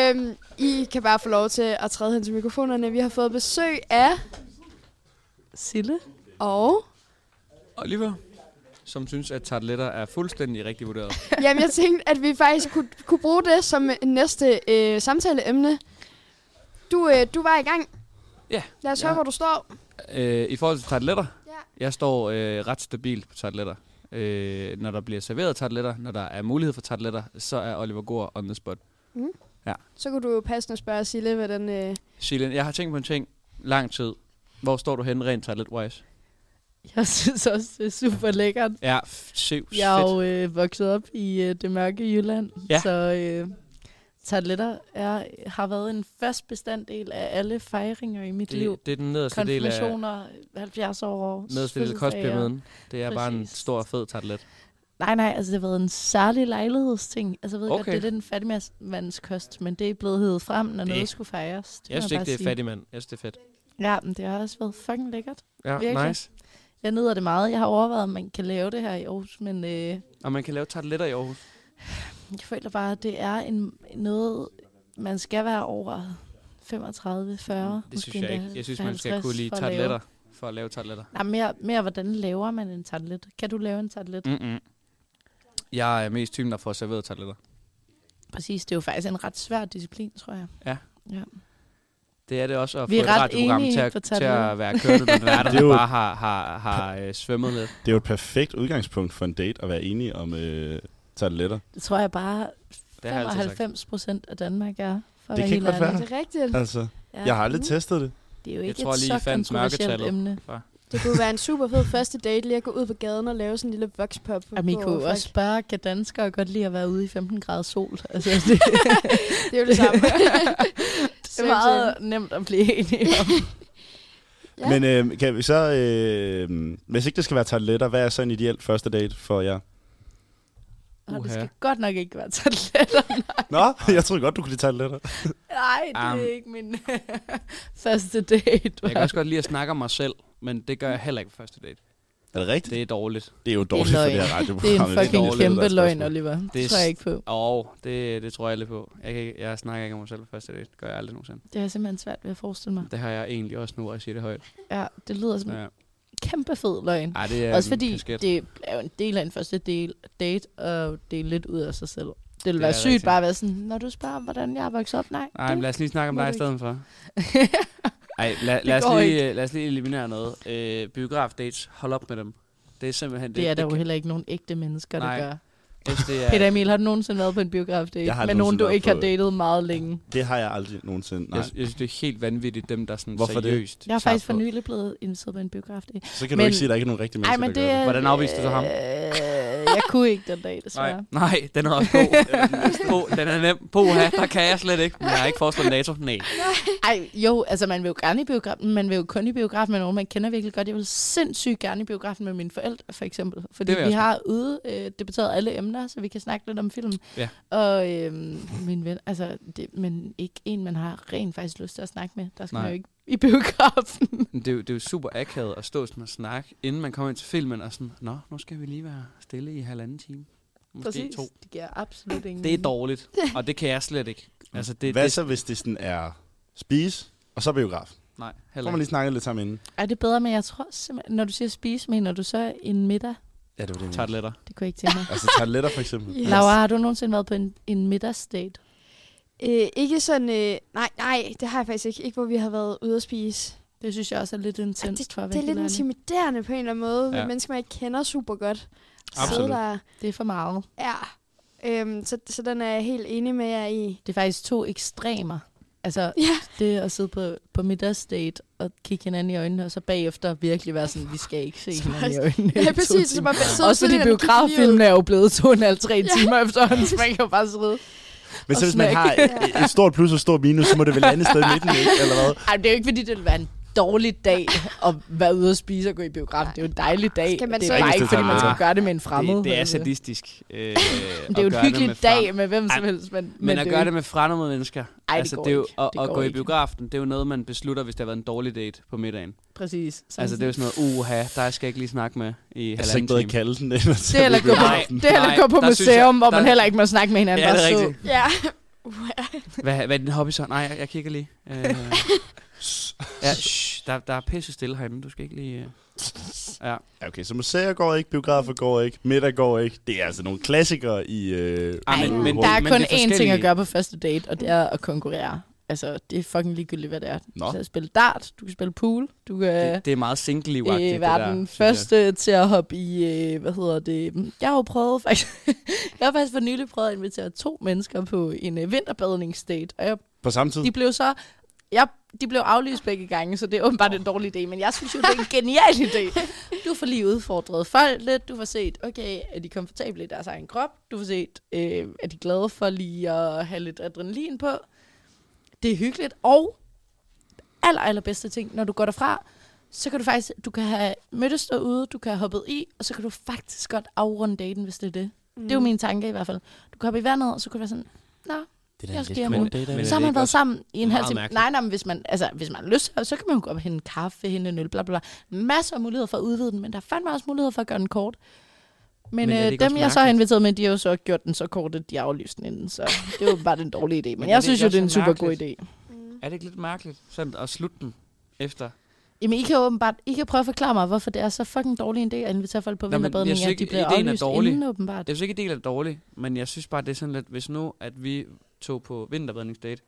Speaker 3: øhm, I kan bare få lov til at træde hen til mikrofonerne. Vi har fået besøg af
Speaker 7: Sille?
Speaker 3: og...
Speaker 12: Oliver, som synes, at tartletter er fuldstændig rigtig vurderet.
Speaker 3: Jamen, jeg tænkte, at vi faktisk kunne, kunne bruge det som næste øh, samtaleemne. Du, øh, du var i gang.
Speaker 12: Ja.
Speaker 3: Lad os
Speaker 12: Ja.
Speaker 3: høre, hvor du står.
Speaker 12: Øh, I forhold til tartletter,
Speaker 3: Ja.
Speaker 12: jeg står øh, ret stabilt på tartletter. Øh, når der bliver serveret tartletter, når der er mulighed for tartletter, så er Oliver Gore on the spot.
Speaker 13: Mm.
Speaker 3: Så kunne du jo passende spørge Sille, hvordan... Øh,
Speaker 12: Silien, jeg har tænkt på en ting lang tid. Hvor står du henne rent tartlet-wise?
Speaker 13: Jeg synes også, det er super lækkert.
Speaker 12: Ja, f- syv,
Speaker 13: Jeg er
Speaker 12: fedt.
Speaker 13: jo øh, vokset op i øh, det mørke Jylland,
Speaker 12: Ja.
Speaker 13: så øh, tartletter er, har været en fast bestanddel af alle fejringer i mit det, liv.
Speaker 12: Det, det er den nederste del af
Speaker 13: Konfirmationer, 70 år,
Speaker 12: nederste del af kostpyramiden. Det er bare en
Speaker 13: Præcis.
Speaker 12: stor, fed tartlet.
Speaker 13: Nej, nej, altså det har været en særlig lejlighedsting. Altså jeg ved okay.
Speaker 12: Okay.
Speaker 13: godt, det er den fattigmandskost, men det er blevet hævet frem, når
Speaker 12: Det-
Speaker 13: det. noget skulle fejres. må
Speaker 12: Jeg synes
Speaker 13: bare
Speaker 12: ikke, det er
Speaker 13: sige.
Speaker 12: fattig, mand. Jeg synes, det er fedt.
Speaker 13: Ja, men det har også været fucking lækkert.
Speaker 12: Ja,
Speaker 13: Virkelig.
Speaker 12: nice.
Speaker 13: Jeg nyder det meget. Jeg har overvejet, om man kan lave det her i Aarhus, men øh,
Speaker 12: Og man kan lave tartletter i Aarhus.
Speaker 13: Jeg føler bare, at det er en, noget, man skal være over 35, 40.
Speaker 12: Mm, Det synes
Speaker 13: måske endda
Speaker 12: jeg ikke. Jeg synes, man skal
Speaker 13: 50
Speaker 12: kunne lide
Speaker 13: for at lave-
Speaker 12: tartletter, for at lave tartletter.
Speaker 13: Nej, mere, mere, hvordan laver man en tartlet? Kan du lave en tartlet?
Speaker 12: Mm-mm. Jeg er mest typen, der får serveret tartletter.
Speaker 13: Præcis, det er jo faktisk en ret svær disciplin, tror jeg.
Speaker 12: Ja.
Speaker 13: ja.
Speaker 12: Det er det også at
Speaker 13: Vi er
Speaker 12: få et
Speaker 13: ret
Speaker 12: radioprogram
Speaker 13: enige
Speaker 12: til at,
Speaker 13: på
Speaker 12: til
Speaker 13: tartletter.
Speaker 12: at være kørt, men værter,
Speaker 2: Det er
Speaker 12: der
Speaker 2: jo-
Speaker 12: bare har, har, har øh, svømmet lidt.
Speaker 2: Det er jo et perfekt udgangspunkt for en date at være enige om øh, tarteletter.
Speaker 13: Det tror jeg bare
Speaker 2: Det har jeg altid sagt.
Speaker 13: 95 procent af Danmark er. For at
Speaker 2: Det
Speaker 13: være
Speaker 2: kan ikke
Speaker 13: helt
Speaker 2: godt
Speaker 13: ærlig.
Speaker 2: være. Altså, jeg har aldrig
Speaker 13: Mm.
Speaker 2: testet det.
Speaker 13: Det er jo
Speaker 2: Jeg
Speaker 13: ikke
Speaker 2: tror
Speaker 13: et
Speaker 2: lige,
Speaker 13: så
Speaker 2: I fandt
Speaker 13: kontroversielt
Speaker 2: mørketallet.
Speaker 13: emne.
Speaker 12: Hva?
Speaker 3: Det kunne være en super fed første date lige at gå ud på gaden og lave sådan en lille voxpop.
Speaker 13: Jamen, I
Speaker 3: på
Speaker 13: kunne
Speaker 3: folk.
Speaker 13: også spørge, kan danskere godt lide at være ude i 15 grader sol? Altså, det,
Speaker 3: Det er jo det samme.
Speaker 13: det er meget nemt at blive enige om.
Speaker 2: Ja. Men øh, kan vi så, øh, hvis ikke det skal være tarteletter, hvad er så en ideel første date for jer?
Speaker 13: Og
Speaker 2: Uha.
Speaker 13: det skal godt nok ikke være tartletter.
Speaker 2: Nå, jeg troede godt, du kunne lide tarteletter.
Speaker 13: Nej, det er
Speaker 12: Am.
Speaker 13: ikke min første date.
Speaker 12: Jeg kan også godt lide at snakke om mig selv, men det gør jeg heller ikke på første date.
Speaker 2: Er det rigtigt?
Speaker 12: Det er dårligt.
Speaker 2: Det er jo
Speaker 13: dårligt for løgn. det her radioprogram. Det er en fucking kæmpe løgn, Oliver. Det tror jeg ikke på.
Speaker 12: Åh, oh, det, det tror jeg lidt på. Jeg, kan ikke, jeg snakker ikke om mig selv på første date. Det gør jeg aldrig nogensinde.
Speaker 13: Det har jeg simpelthen svært ved at forestille mig.
Speaker 12: Det har jeg egentlig også nu, at jeg siger det højt.
Speaker 13: Ja, det lyder som
Speaker 12: Ja.
Speaker 13: en kæmpe fed løgn.
Speaker 12: Ej, det er
Speaker 13: også
Speaker 12: en
Speaker 13: fordi
Speaker 12: kasket.
Speaker 13: det er jo en del af en første del, date, og det er lidt ud af sig selv. Det ville
Speaker 12: Det
Speaker 13: være
Speaker 12: er
Speaker 13: sygt
Speaker 12: rigtigt.
Speaker 13: bare at være sådan, når du spørger, hvordan jeg er vokset op, nej.
Speaker 12: Nej, men lad os lige snakke om
Speaker 13: må
Speaker 12: dig i
Speaker 13: du
Speaker 12: stedet
Speaker 13: ikke.
Speaker 12: for. Ej, lad,
Speaker 13: Det
Speaker 12: lad,
Speaker 13: går
Speaker 12: os lige, øh,
Speaker 13: ikke.
Speaker 12: lad os lige eliminere noget. Øh, biografdates, hold op med dem. Det er simpelthen...
Speaker 13: Det er der jo
Speaker 12: kan-
Speaker 13: heller ikke nogen ægte mennesker, der
Speaker 12: Nej.
Speaker 13: gør.
Speaker 12: Hvis det er-
Speaker 13: Peter Emil, har du nogensinde været på en biografdate
Speaker 2: Jeg har
Speaker 13: med nogen,
Speaker 2: nogensinde
Speaker 13: du
Speaker 2: været
Speaker 13: ikke har
Speaker 2: på-
Speaker 13: datet meget længe?
Speaker 2: Det har jeg aldrig nogensinde.
Speaker 12: Jeg,
Speaker 2: Nej.
Speaker 12: jeg synes, det er helt vanvittigt, dem der sådan
Speaker 2: Hvorfor det?
Speaker 12: seriøst
Speaker 13: Jeg er
Speaker 12: tager
Speaker 13: faktisk for
Speaker 12: på.
Speaker 13: nylig blevet inviteret på en biografdate.
Speaker 2: Så kan du ikke sige, at der ikke er nogen rigtige
Speaker 13: Ej,
Speaker 2: mennesker,
Speaker 13: men
Speaker 2: der
Speaker 13: det
Speaker 2: gør det.
Speaker 13: er-
Speaker 2: Hvordan afviste du så ham?
Speaker 13: Øh, jeg kunne ikke den dag, desværre.
Speaker 12: Nej, nej, den er også god. Bo, den er nem. Poha, der kan jeg slet ikke. Men jeg har ikke foreslået NATO. Nej.
Speaker 13: Ej, jo, altså man vil jo gerne i biografen, man vil jo kun i biografen med nogen, man kender virkelig godt. Jeg vil sindssygt gerne i biografen med mine forældre, for eksempel. Fordi
Speaker 12: Det vil jeg
Speaker 13: vi
Speaker 12: også.
Speaker 13: har ude øh, debatteret alle emner, så vi kan snakke lidt om filmen.
Speaker 12: Ja.
Speaker 13: Og øhm, min ven, altså, det, men ikke en, man har rent faktisk lyst til at snakke med. Der skal Nej. man
Speaker 12: Nej.
Speaker 13: jo ikke i biografen.
Speaker 12: Men Det er, jo, det er jo super akavet at stå sådan og snakke, inden man kommer ind til filmen og sådan, nå, nu skal vi lige være stille i halvanden time. Måske
Speaker 13: Præcis.
Speaker 12: to.
Speaker 13: Det giver absolut ingen...
Speaker 12: Det er dårligt, og det kan jeg slet ikke. Altså, det,
Speaker 2: Hvad
Speaker 12: det,
Speaker 2: så, hvis det sådan er spise, og så biograf?
Speaker 12: Nej,
Speaker 2: Får man lige snakket lidt sammen inden?
Speaker 13: Er det bedre, men jeg tror simpelthen, når du siger spise, mener du så en middag?
Speaker 2: Ja, det var det.
Speaker 12: Tartletter.
Speaker 13: Det kunne jeg ikke tænke mig.
Speaker 2: Altså tartletter for eksempel.
Speaker 13: Yes. Laura, har du nogensinde været på en, en middagsdate?
Speaker 3: Øh, ikke sådan... Øh, nej, nej, det har jeg faktisk ikke. Ikke hvor vi har været ude at spise.
Speaker 13: Det synes jeg også er lidt intenst for at
Speaker 3: Det
Speaker 13: være
Speaker 3: er lidt intimiderende på en eller anden måde. Ja.
Speaker 13: Ja.
Speaker 3: Men mennesker, man ikke kender super godt.
Speaker 13: Absolut.
Speaker 3: Sidde Der,
Speaker 13: Det er for meget.
Speaker 3: ja. Øhm, så, så den er jeg helt enig med jer i.
Speaker 13: Det er faktisk to ekstremer. Altså,
Speaker 3: Ja.
Speaker 13: det at sidde på, på middagsdate og kigge hinanden i øjnene, og så bagefter virkelig være sådan, vi skal ikke se hinanden i øjnene. i
Speaker 3: Ja,
Speaker 13: to
Speaker 3: præcis, så
Speaker 13: timer.
Speaker 3: bare sidde
Speaker 13: Også fordi
Speaker 3: stille og kigge
Speaker 13: biograffilmen
Speaker 3: lige ud.
Speaker 13: er jo blevet to og en halv, tre
Speaker 3: Ja.
Speaker 13: timer efterhånden, så man kan jo bare sidde
Speaker 2: Men
Speaker 13: og
Speaker 2: så hvis man har
Speaker 13: snakke.
Speaker 2: et, et stort plus og et stort minus, så må det vel lande et sted i midten, ikke? Eller hvad?
Speaker 13: Ej, det er jo ikke, fordi det ville være en dårlig dag at være ude og spise og gå i biografen. Det er jo en dejlig dag.
Speaker 3: Skal man
Speaker 13: det
Speaker 3: så
Speaker 13: er bare
Speaker 3: ikke-
Speaker 13: ikke, fordi man skal
Speaker 12: Ah,
Speaker 13: gøre det med en fremmed.
Speaker 12: Det, det er
Speaker 13: altså.
Speaker 12: sadistisk. Øh, det
Speaker 13: Det er jo en hyggelig dag med hvem som helst, men,
Speaker 12: Men, men at
Speaker 13: det er
Speaker 12: gøre
Speaker 13: jo
Speaker 12: det med fremmede mennesker,
Speaker 13: Ej, det
Speaker 12: altså,
Speaker 13: går
Speaker 12: det er jo,
Speaker 13: ikke.
Speaker 12: og,
Speaker 13: Det
Speaker 12: og
Speaker 13: går
Speaker 12: gå i
Speaker 13: ikke.
Speaker 12: biografen, det er jo noget, man beslutter, hvis det har været en dårlig date på middagen.
Speaker 13: Præcis.
Speaker 12: Sådan altså, det er jo sådan noget, uha, der skal jeg ikke lige snakke med i halvanden
Speaker 2: Altså ikke bedre kalde den, end at
Speaker 13: Det er heller ikke gå på, det er heller ikke gå på museum, hvor man heller ikke må snakke med hinanden.
Speaker 12: Ja, det
Speaker 13: bare
Speaker 12: er
Speaker 13: så.
Speaker 12: rigtigt.
Speaker 3: Ja.
Speaker 12: Hvad, hvad er din hobby så? Nej, jeg, jeg kigger lige. Øh, ja, shh, der, der er pisse stille herinde, du skal ikke lige... øh. Ja.
Speaker 2: Ja, okay, så museer går ikke, biografer går ikke, middag går ikke. Det er altså nogle klassikere i... Øh,
Speaker 12: Ej, men- men-
Speaker 13: Der er
Speaker 12: Men
Speaker 13: kun
Speaker 12: det
Speaker 13: én
Speaker 12: er
Speaker 13: ting
Speaker 12: forskellige-
Speaker 13: at gøre på første date, og det er at konkurrere. Altså, det er fucking ligegyldigt, hvad det er.
Speaker 2: Nå.
Speaker 13: Du kan spille dart, du kan spille pool, du kan
Speaker 12: Det, det er meget single
Speaker 13: øh,
Speaker 12: det der.
Speaker 13: være den første til at hoppe i, øh, hvad hedder det, jeg har jo prøvet faktisk, jeg har faktisk for nylig prøvet at invitere to mennesker på en øh, vinterbadningsdate, og jeg
Speaker 2: På samme tid?
Speaker 13: De blev så... Jeg, de blev aflyst begge gange, så det er åbenbart en dårlig idé, men jeg synes jo, det er en genial idé. Du får lige udfordret folk lidt, du får set, okay, er de komfortable i deres egen krop, du får set, øh, er de glade for lige at have lidt adrenalin på. Det er hyggeligt, og aller, allerbedste ting, når du går derfra, så kan du faktisk, du kan have mødtes derude, du kan have hoppet i, og så kan du faktisk godt afrunde daten, hvis det er det. Mm. Det er jo
Speaker 3: Mm.
Speaker 13: min tanke i hvert fald. Du kan hoppe i vandet, og så kan du være sådan, nå,
Speaker 3: Det
Speaker 13: det
Speaker 3: er da
Speaker 13: jeg
Speaker 3: lidt
Speaker 13: skal hjem
Speaker 3: men-
Speaker 13: nu.
Speaker 3: men er det
Speaker 13: Så har
Speaker 3: ikke
Speaker 13: man været
Speaker 3: også
Speaker 13: sammen i en halv
Speaker 3: meget
Speaker 13: time.
Speaker 3: mærkeligt?
Speaker 13: Nej, nej, men hvis man, altså, hvis man har lyst, så kan man jo gå op og hente en kaffe, hente en øl, bla, bla, bla. Masser af muligheder for at udvide den, men der er fandme også muligheder for at gøre den kort. Men,
Speaker 11: Men er det
Speaker 13: men øh,
Speaker 11: ikke også
Speaker 13: dem, jeg så har
Speaker 11: mærkeligt?
Speaker 13: inviteret med, de har jo så gjort den så kort, at de aflyste den inden, så det var bare den dårlige idé. Men,
Speaker 12: Men
Speaker 13: men
Speaker 12: er det
Speaker 13: jeg synes
Speaker 12: ikke
Speaker 13: jo, det er en
Speaker 12: også
Speaker 13: super god idé.
Speaker 12: mærkeligt? Mm. Er det ikke lidt mærkeligt sådan at slutte den efter?
Speaker 13: Jamen, I kan jo åbenbart I kan prøve at forklare mig, hvorfor det er så fucking dårlig en idé at invitere folk på
Speaker 12: Nå, men jeg
Speaker 13: vinterbadning,
Speaker 12: synes
Speaker 13: at de
Speaker 12: ikke,
Speaker 13: bliver
Speaker 12: ideen er
Speaker 13: aflyst
Speaker 12: dårlig.
Speaker 13: inden åbenbart.
Speaker 12: Jeg synes ikke, ideen er dårlig, men jeg synes bare, det er sådan lidt, hvis nu, at vi tog på vinterbadningsdate,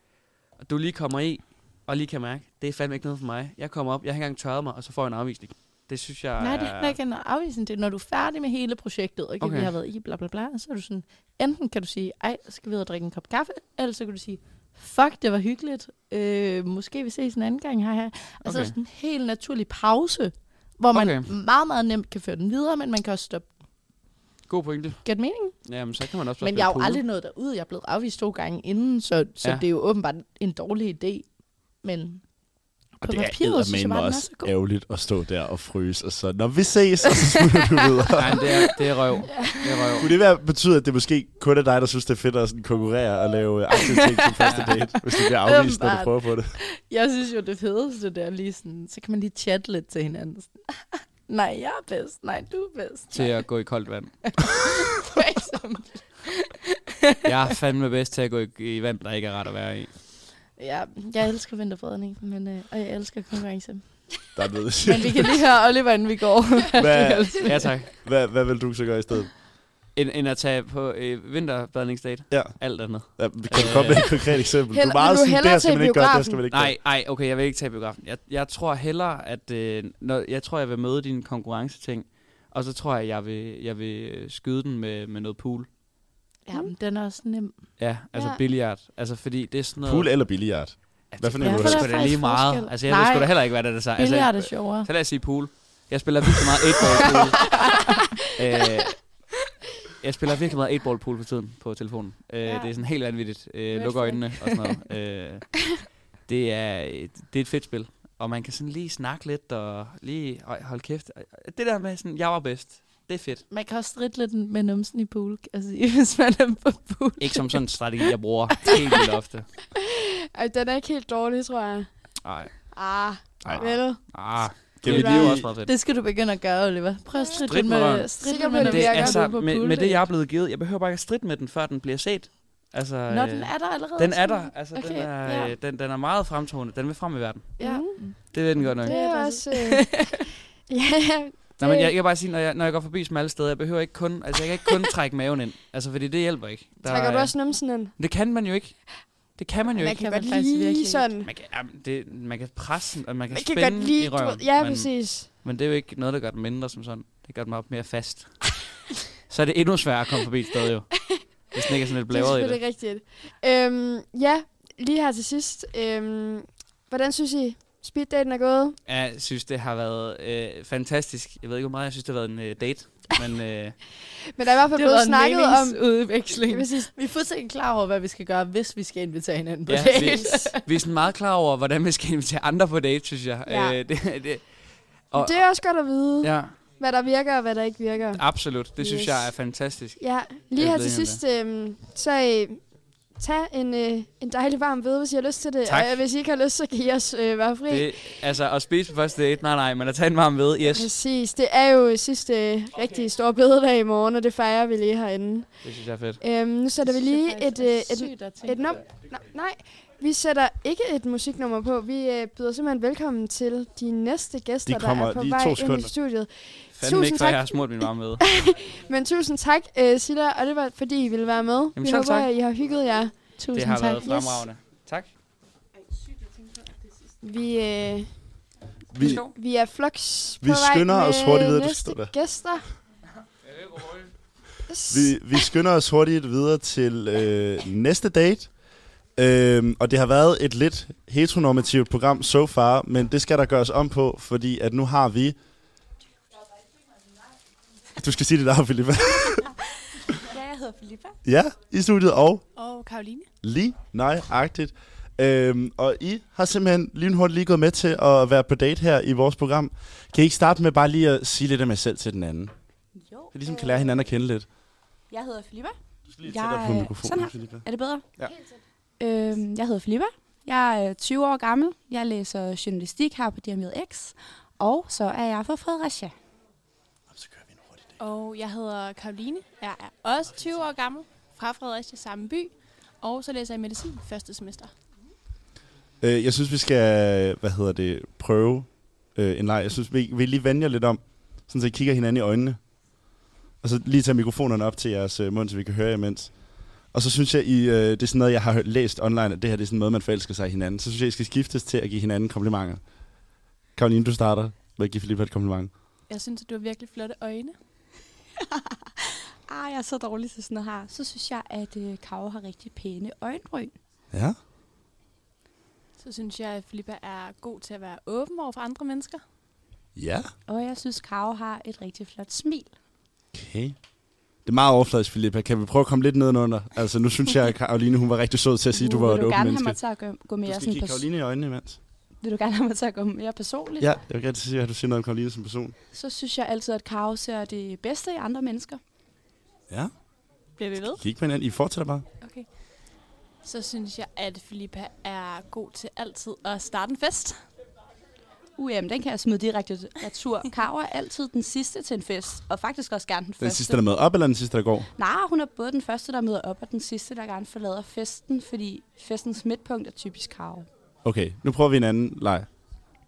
Speaker 12: og du lige kommer i, og lige kan mærke, det er fandme ikke noget for mig. Jeg kommer op, jeg har ikke engang tørret mig, og så får jeg en afvisning. Det synes jeg
Speaker 13: Nej, det
Speaker 12: er-
Speaker 13: er ikke en afvisning. Det er, når du er færdig med hele projektet, og okay.
Speaker 12: Ah. Okay.
Speaker 13: vi har været i, bla bla bla, så er du sådan, enten kan du sige, ej, skal vi ud og drikke en kop kaffe, eller så kan du sige, fuck, det var hyggeligt, øh, måske vi ses en anden gang, hej hej. Altså
Speaker 12: Okay.
Speaker 13: okay. sådan en helt naturlig pause, hvor man
Speaker 12: Okay.
Speaker 13: okay. meget, meget nemt kan føre den videre, men man kan også stoppe.
Speaker 12: God pointe.
Speaker 13: Giver det mening?
Speaker 12: Jamen, så kan man også bare
Speaker 13: Men jeg har jo
Speaker 12: spille pool.
Speaker 13: aldrig nået derud. Jeg er blevet afvist to gange inden, så, så
Speaker 12: Ja.
Speaker 13: ja. det er jo åbenbart en dårlig idé. Men på
Speaker 2: Det er
Speaker 13: papiret synes jeg
Speaker 2: eddermame
Speaker 13: bare, den er
Speaker 2: også
Speaker 13: så god.
Speaker 2: ærgerligt at stå der og fryse, og så, når vi ses, og så smutter du videre.
Speaker 12: Nej, men det er, det er røv. Det er røv.
Speaker 2: Kunne det være, betyde, at det måske kun er dig, der synes, det er fedt at sådan konkurrere og lave øh, aktive ting til første date, hvis du bliver afvist, når du
Speaker 13: Åbenbart.
Speaker 2: prøver på det?
Speaker 13: Jeg synes jo, det fedeste det er lige sådan, så kan man lige chatte lidt til hinanden. Sådan, Nej, jeg er bedst. Nej, du er bedst.
Speaker 12: Til at gå i koldt vand.
Speaker 13: For eksempel.
Speaker 12: Jeg er fandme bedst til at gå i, i vand, der ikke er rart at være i.
Speaker 13: ja, jeg elsker vinterbredning, men, øh, og jeg elsker konkurrence.
Speaker 2: Der er noget.
Speaker 13: Men vi kan lige høre Oliver, inden vi går.
Speaker 2: Hvad,
Speaker 12: Ja, tak.
Speaker 2: Hvad, hvad vil du så gøre i stedet?
Speaker 12: End, end at tage på øh, vinterbadningsdate.
Speaker 2: Ja.
Speaker 12: Alt andet.
Speaker 2: Ja, kan du komme med et konkret eksempel? Du er
Speaker 12: Heller-
Speaker 2: meget
Speaker 12: vil du
Speaker 2: sådan,
Speaker 12: hellere
Speaker 2: der skal
Speaker 12: tage
Speaker 2: man ikke gøre, der
Speaker 12: biografen?
Speaker 2: skal man ikke gøre.
Speaker 12: Nej, nej, okay, jeg vil ikke tage biografen. Jeg, jeg tror hellere, at øh, når, jeg tror, jeg vil møde din konkurrenceting, og så tror jeg, jeg vil, jeg vil øh, skyde den med, med noget pool.
Speaker 13: ja, men den er også nem.
Speaker 12: Ja, altså
Speaker 13: Ja.
Speaker 12: ja. billiard. Altså, fordi det er sådan noget...
Speaker 2: Pool eller billiard? Hvad for en
Speaker 12: Ja,
Speaker 2: vil du
Speaker 12: det
Speaker 2: helst?
Speaker 12: er sgu da lige meget.
Speaker 13: forskel.
Speaker 12: Altså, jeg ved sgu
Speaker 13: Nej.
Speaker 12: da heller ikke, hvad det er, der siger.
Speaker 13: Billiard er
Speaker 12: altså,
Speaker 13: sjovere.
Speaker 12: Så lad os sige pool. Jeg spiller virkelig meget 8-ball pool. øh, jeg spiller virkelig meget 8-ball pool for tiden på telefonen. Øh, Det er sådan helt vanvittigt. Øh, luk øjnene og sådan noget. Øh, det, er, et- det er et fedt spil. Og man kan sådan lige snakke lidt og lige øj, hold kæft. Det der med sådan, jeg var bedst, det er fedt.
Speaker 13: Man kan også stritte lidt med numsen i pool, altså hvis man er på pool.
Speaker 12: Ikke som sådan en strategi, jeg bruger helt vildt ofte.
Speaker 3: Ej, den er ikke helt dårlig, tror jeg.
Speaker 12: Nej.
Speaker 3: Ah,
Speaker 2: Ej.
Speaker 3: vel.
Speaker 12: Ah, det,
Speaker 2: Kan vi
Speaker 12: det er jo
Speaker 2: lige-
Speaker 12: også meget fedt.
Speaker 13: Det skal du begynde at gøre, Oliver. Prøv at stritte
Speaker 12: Strid
Speaker 13: lidt
Speaker 12: med
Speaker 13: med,
Speaker 12: røven.
Speaker 13: strid
Speaker 3: Sikker på,
Speaker 13: med
Speaker 3: det
Speaker 13: numsen.
Speaker 3: virker.
Speaker 12: altså,
Speaker 3: du på
Speaker 12: med, med
Speaker 3: pooldate?
Speaker 12: det, jeg er blevet givet, jeg behøver bare ikke at stritte med den, før den bliver set. Altså,
Speaker 13: Nå,
Speaker 12: øh,
Speaker 13: den er der allerede.
Speaker 12: Den er
Speaker 13: sådan.
Speaker 12: der. Altså, okay, den,
Speaker 13: Okay,
Speaker 12: er,
Speaker 13: ja.
Speaker 12: ja. den, den er meget fremtående. Den vil frem i verden.
Speaker 3: Ja,
Speaker 12: Det ved den godt nok.
Speaker 3: det
Speaker 12: Det,
Speaker 3: er også... Øh, ja, Øh.
Speaker 12: Nej, men jeg, jeg kan bare sige, når jeg, når jeg går forbi smalle steder, jeg behøver ikke kun, altså jeg kan ikke kun trække maven ind. Altså, fordi det hjælper ikke. Der
Speaker 3: trækker du
Speaker 12: er-
Speaker 3: også numsen ind?
Speaker 12: Det kan man jo ikke. Det kan man jo
Speaker 13: Man
Speaker 12: ikke.
Speaker 13: kan
Speaker 3: Godt
Speaker 13: man faktisk virkelig
Speaker 3: lige
Speaker 13: ikke.
Speaker 3: sådan.
Speaker 12: Man kan, jamen, det, man kan presse den, og man kan
Speaker 3: Man kan
Speaker 12: spænde
Speaker 3: godt lige...
Speaker 12: i
Speaker 3: du
Speaker 12: røven.
Speaker 3: ved- Ja,
Speaker 12: men,
Speaker 3: præcis.
Speaker 12: men det er jo ikke noget, der gør den mindre som sådan. Det gør den meget mere fast. Så er det endnu sværere at komme forbi et sted jo. Hvis den ikke er sådan lidt
Speaker 3: Det er
Speaker 12: blævret i det.
Speaker 3: selvfølgelig rigtigt. Øhm, ja, lige her til sidst. Øhm, hvordan synes I, speeddaten er gået?
Speaker 12: Jeg synes, det har været øh, fantastisk. Jeg ved ikke, hvor meget jeg synes, det har været en øh, date. Men øh,
Speaker 3: Men der er i hvert fald
Speaker 13: Det har
Speaker 3: blevet
Speaker 13: været
Speaker 3: snakket om...
Speaker 13: en udveksling.
Speaker 3: Ja, præcis.
Speaker 13: Vi er fuldstændig klar over, hvad vi skal gøre, hvis vi skal invitere hinanden på
Speaker 12: Ja,
Speaker 13: date.
Speaker 12: vi- vi er sådan meget klar over, hvordan vi skal invitere andre på date, synes jeg.
Speaker 3: Ja.
Speaker 12: Øh, det, det,
Speaker 3: Og,
Speaker 12: Og-
Speaker 3: det er også godt at vide, ja.
Speaker 12: ja,
Speaker 3: hvad der virker og hvad der ikke virker.
Speaker 12: absolut. Det synes
Speaker 3: Yes.
Speaker 12: jeg er fantastisk.
Speaker 3: Ja, lige
Speaker 12: Jeg
Speaker 3: her
Speaker 12: ved
Speaker 3: til
Speaker 12: ikke, om
Speaker 3: sidst, øhm, så øh, tag en, øh, en dejlig varm ved, hvis I har lyst til det.
Speaker 12: Tak.
Speaker 3: Og øh, hvis I ikke har lyst, så kan I også øh, være fri.
Speaker 12: Det, altså, at spise på første date, nej, nej, men at tage en varm ved, yes.
Speaker 3: Præcis, det er jo sidste okay. rigtig store bededag i morgen, og det fejrer vi lige herinde.
Speaker 12: Det synes jeg er fedt.
Speaker 3: Øhm, nu sætter vi lige et, øh, et,
Speaker 13: et,
Speaker 3: et nummer... Nej, vi sætter ikke et musiknummer på. Vi øh, byder simpelthen velkommen til de næste gæster,
Speaker 2: De
Speaker 3: der
Speaker 2: kommer
Speaker 3: er på
Speaker 2: lige
Speaker 3: vej
Speaker 2: to
Speaker 3: ind
Speaker 2: sekunder.
Speaker 3: i studiet.
Speaker 12: Fanden ikke,
Speaker 3: Tusind
Speaker 12: for jeg
Speaker 3: tak.
Speaker 12: har smurt min varme ved.
Speaker 3: Men tusind tak, øh, Silla og Oliver, fordi I ville være med. Jamen, vi
Speaker 12: selv
Speaker 3: håber,
Speaker 12: tak.
Speaker 3: at I har hygget jer.
Speaker 13: Tusind
Speaker 12: Det har
Speaker 13: tak.
Speaker 12: været fremragende. Tak.
Speaker 3: Vi, øh,
Speaker 2: Vi,
Speaker 3: vi er floks
Speaker 2: Vi skynder os hurtigt videre, du
Speaker 3: næste
Speaker 2: skal stå der.
Speaker 3: gæster.
Speaker 2: vi, vi skynder os hurtigt videre til øh, næste date. Øhm, og det har været et lidt heteronormativt program so far, men det skal der gøres om på, fordi at nu har vi... Du skal sige dit navn, Filippa.
Speaker 13: Ja, jeg hedder Filippa.
Speaker 2: ja, i studiet og
Speaker 13: Og Karoline.
Speaker 2: Lige nøjagtigt. Øhm, og I har simpelthen lynhurtigt lige gået med til at være på date her i vores program. Kan I ikke starte med bare lige at sige lidt om jer selv til den anden?
Speaker 14: Jo.
Speaker 2: Så ligesom
Speaker 13: øh,
Speaker 2: kan lære hinanden at kende lidt.
Speaker 14: Jeg hedder Filippa.
Speaker 2: Lige
Speaker 14: Jeg-
Speaker 2: tættere på mikrofonen,
Speaker 14: sådan her.
Speaker 2: Filippa.
Speaker 14: Er det bedre?
Speaker 2: Ja.
Speaker 14: Øhm, jeg hedder Filippa. Jeg er øh, 20 år gammel. Jeg læser journalistik her på DMX. Og så er jeg fra Fredericia.
Speaker 2: Så kører vi en hurtig date.
Speaker 15: Og jeg hedder Karoline. Jeg er også 20 år gammel, fra Fredericia, samme by. Og så læser jeg medicin første semester.
Speaker 2: Øh, jeg synes, vi skal, hvad hedder det, prøve øh, en leg. Jeg synes, vi, vi lige vender jer lidt om, sådan så I kigger hinanden i øjnene. Og så lige tage mikrofonerne op til jeres øh, mund, så vi kan høre jer imens. Og så synes jeg, I, øh, det er sådan noget, jeg har hørt- læst online, at det her det er sådan en måde, man forelsker sig i hinanden. Så synes jeg, I skal skiftes til at give hinanden komplimenter. Karoline, du starter med at give Filippa et kompliment.
Speaker 15: Jeg synes, at du har virkelig flotte øjne.
Speaker 14: Ah, jeg er så dårlig til sådan noget her. Så synes jeg, at øh, Karo har rigtig pæne øjenbryn.
Speaker 2: Ja.
Speaker 15: Så synes jeg, at Filippa er god til at være åben over for andre mennesker.
Speaker 2: Ja.
Speaker 14: Og jeg synes, Karo har et rigtig flot smil.
Speaker 2: Okay. Det er meget overfladisk, Filippa. Kan vi prøve at komme lidt nedenunder? Altså, nu synes jeg, at Karoline, hun var rigtig sød til at sige, at du
Speaker 14: Uh,
Speaker 2: var
Speaker 14: vil
Speaker 2: et
Speaker 14: du
Speaker 2: åbent
Speaker 14: gerne have
Speaker 2: menneske.
Speaker 14: mig til at gå- gå mere
Speaker 2: du skal
Speaker 14: sådan
Speaker 2: kigge
Speaker 14: pers-
Speaker 2: Karoline i øjnene imens.
Speaker 14: Vil du gerne have mig til at gå mere personligt?
Speaker 2: Ja, jeg vil gerne sige, at du siger noget om Karoline som person.
Speaker 14: Så synes jeg altid, at Karo ser det bedste i andre mennesker.
Speaker 2: Ja.
Speaker 15: Bliver vi ved?
Speaker 2: Kig på hinanden. I fortsætter bare.
Speaker 15: Okay. Så synes jeg, at Filippa er god til altid at starte en fest.
Speaker 14: UM, den kan jeg smide direkte retur. Karo er altid den sidste til en fest, og faktisk også gerne den,
Speaker 2: Den
Speaker 14: første.
Speaker 2: sidste, der møder op, eller den sidste, der går?
Speaker 14: Nej, hun er både den første, der møder op, og den sidste, der gerne forlader festen, fordi festens midtpunkt er typisk Karo.
Speaker 2: Okay, nu prøver vi en anden leg.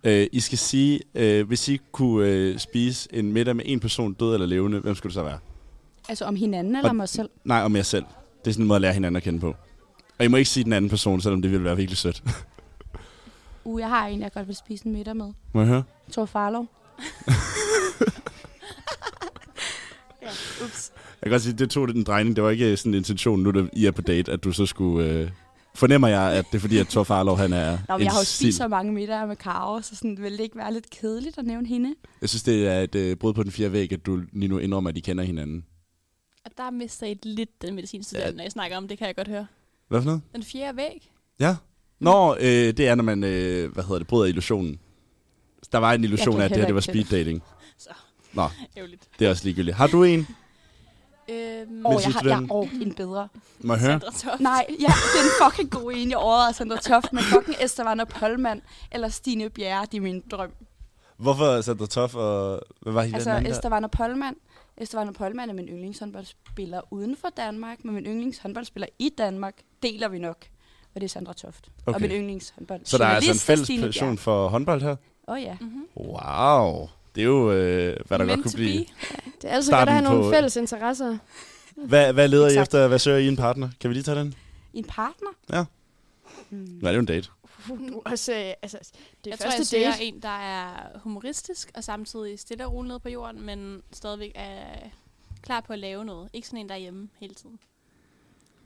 Speaker 2: Øh, I skal sige, øh, hvis I kunne øh, spise en middag med en person, død eller levende, hvem skulle det så være?
Speaker 14: Altså om hinanden eller
Speaker 2: Og-
Speaker 14: om os selv.
Speaker 2: Nej, om jer selv. Det er sådan en måde at lære hinanden at kende på. Og I må ikke sige den anden person, selvom det ville være virkelig sødt.
Speaker 14: Uh, jeg har en, jeg godt vil spise en middag med.
Speaker 2: Må jeg høre?
Speaker 14: Thor Farlov. uh.
Speaker 15: Ups.
Speaker 2: Jeg kan godt sige, det tog lidt en drejning. Det var ikke sådan en intention, nu da I er på date, at du så skulle... Øh, fornemmer jeg, at det er fordi, at Thor Farlov, han er
Speaker 14: Nå, men
Speaker 2: en
Speaker 14: jeg har jo
Speaker 2: sild.
Speaker 14: spist så mange middager med Karo, så sådan, vil det ikke være lidt kedeligt at nævne hende?
Speaker 15: Øhm.
Speaker 2: Jeg synes, det er et øh, brud på den fjerde væg, at du lige nu indrømmer, at I kender hinanden.
Speaker 15: Og der mister I lidt den medicinstuderende, ja. når I snakker om det, kan jeg godt høre.
Speaker 2: Hvad for noget?
Speaker 15: Den fjerde væg.
Speaker 2: Ja. Nå, øh, det er, når man, øh, hvad hedder det, bryder illusionen. Der var en illusion
Speaker 15: kan
Speaker 2: af, at det her det var
Speaker 15: heller
Speaker 2: speed
Speaker 15: ikke det.
Speaker 2: dating.
Speaker 15: Så.
Speaker 2: Nå,
Speaker 15: Ærgerligt.
Speaker 2: det er også ligegyldigt. Har du en?
Speaker 14: Øhm,
Speaker 2: Men
Speaker 14: og jeg
Speaker 2: synes
Speaker 14: har
Speaker 2: du,
Speaker 14: jeg,
Speaker 2: den-
Speaker 14: og en bedre.
Speaker 2: Må jeg høre?
Speaker 15: Sandra Toft.
Speaker 14: Nej, ja, det er en fucking god en, jeg overvejede Sandra Toft, men fucking Esteban og Polman eller Stine Bjerre, det er min drøm.
Speaker 2: Hvorfor Sandra Toff og... Hvad var hende den
Speaker 14: Altså
Speaker 2: anden der?
Speaker 14: Esteban og Polman. Esteban og Polman er min yndlingshåndboldspiller uden for Danmark, men min yndlingshåndboldspiller i Danmark deler vi nok. Og det er Sandra Toft. Og
Speaker 2: Okay.
Speaker 14: min yndlingshåndbold.
Speaker 2: Så der er altså en fælles passion for håndbold her?
Speaker 14: Åh oh, ja. Mm-hmm.
Speaker 2: Wow. Det er jo, øh, hvad der godt kunne blive.
Speaker 3: Det er altid
Speaker 2: Starten
Speaker 3: godt at have nogle
Speaker 2: på-
Speaker 3: fælles interesser.
Speaker 2: Hvad, hvad leder I efter? Hvad søger I en partner? Kan vi lige tage den?
Speaker 14: En partner?
Speaker 2: Ja. Nej, det er jo en date.
Speaker 3: Du også, øh, altså, det
Speaker 15: jeg tror,
Speaker 3: første
Speaker 15: jeg søger
Speaker 3: date.
Speaker 15: en, der er humoristisk og samtidig stille og roligt nede på jorden, men stadigvæk er klar på at lave noget. Ikke sådan en, der er hjemme hele tiden.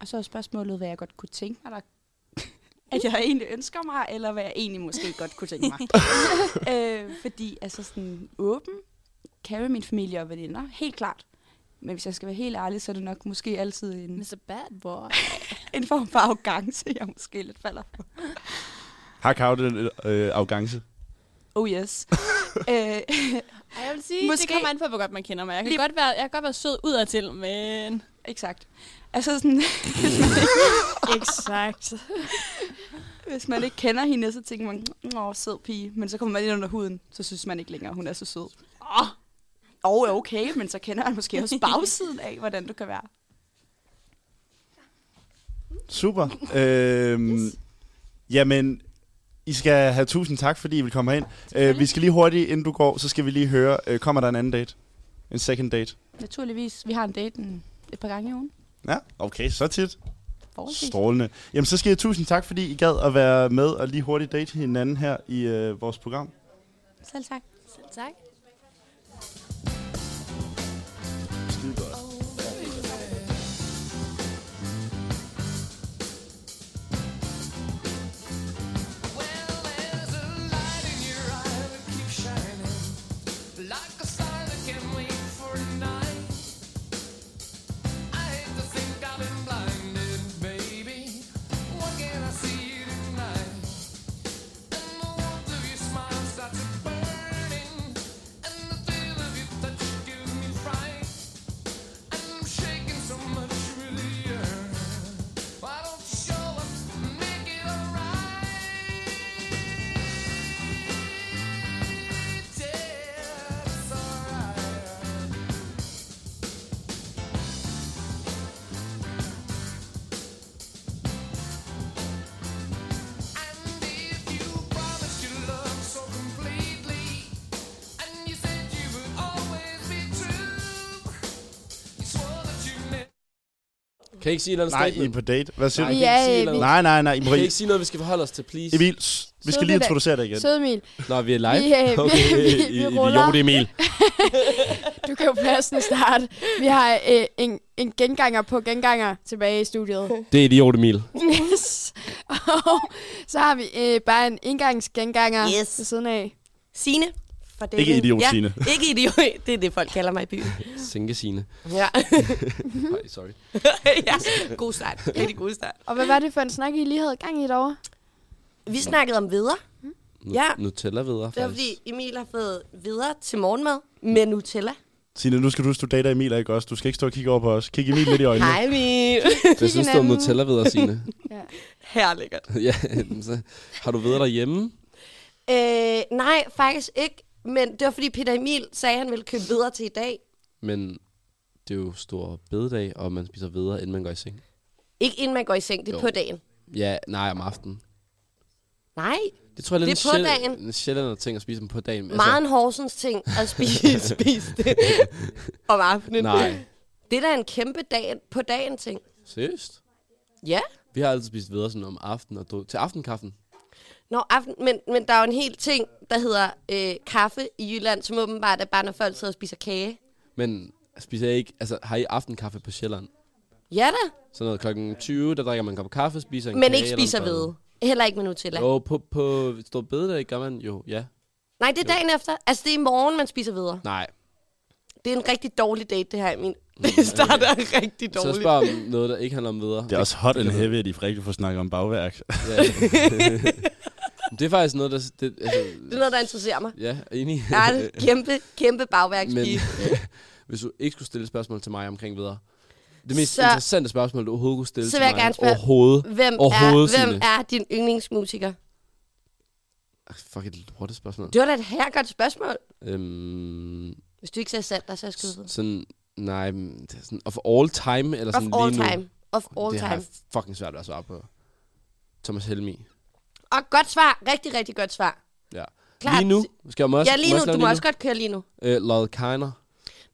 Speaker 14: Og så er spørgsmålet, hvad jeg godt kunne tænke mig, der... at jeg egentlig ønsker mig, eller hvad jeg egentlig måske godt kunne tænke mig. øh, fordi altså sådan åben, carry min familie og veninder, helt klart. Men hvis jeg skal være helt ærlig, så er det nok måske altid en...
Speaker 15: Mr. Bad Boy.
Speaker 14: en form for arrogance, jeg måske lidt falder for.
Speaker 2: Har Kau den øh, arrogance?
Speaker 14: Oh yes. øh,
Speaker 15: Ej, jeg vil sige, Måske... det
Speaker 14: Måske-
Speaker 15: kommer an på, hvor godt man kender mig. Jeg kan, Lige... godt, være, jeg kan godt være sød udadtil, men...
Speaker 14: Exakt. Altså sådan...
Speaker 3: Exakt.
Speaker 14: Hvis man ikke kender hende, så tænker man, åh, sød pige. Men så kommer man ind under huden, så synes man ikke længere, hun er så sød. Åh, oh. oh, okay, men så kender man måske også bagsiden af, hvordan du kan være.
Speaker 2: Super. Øhm, yes. Jamen, I skal have tusind tak, fordi I vil komme herind. Øh, vi skal lige hurtigt, inden du går, så skal vi lige høre, øh, kommer der en anden date? En second date?
Speaker 14: Naturligvis, vi har en date en, et par gange i ugen.
Speaker 2: Ja, okay, så tit.
Speaker 14: Forholdsvis.
Speaker 2: Strålende. Jamen, så skal I have tusind tak, fordi I gad at være med og lige hurtigt date hinanden her i øh, vores program.
Speaker 14: Selv tak.
Speaker 15: Selv tak.
Speaker 2: Skide godt.
Speaker 16: Like a star that can wait for a night. I hate to think I've been blinded, baby. What can I see you tonight? And the warmth of your smile starts burning.
Speaker 8: Kan I ikke sige et eller andet
Speaker 2: Nej,
Speaker 8: statement?
Speaker 2: I er på date. Hvad siger
Speaker 8: nej,
Speaker 2: du?
Speaker 8: kan I ikke
Speaker 3: Ja,
Speaker 8: sige et eller andet?
Speaker 2: Emil. Nej, nej, nej, I må
Speaker 8: Kan I
Speaker 2: ikke-
Speaker 8: ikke sige noget, vi skal forholde os til, please?
Speaker 2: Emil, s- vi skal
Speaker 3: Søde
Speaker 2: lige
Speaker 3: Peter.
Speaker 2: introducere dig igen.
Speaker 3: Søde Emil.
Speaker 8: Nå, vi er live.
Speaker 3: Vi, øh, vi- vi- vi
Speaker 8: i-
Speaker 3: ruller.
Speaker 2: Idiot Emil.
Speaker 3: Du kan jo passende starte. Vi har øh, en, en genganger på genganger tilbage i studiet.
Speaker 8: Det er idiot Emil.
Speaker 3: Yes. Og så har vi øh, bare en engangsgenganger yes. ved siden af.
Speaker 17: Sine. For
Speaker 8: Ikke idiot,
Speaker 17: ja,
Speaker 8: Signe.
Speaker 17: ikke idiot. Det er det, folk kalder mig i byen.
Speaker 8: Sænke sine.
Speaker 17: Ja.
Speaker 8: Nej, sorry.
Speaker 17: ja. God start. Rigtig god start.
Speaker 3: Og hvad var det for en snak, I lige havde gang i derovre?
Speaker 17: Vi snakkede om videre. Ja.
Speaker 8: Nutella Mm. videre,
Speaker 17: Det var
Speaker 8: faktisk.
Speaker 17: fordi Emil har fået videre til morgenmad med Nutella.
Speaker 2: Signe, nu skal du huske, du dater Emil, ikke også? Du skal ikke stå og kigge over på os. Kig Emil lidt i øjnene.
Speaker 17: Hej Emil.
Speaker 8: Hvad synes du om Nutella videre, Signe?
Speaker 17: Herlækkert.
Speaker 8: ja, så har du videre derhjemme?
Speaker 17: Øh, nej, faktisk ikke. Men det var fordi Peter Emil sagde, at han ville købe videre til i dag.
Speaker 8: Men det er jo stor bededag, og man spiser videre, inden man går i seng.
Speaker 17: Ikke inden man går i seng, det er
Speaker 8: Jo.
Speaker 17: på dagen.
Speaker 8: Ja, nej, om aftenen.
Speaker 17: Nej,
Speaker 8: Det tror jeg, det er,
Speaker 17: Det er på
Speaker 8: en, sjæl-
Speaker 17: dagen.
Speaker 8: en sjældent ting at spise dem på dagen.
Speaker 17: altså... meget en Horsens ting at spise, spise det om aftenen.
Speaker 8: Nej.
Speaker 17: Det er da en kæmpe dag, på dagen ting.
Speaker 8: Seriøst?
Speaker 17: Ja.
Speaker 8: Vi har altid spist videre sådan om aftenen og drukket- til aftenkaffen.
Speaker 17: Nå, aften, men, men der er jo en hel ting, der hedder øh, kaffe i Jylland, som åbenbart er bare, når folk sidder og spiser kage.
Speaker 8: Men spiser jeg ikke, altså har I aftenkaffe på Sjælland?
Speaker 17: Ja da,
Speaker 8: Sådan noget klokken 20, der drikker man en kop kaffe, spiser en
Speaker 17: men
Speaker 8: kage
Speaker 17: ikke
Speaker 8: eller en
Speaker 17: spiser
Speaker 8: bolle.
Speaker 17: hvede. Heller ikke med Nutella.
Speaker 8: Jo, på, på stor bededag gør man jo, ja.
Speaker 17: Nej, det er dagen efter. Altså, det er i morgen, man spiser videre.
Speaker 8: Nej.
Speaker 17: Det er en rigtig dårlig date, det her, min. Det starter rigtig
Speaker 8: Mm. Så
Speaker 17: dårligt.
Speaker 8: spørg om noget, der ikke handler om videre.
Speaker 2: Det er også hot and heavy, at I for rigtig får snakket om bagværk.
Speaker 8: Ja. det er faktisk noget, der... Det, altså,
Speaker 17: Det er noget, der interesserer mig.
Speaker 8: Ja, enig.
Speaker 17: Jeg er en kæmpe, kæmpe bagværkspige.
Speaker 8: Men hvis du ikke skulle stille spørgsmål til mig omkring videre. Det mest
Speaker 17: Så-
Speaker 8: så, interessante spørgsmål, du overhovedet kunne stille
Speaker 17: Så
Speaker 8: til
Speaker 17: vil jeg
Speaker 8: mig
Speaker 17: gerne spørge,
Speaker 8: overhovedet.
Speaker 17: hvem,
Speaker 8: overhovedet
Speaker 17: er, hvem
Speaker 8: Signe.
Speaker 17: er din yndlingsmusiker?
Speaker 8: Ah, Fuck et lortet spørgsmål.
Speaker 17: Det var da et her godt spørgsmål.
Speaker 8: Øhm,
Speaker 17: Hvis du ikke sagde Sander, så er jeg skudt.
Speaker 8: sådan, nej, men det er sådan, of all time, eller
Speaker 17: Of
Speaker 8: sådan
Speaker 17: all
Speaker 8: lige nu.
Speaker 17: time. Of all
Speaker 8: det har jeg
Speaker 17: time.
Speaker 8: fucking svært ved at svare på. Thomas Helmi.
Speaker 17: Og godt svar. Rigtig, rigtig godt svar.
Speaker 8: Ja.
Speaker 17: Klart.
Speaker 8: Lige nu. Skal jeg må også,
Speaker 17: ja, lige
Speaker 8: må
Speaker 17: nu.
Speaker 8: jeg også lave
Speaker 17: Du må også godt køre lige nu.
Speaker 8: Øh, Lloyd Kiner.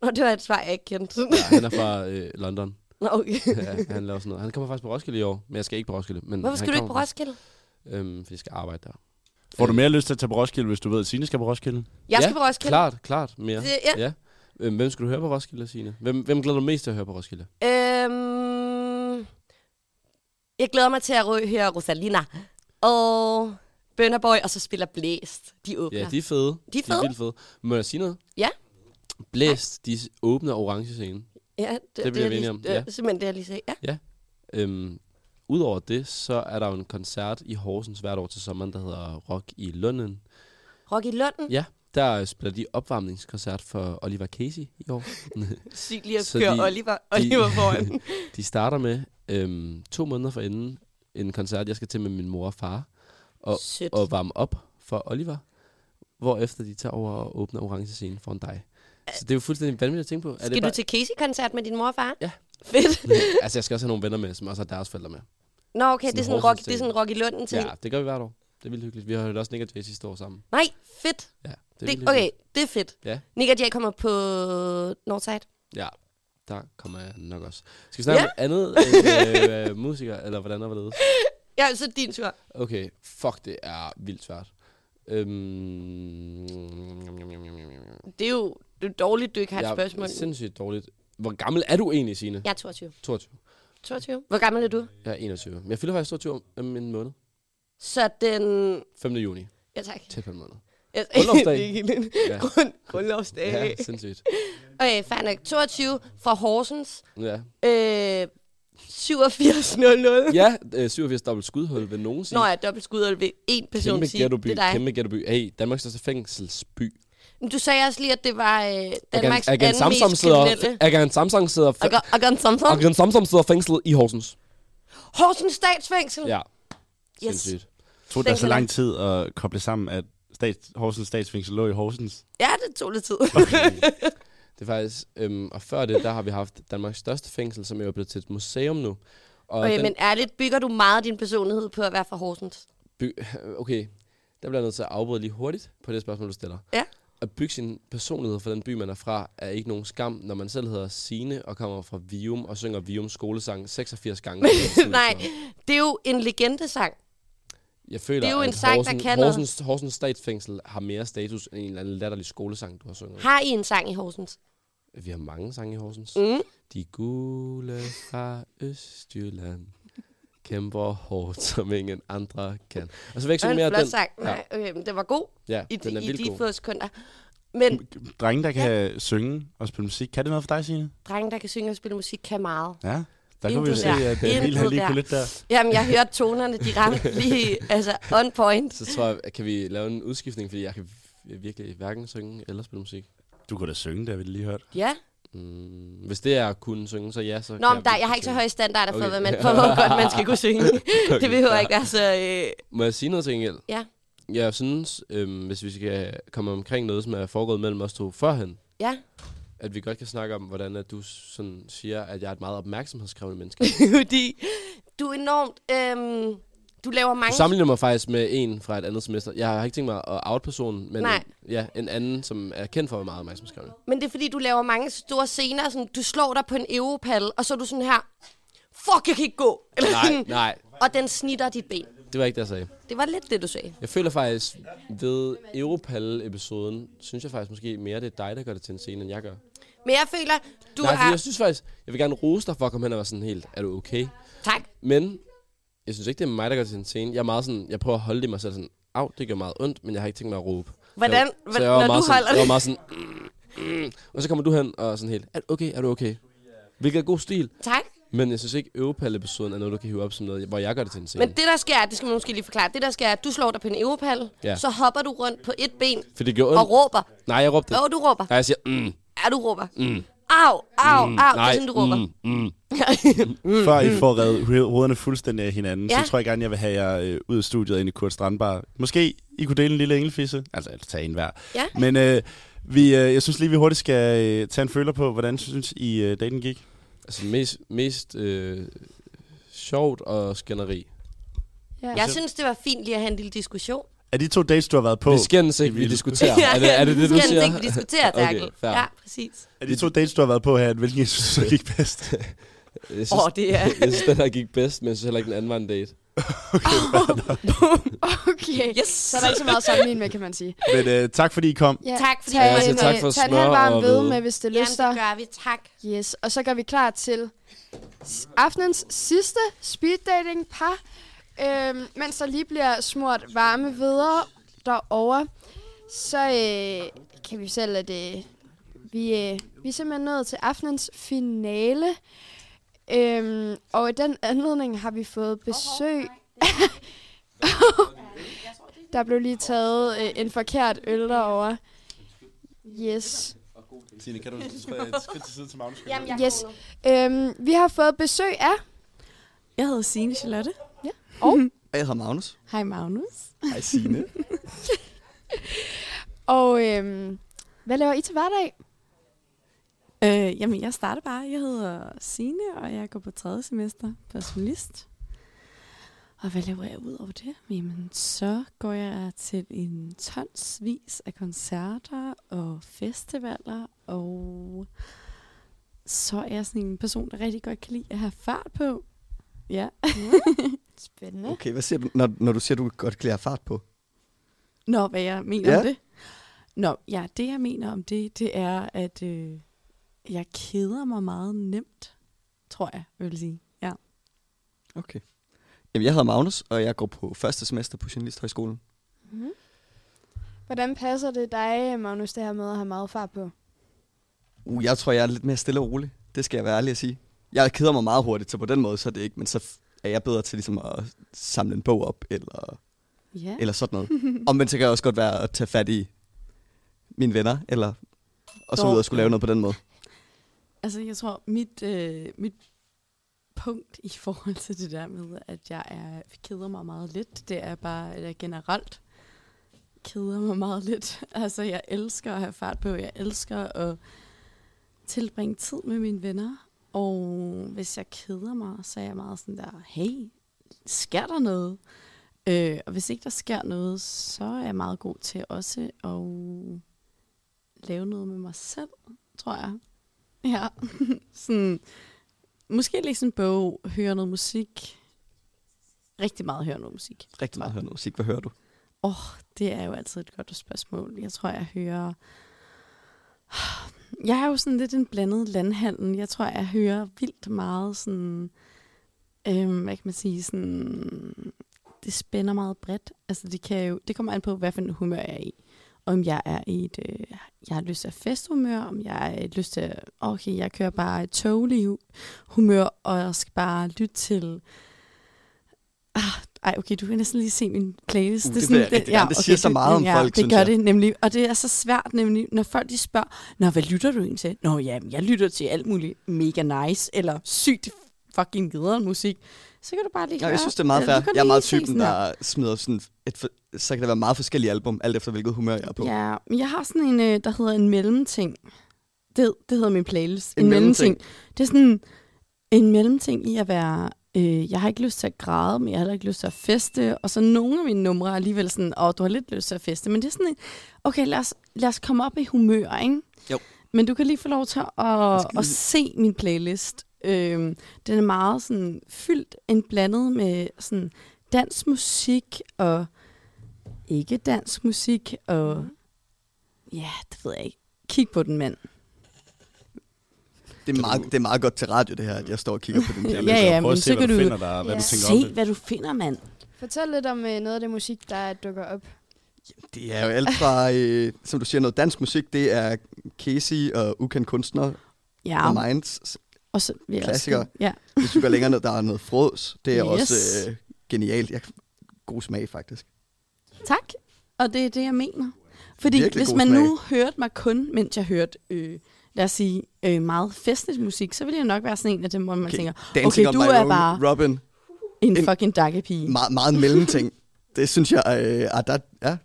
Speaker 17: Nå, det var et svar, jeg ikke kendte.
Speaker 8: Ja, han er fra øh, London.
Speaker 17: Nå, okay.
Speaker 8: ja, han laver sådan noget. Han kommer faktisk på Roskilde i år, men jeg skal ikke på Roskilde. Men
Speaker 17: Hvorfor skal
Speaker 8: han
Speaker 17: du ikke
Speaker 8: kommer
Speaker 17: på Roskilde?
Speaker 8: faktisk. Øhm, fordi jeg skal arbejde der. Øh,
Speaker 2: Får du mere lyst til at tage på Roskilde, hvis du ved, at Signe skal på Roskilde?
Speaker 17: Jeg skal på Roskilde.
Speaker 8: Klart, klart mere.
Speaker 17: Det- ja.
Speaker 8: ja. Øhm, hvem skal du høre på Roskilde, Signe? Hvem, hvem glæder du mest til at høre på Roskilde?
Speaker 17: Øhm, jeg glæder mig til at rø- høre Rosalina. Og Bønder Boy, og så spiller Blæst. De åbner.
Speaker 8: Ja, de er fede.
Speaker 17: De er fede.
Speaker 8: vildt fede. Må jeg sige noget?
Speaker 17: Ja.
Speaker 8: Blæst, de åbner orange scenen.
Speaker 17: Ja,
Speaker 8: det, det bliver
Speaker 17: jeg
Speaker 8: vi
Speaker 17: lige-
Speaker 8: enige om.
Speaker 17: Det, er Simpelthen det, jeg lige sagde. Ja.
Speaker 8: Ja. Øhm, Udover det, så er der jo en koncert i Horsens hvert år til sommeren, der hedder Rock i Lunden.
Speaker 17: Rock i Lunden.
Speaker 8: Ja, der øh, spiller de opvarmningskoncert for Oliver Casey i år.
Speaker 17: Sygt lige at
Speaker 8: Så
Speaker 17: køre Oliver- Oliver foran.
Speaker 8: de starter med øhm, to måneder forinden en koncert, jeg skal til med min mor og far, og,
Speaker 17: Sødt.
Speaker 8: og varme op for Oliver, hvorefter de tager over og åbner orange scenen foran dig. Så det er jo fuldstændig vanvittigt at tænke på. Er
Speaker 17: Skal
Speaker 8: det
Speaker 17: du til Casey-koncert med din mor og far?
Speaker 8: Ja.
Speaker 17: Fedt.
Speaker 8: altså, jeg skal også have nogle venner med, som også har deres forældre med.
Speaker 17: Nå, okay, det er sådan en rock,
Speaker 8: Horsens
Speaker 17: det er sådan en
Speaker 8: ting.
Speaker 17: rock i Lunden ting.
Speaker 8: Ja, det gør vi hvert år. Det er vildt hyggeligt. Vi har hørt også Nick og Jay sidste år sammen.
Speaker 17: Nej, fedt.
Speaker 8: Ja, det er
Speaker 17: det,
Speaker 8: vildt
Speaker 17: okay,
Speaker 8: hyggeligt.
Speaker 17: det er fedt.
Speaker 8: Ja.
Speaker 17: Nick og Jay kommer på Northside.
Speaker 8: Ja, der kommer jeg nok også. Skal vi snakke
Speaker 17: Ja.
Speaker 8: om andet end øh, øh, musikere, eller hvordan og hvorledes?
Speaker 17: Ja, så er det din tur.
Speaker 8: Okay, fuck, det er vildt svært. Øhm,
Speaker 17: Det er jo det er jo dårligt, du ikke har et
Speaker 8: jeg
Speaker 17: spørgsmål.
Speaker 8: er sindssygt dårligt. Hvor gammel er du egentlig, Signe?
Speaker 17: Jeg er 22.
Speaker 8: 22.
Speaker 17: 22. Hvor gammel er du?
Speaker 8: Jeg er 21. Men jeg fylder faktisk 22 om, om en måned.
Speaker 17: Så den...
Speaker 8: 5. juni.
Speaker 17: Ja, tak.
Speaker 8: Tæt på en måned.
Speaker 17: Jeg-
Speaker 8: Grundlovsdag.
Speaker 17: Det er ikke en- Grund- grundlovsdag.
Speaker 8: Ja, sindssygt.
Speaker 17: Okay, fair nok. 22 fra Horsens.
Speaker 8: Ja.
Speaker 17: Øh, 8700.
Speaker 8: Ja, øh, 87 dobbelt skudhul vil nogen sige.
Speaker 17: Nå ja, dobbelt skud, og vil en person
Speaker 8: kæmpe
Speaker 17: sige,
Speaker 8: ghettoby,
Speaker 17: det er dig.
Speaker 8: Kæmpe ghettoby. Hey, Danmarks største fængselsby.
Speaker 17: Men Du sagde også lige, at det var øh, Danmarks
Speaker 8: Agent- Agent
Speaker 17: anden
Speaker 8: Samsam
Speaker 17: mest
Speaker 8: sidder-
Speaker 17: kriminelle.
Speaker 8: Agent Samsam sidder...
Speaker 17: Agent- Agent Samsam?
Speaker 8: Agent Samsam sidder fængslet i Horsens.
Speaker 17: Mm. Horsens statsfængsel.
Speaker 8: Ja.
Speaker 17: Yes.
Speaker 8: Sindssygt.
Speaker 2: Tog det
Speaker 17: Den
Speaker 2: så
Speaker 17: kan
Speaker 2: lang
Speaker 17: jeg.
Speaker 2: tid at koble sammen, at stats, Horsens statsfængsel lå i Horsens?
Speaker 17: Ja, det tog lidt tid.
Speaker 8: Det er faktisk... Øhm, og før det, der har vi haft Danmarks største fængsel, som er jo blevet til et museum nu. Og
Speaker 17: okay,
Speaker 8: den
Speaker 17: men ærligt, bygger du meget din personlighed på at være fra Horsens?
Speaker 8: by- okay, der bliver jeg nødt til at afbryde lige hurtigt på det spørgsmål, du stiller.
Speaker 17: Ja.
Speaker 8: at bygge sin personlighed for den by, man er fra, er ikke nogen skam, når man selv hedder Sine og kommer fra Vium og synger Viums skolesang 86 gange.
Speaker 9: Nej, det er jo en legendesang.
Speaker 8: Jeg føler,
Speaker 9: Det er jo
Speaker 8: at
Speaker 9: en sang, der
Speaker 8: Horsens,
Speaker 9: kan noget.
Speaker 8: Horsens, Horsens statsfængsel har mere status end en eller anden latterlig skolesang, du har sunget.
Speaker 9: Har I en sang i Horsens?
Speaker 8: Vi har mange sange i Horsens.
Speaker 9: Mm.
Speaker 8: De gule fra Østjylland kæmper hårdt, som ingen andre kan. Og så vil jeg ikke synge
Speaker 9: Det
Speaker 8: mere
Speaker 9: var en flot
Speaker 8: af den.
Speaker 9: sang. Nej, okay, men den var god
Speaker 8: Ja,
Speaker 9: i,
Speaker 8: den er
Speaker 9: de, i
Speaker 8: vildt
Speaker 9: de
Speaker 8: god.
Speaker 9: få sekunder. Men
Speaker 2: Drenge, der kan ja. synge og spille musik, kan det noget for dig, Signe?
Speaker 9: drenge, der kan synge og spille musik, kan meget.
Speaker 2: Ja, der kunne vi jo
Speaker 9: Intet
Speaker 2: se, at det hele
Speaker 9: Intet
Speaker 2: havde lige kunne lidt der.
Speaker 9: Jamen, jeg hørte tonerne, de ramte lige, altså on point.
Speaker 8: Så tror jeg, kan vi lave en udskiftning, fordi jeg kan virkelig hverken synge eller spille musik.
Speaker 2: Du kunne da synge, det har vi lige hørt.
Speaker 9: Ja.
Speaker 8: Mm, hvis det er at kunne synge, så ja, så
Speaker 9: Nå, men der, jeg har ikke så høje standarder for, hvad man- for, hvor godt man skal kunne synge. Det behøver ikke være så, Øh...
Speaker 8: Må jeg sige noget til gengæld?
Speaker 9: Ja.
Speaker 8: Jeg synes, øhm, hvis vi skal komme omkring noget, som er foregået mellem os to førhen,
Speaker 9: Ja.
Speaker 8: at vi godt kan snakke om, hvordan at du sådan siger, at jeg er et meget opmærksomhedskrævende menneske.
Speaker 9: Fordi du er enormt... Øhm, du laver mange...
Speaker 8: Du sammenligner mig faktisk med en fra et andet semester. Jeg har ikke tænkt mig at out personen, men øh,
Speaker 9: Nej.
Speaker 8: ja, en anden, som er kendt for at være meget opmærksomhedskrævende.
Speaker 9: Men det er fordi, du laver mange store scener. Sådan, du slår dig på en europal, og så er du sådan her... Fuck, jeg kan ikke gå! Eller
Speaker 8: Nej,
Speaker 9: sådan,
Speaker 8: nej,
Speaker 9: Og den snitter dit ben.
Speaker 8: det var ikke det, jeg sagde.
Speaker 9: Det var lidt det, du sagde.
Speaker 8: Jeg føler faktisk, ved Europal-episoden, synes jeg faktisk måske mere, det er dig, der gør det til en scene, end jeg gør.
Speaker 9: Men jeg føler, du
Speaker 8: Nej,
Speaker 9: har...
Speaker 8: fordi jeg synes faktisk, jeg vil gerne rose dig for at komme hen og være sådan helt, er du okay?
Speaker 9: Tak.
Speaker 8: Men jeg synes ikke, det er mig, der gør det til en scene. Jeg er meget sådan, jeg prøver at holde det i mig selv sådan, au, det gør meget ondt, men jeg har ikke tænkt mig at råbe.
Speaker 9: Hvordan-
Speaker 8: Så jeg,
Speaker 9: hvordan-
Speaker 8: var
Speaker 9: når
Speaker 8: meget
Speaker 9: du
Speaker 8: sådan,
Speaker 9: holder
Speaker 8: Jeg var
Speaker 9: det?
Speaker 8: meget sådan, mm, mm, og så kommer du hen og sådan helt, er, du okay, er du okay? Hvilket er god stil.
Speaker 9: Tak.
Speaker 8: Men jeg synes ikke, Europal-episoden er noget, du kan hive op som noget, hvor jeg gør det til en scene.
Speaker 9: Men det, der sker, det skal man måske lige forklare. Det, der sker, er, at du slår dig på en europal,
Speaker 8: Ja.
Speaker 9: ja. så hopper du rundt på et ben
Speaker 8: For det gjorde ondt.
Speaker 9: og råber.
Speaker 8: Nej, jeg råbte
Speaker 9: Jo, du råber.
Speaker 8: Nej, jeg siger, mm,
Speaker 9: Ja, du råber.
Speaker 8: mm.
Speaker 9: Au, au,
Speaker 8: Mm,
Speaker 9: mm, au. Nej, det
Speaker 8: nej,
Speaker 9: er sådan, du råber.
Speaker 8: mm, mm.
Speaker 2: Før I får reddet ho- hovederne fuldstændig af hinanden, ja.
Speaker 9: Mm. Ja.
Speaker 2: så tror jeg gerne, jeg vil have jer øh, ud af studiet og ind i Kurt Strandbar. Måske I kunne dele en lille engelfisse. Altså, eller tage en hver.
Speaker 9: Ja.
Speaker 2: Men øh, vi, øh, jeg synes lige, vi hurtigt skal øh, tage en føler på, hvordan synes I, øh, daten gik?
Speaker 8: Altså mest, mest øh, sjovt og skænderi. Altså,
Speaker 9: Ja. Jeg synes, det var fint lige at have en lille diskussion.
Speaker 2: Er de to dates, du har været på?
Speaker 8: Vi skændes ikke, vi diskuterer. Er det- er det det, du
Speaker 9: Skændes
Speaker 8: siger?
Speaker 9: ikke, vi diskuterer,
Speaker 8: Okay,
Speaker 9: Terkel.
Speaker 8: fair.
Speaker 9: ja, præcis.
Speaker 2: Er de to dates, du har været på her, hvilken jeg synes, der gik bedst?
Speaker 8: Jeg synes,
Speaker 9: Åh, det er-
Speaker 8: jeg synes, den her gik bedst, men jeg synes heller ikke, den anden var en date.
Speaker 3: Okay, yes. så er der ikke så meget at sammenligne med, kan man sige.
Speaker 2: Men øh, tak, fordi I kom.
Speaker 3: Ja. Tak,
Speaker 2: fordi I kom. Altså, tak for
Speaker 3: tag et
Speaker 2: smør og
Speaker 3: halvvarm ved
Speaker 2: hvede.
Speaker 3: med, hvis det
Speaker 9: Jamen,
Speaker 3: lyster.
Speaker 9: det gør vi. Tak.
Speaker 3: Yes, og så gør vi klar til s- aftenens sidste speed dating par, øhm, mens der lige bliver smurt varme videre derovre. Så øh, kan vi selv, at øh, vi, øh, vi er simpelthen nået til aftenens finale. Øhm, og i den anledning har vi fået besøg. der blev lige taget øh, en forkert øl derovre. Yes.
Speaker 2: Signe, kan du så træde et skridt til siden til Magnus?
Speaker 3: Yes. Øhm, vi har fået besøg af...
Speaker 18: Jeg hedder Signe Charlotte.
Speaker 3: Ja. Og,
Speaker 6: Og jeg hedder Magnus.
Speaker 18: Hej Magnus.
Speaker 6: Hej Signe.
Speaker 3: og øhm, hvad laver I til hverdag?
Speaker 18: Øh, jamen, jeg starter bare. Jeg hedder Signe, og jeg går på tredje semester på journalist. Og hvad laver jeg ud over det? Jamen, så går jeg til en tonsvis af koncerter og festivaler, og så er jeg sådan en person, der rigtig godt kan lide at have fart på. Ja. Spændende.
Speaker 19: Okay, hvad siger du, når, når du siger, du godt kan lide at have fart på?
Speaker 18: Nå, hvad jeg mener
Speaker 19: Ja.
Speaker 18: ja. om det? Nå, ja, det jeg mener om det, det er, at øh, jeg keder mig meget nemt, tror jeg, jeg vil sige. Ja.
Speaker 19: Okay. Jamen, jeg hedder Magnus, og jeg går på første semester på Journalisthøjskolen.
Speaker 3: Mm-hmm. Hvordan passer det dig, Magnus, det her med at have meget fart på?
Speaker 19: Uh, jeg tror, jeg er lidt mere stille og rolig. Det skal jeg være ærlig at sige. Jeg keder mig meget hurtigt, så på den måde så er det ikke, men så f- er jeg bedre til ligesom at samle en bog op, eller,
Speaker 18: Ja.
Speaker 19: eller sådan noget. Og men så kan jeg også godt være at tage fat i mine venner, eller og så
Speaker 18: Dog.
Speaker 19: ud og skulle lave noget på den måde.
Speaker 18: Altså, jeg tror, mit, øh, mit punkt i forhold til det der med, at jeg er, keder mig meget lidt, det er bare, at jeg generelt keder mig meget lidt. Altså, jeg elsker at have fart på. Jeg elsker at tilbringe tid med mine venner. Og hvis jeg keder mig, så er jeg meget sådan der, hey, sker der noget? Øh, og hvis ikke der sker noget, så er jeg meget god til også at lave noget med mig selv, tror jeg. Ja, sådan, måske læse en bog, høre noget musik. Rigtig meget høre noget musik.
Speaker 19: Rigtig meget hører noget musik. Hvad hører du?
Speaker 18: Åh, oh, det er jo altid et godt spørgsmål. Jeg tror, jeg hører... Jeg er jo sådan lidt en blandet landhandel. Jeg tror, jeg hører vildt meget sådan... Øhm, hvad kan man sige? Sådan, det spænder meget bredt. Altså, det, kan jo, det kommer an på, hvad for en humør jeg er i. Om jeg er i et... Øh, jeg har lyst til at festhumør, om jeg har et lyst til... Okay, jeg kører bare et togliv humør, og jeg skal bare lytte til... Ah, ej, okay, du kan næsten lige se min playlist.
Speaker 19: Uh, det ved jeg rigtig gerne. Det siger så meget om folk,
Speaker 18: det
Speaker 19: synes
Speaker 18: gør
Speaker 19: jeg.
Speaker 18: det nemlig. Og det er så svært nemlig, når folk de spørger, Nå, hvad lytter du egentlig til? Nå, ja, jeg lytter til alt muligt mega nice, eller sygt fucking nederen musik. Så kan du bare lige
Speaker 19: Ja, jeg
Speaker 18: høre-
Speaker 19: synes, det er meget
Speaker 18: eller du
Speaker 19: fair.
Speaker 18: kan
Speaker 19: Jeg er
Speaker 18: lige
Speaker 19: meget
Speaker 18: se
Speaker 19: typen,
Speaker 18: sådan her.
Speaker 19: der smider sådan et... For, så kan der være meget forskellige album, alt efter hvilket humør jeg er på.
Speaker 18: Ja, men jeg har sådan en, øh, der hedder en mellemting. Det, det hedder min playlist.
Speaker 19: En
Speaker 18: En, mellemting.
Speaker 19: mellemting.
Speaker 18: Det er sådan en mellemting i at være... Øh, jeg har ikke lyst til at græde, men jeg har heller ikke lyst til at feste. Og så nogle af mine numre er alligevel sådan, åh, du har lidt lyst til at feste. Men det er sådan en, okay, lad os, lad os komme op i humør, ikke?
Speaker 19: Jo.
Speaker 18: Men du kan lige få lov til at, at se min playlist. Øhm, den er meget sådan fyldt en blandet med sådan dansk musik og ikke dansk musik
Speaker 19: Mm.
Speaker 18: og ja, det ved jeg ikke. Kig på den mand.
Speaker 19: Det er, meget, det er meget godt til radio, det her, at jeg står og kigger på din playlist.
Speaker 18: ja, ja,
Speaker 19: Prøv at
Speaker 18: men
Speaker 19: se,
Speaker 18: så
Speaker 19: hvad
Speaker 18: kan
Speaker 19: du
Speaker 18: du,
Speaker 19: finder der, og hvad du tænker om
Speaker 18: se,
Speaker 19: det.
Speaker 18: hvad du finder, mand.
Speaker 3: Fortæl lidt om øh, noget af det musik, der dukker op.
Speaker 19: Det er jo alt fra, øh, som du siger, noget dansk musik. Det er Casey og Ukendt Kunstner.
Speaker 18: Ja.
Speaker 19: Og Minds.
Speaker 18: Og så vil jeg også-
Speaker 19: Klassiker.
Speaker 18: ja.
Speaker 19: Hvis du går længere ned, der er noget frøs. Det er
Speaker 18: Yes.
Speaker 19: også øh, genialt. Jeg, god smag, faktisk.
Speaker 18: Tak, og det er det, jeg mener. Fordi
Speaker 19: Virkelig
Speaker 18: hvis
Speaker 19: god
Speaker 18: man
Speaker 19: smag.
Speaker 18: nu hørte mig kun, mens jeg hørte, øh, lad os sige, øh, meget festlig musik, så ville jeg nok være sådan en af dem, hvor man okay. tænker,
Speaker 19: Dancing
Speaker 18: okay,
Speaker 19: on
Speaker 18: du
Speaker 19: my
Speaker 18: er
Speaker 19: own,
Speaker 18: bare
Speaker 19: Robin.
Speaker 18: en, en fucking dakkepige.
Speaker 19: Meget, meget mellemting. det synes jeg, øh, er der, ja.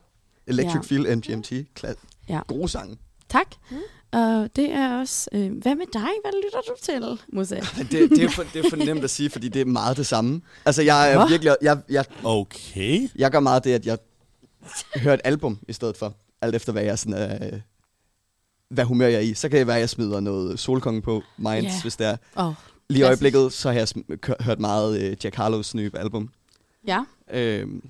Speaker 19: Electric
Speaker 18: Ja.
Speaker 19: ja. Feel, MGMT. Klas.
Speaker 18: Ja.
Speaker 19: Gode sange.
Speaker 18: Tak. Mm. Og det er også, øh, hvad med dig? Hvad lytter du til, Musa?
Speaker 19: Det, det, er for, det er for nemt at sige, fordi det er meget det samme. Altså, jeg er
Speaker 18: Hva?
Speaker 19: virkelig... Jeg, jeg, okay. Jeg gør meget det, at jeg hører et album i stedet for. Alt efter, hvad jeg sådan, øh, hvad humør jeg er i. Så kan det være, at jeg smider noget Solkongen på Minds,
Speaker 18: Ja.
Speaker 19: yeah. hvis det er.
Speaker 18: Åh,
Speaker 19: Lige i
Speaker 18: klassisk.
Speaker 19: øjeblikket, så har jeg sm- kø- hørt meget øh, Jack Harlows nye album.
Speaker 18: Ja.
Speaker 19: Øhm,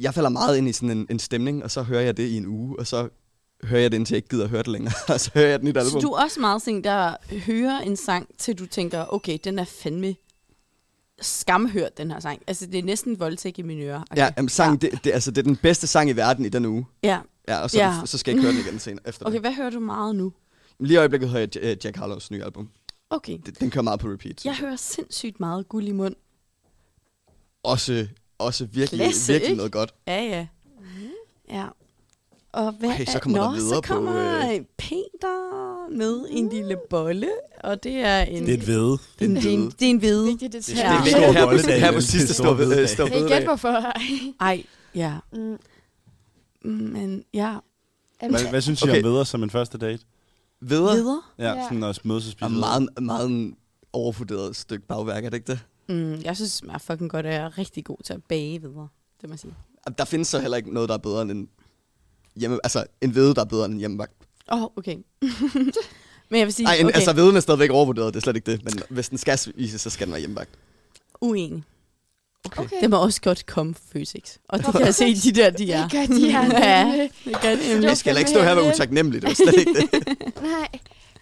Speaker 19: jeg falder meget ind i sådan en, en stemning, og så hører jeg det i en uge, og så hører jeg det, indtil jeg ikke gider at høre det længere. og så hører jeg et nyt album.
Speaker 18: Så du er også meget sådan, der hører en sang, til du tænker, okay, den er fandme skamhørt, den her sang. Altså, det er næsten voldtægt i mine ører.
Speaker 19: Ja, jamen, sangen, ja. Det, det, altså, det er den bedste sang i verden i den uge.
Speaker 18: Ja.
Speaker 19: ja og så,
Speaker 18: Ja.
Speaker 19: ja. så skal jeg ikke høre den igen senere efter
Speaker 18: Okay,
Speaker 19: okay.
Speaker 18: hvad hører du meget nu?
Speaker 19: det. Lige i øjeblikket hører jeg J- øh, Jack Harlows nye album.
Speaker 18: Okay.
Speaker 19: Den, den kører meget på repeat.
Speaker 18: Jeg hører sindssygt meget guld i mund.
Speaker 19: Også, også virkelig,
Speaker 18: Klasse,
Speaker 19: virkelig
Speaker 18: ikke?
Speaker 19: noget godt.
Speaker 18: Ja, ja. Ja. Og hvad
Speaker 19: Okay, så
Speaker 18: er-
Speaker 19: kommer der
Speaker 18: Nå,
Speaker 19: videre
Speaker 18: så
Speaker 19: på,
Speaker 18: kommer
Speaker 19: øh,
Speaker 18: øh... Peter med en lille bolle, og det er en...
Speaker 2: Det er et hvede.
Speaker 18: Det er en, det er en, det er en hvide. Det er
Speaker 3: det
Speaker 19: er en vigtig her på- her på sidste store ved- øh, store
Speaker 3: Kan I gætte, hvorfor?
Speaker 18: Ej, ja.
Speaker 3: Mm.
Speaker 18: Mm. Men ja.
Speaker 2: Hvad, hvad synes I okay. om vedder som en første date?
Speaker 19: Vedder?
Speaker 18: Vedder?
Speaker 2: Ja, sådan at mødes og
Speaker 19: er
Speaker 2: spise
Speaker 19: meget, meget en overvurderet stykke bagværk, er det ikke det?
Speaker 18: Mm, jeg synes, det smager fucking godt, og jeg er rigtig god til at bage videre. Det må jeg sige.
Speaker 19: Der findes så heller ikke noget, der er bedre end en, hjemme, altså, en hvede, der er bedre end en hjemmebagt.
Speaker 18: Åh, oh, okay. Men jeg vil sige,
Speaker 19: Nej, okay.
Speaker 18: okay,
Speaker 19: altså veden er stadigvæk overvurderet, det er slet ikke det. Men hvis den skal spises, så skal den være hjemmebagt.
Speaker 18: uenig.
Speaker 19: Okay.
Speaker 18: Det må også godt komme physics. Og det kan jeg se, de der, de er.
Speaker 3: Det gør de her.
Speaker 18: ja, det gør de nemlig.
Speaker 19: Jeg skal heller ikke stå her og være utaknemmelig, det var slet ikke det.
Speaker 3: Nej.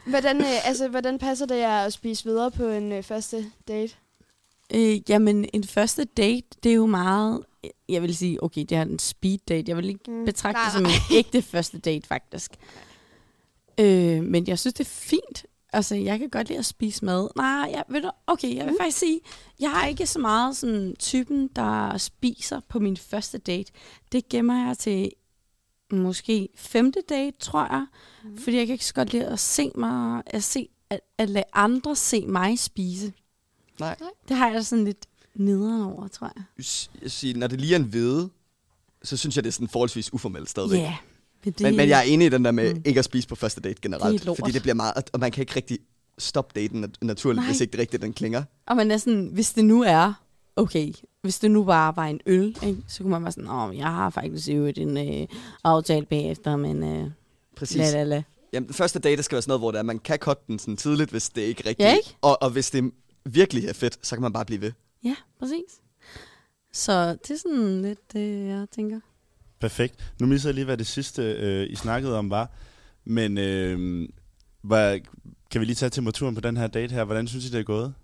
Speaker 3: Hvordan, øh, altså, hvordan passer det jer at spise videre på en øh, første date?
Speaker 18: Øh, jamen, en første date, det er jo meget... Jeg vil sige, okay, det er en speed date. Jeg vil ikke
Speaker 3: Mm,
Speaker 18: mm, betragte
Speaker 3: nej,
Speaker 18: det som
Speaker 3: nej.
Speaker 18: en ægte første date, faktisk. Øh, men jeg synes, det er fint. Altså, jeg kan godt lide at spise mad. Nej, jeg, ved du, okay, jeg vil mm. faktisk sige, jeg er ikke så meget sådan typen, der spiser på min første date. Det gemmer jeg til måske femte date, tror jeg. Mm. Fordi jeg kan ikke så godt lide at se mig, at, se, at, at lade andre se mig spise.
Speaker 19: Nej.
Speaker 18: Det har jeg da sådan lidt nederen over, tror jeg.
Speaker 19: Jeg siger, når det lige er en hvede, så synes jeg, det er sådan forholdsvis uformelt stadigvæk.
Speaker 18: Ja, men det-
Speaker 19: men, men jeg er enig i den der med mm. ikke at spise på første date generelt.
Speaker 18: Det er lort.
Speaker 19: fordi det bliver meget, og man kan ikke rigtig stoppe daten nat- naturligt,
Speaker 18: Nej.
Speaker 19: hvis ikke det rigtigt den klinger.
Speaker 18: Og man er sådan, hvis det nu er, okay, hvis det nu bare var en øl, ikke, så kunne man være sådan, åh, jeg har faktisk i øvrigt en øh, aftale bagefter, men øh,
Speaker 19: Præcis.
Speaker 18: la, la, la.
Speaker 19: Jamen, den første date, der skal være sådan noget, hvor det er, man kan cutte den sådan tidligt, hvis det ikke er rigtigt.
Speaker 13: Ja, ikke?
Speaker 19: Og, og hvis det virkelig er fedt, så kan man bare blive ved.
Speaker 18: Ja, præcis. Så det er sådan lidt det, jeg tænker.
Speaker 2: Perfekt. Nu missede jeg lige, hvad det sidste, øh, I snakkede om var. Men øh, hvad, kan vi lige tage temperaturen på den her date her? Hvordan synes I, det er gået?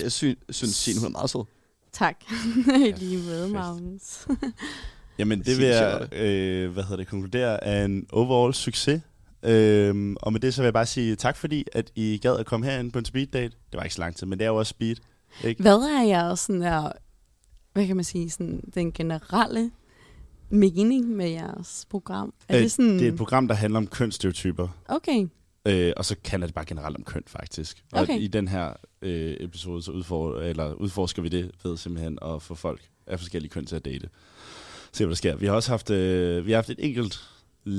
Speaker 19: Jeg synes, synes hun er meget sød.
Speaker 18: Tak. I lige med, Magnus.
Speaker 2: Jamen, det
Speaker 19: Sindssygt
Speaker 2: vil
Speaker 19: var
Speaker 2: jeg, øh, hvad hedder det, konkludere af en overall succes. Øhm, og med det så vil jeg bare sige tak fordi, at I gad at komme herind på en speed date. Det var ikke så lang tid, men det er jo også speed. Ikke?
Speaker 18: Hvad er jeres sådan der, hvad kan man sige, sådan den generelle mening med jeres program? Er øh, det sådan...
Speaker 2: det er et program, der handler om kønsstereotyper.
Speaker 18: Okay.
Speaker 2: Øh, og så handler det bare generelt om køn, faktisk.
Speaker 18: Okay.
Speaker 2: Og i den her øh, episode, så udfor, eller udforsker vi det ved simpelthen at få folk af forskellige køn til at date. Se, hvad der sker. Vi har også haft, øh, vi har haft et enkelt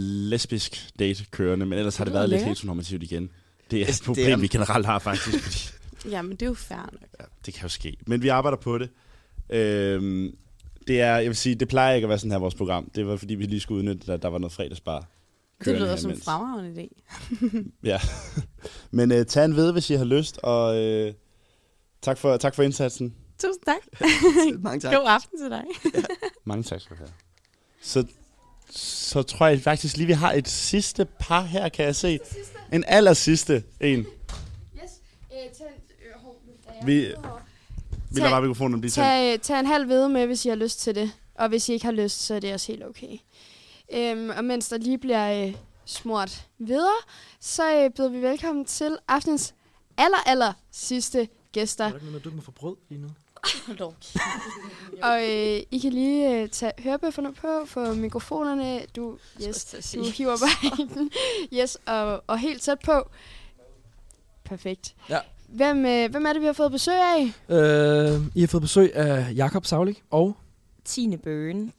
Speaker 2: lesbisk date kørende, men ellers har det
Speaker 18: lyder
Speaker 2: været lidt
Speaker 18: lækkert.
Speaker 2: heteronormativt igen. Det er et
Speaker 19: er-
Speaker 2: problem, det er... vi generelt har faktisk, fordi
Speaker 18: Jamen, det er jo fair nok.
Speaker 2: det kan jo ske. Men vi arbejder på det. Øhm, det er, jeg vil sige, det plejer ikke at være sådan her vores program. Det var, fordi vi lige skulle udnytte, at der var noget fredagsbar.
Speaker 18: Det
Speaker 2: kørende
Speaker 18: lyder
Speaker 2: her
Speaker 18: som en
Speaker 2: imens.
Speaker 18: fremragende idé.
Speaker 2: Ja. Men øh, tag en ved, hvis I har lyst, og øh, tak, for, tak for indsatsen.
Speaker 18: Tusind tak.
Speaker 19: Mange tak.
Speaker 18: God aften til dig.
Speaker 2: Mange tak skal du have. Så, så tror jeg faktisk lige, vi har et sidste par her, kan jeg se. En aller sidste en.
Speaker 3: Yes. Øh, tag en, øh, hov, nu er jeg
Speaker 2: Vi,
Speaker 3: ude over.
Speaker 2: vi lader bare mikrofonen blive tændt.
Speaker 3: tag, tag en halv hvede med, hvis I har lyst til det. Og hvis I ikke har lyst, så er det også helt okay. Øhm, og mens der lige bliver øh, smurt videre, så øh, byder vi velkommen til aftens aller, aller sidste gæster.
Speaker 5: ikke noget med, at du må få brød lige nu?
Speaker 3: Og øh, I kan lige øh, tage hørebøfferne på, få mikrofonerne. Du, yes, du hiver bare i den. Yes, og, og helt tæt på. Perfekt.
Speaker 12: Ja.
Speaker 3: Hvem, øh, hvem er det, vi har fået besøg af?
Speaker 5: Øh, I har fået besøg af Jakob Saulik og
Speaker 3: Tine Bøgen.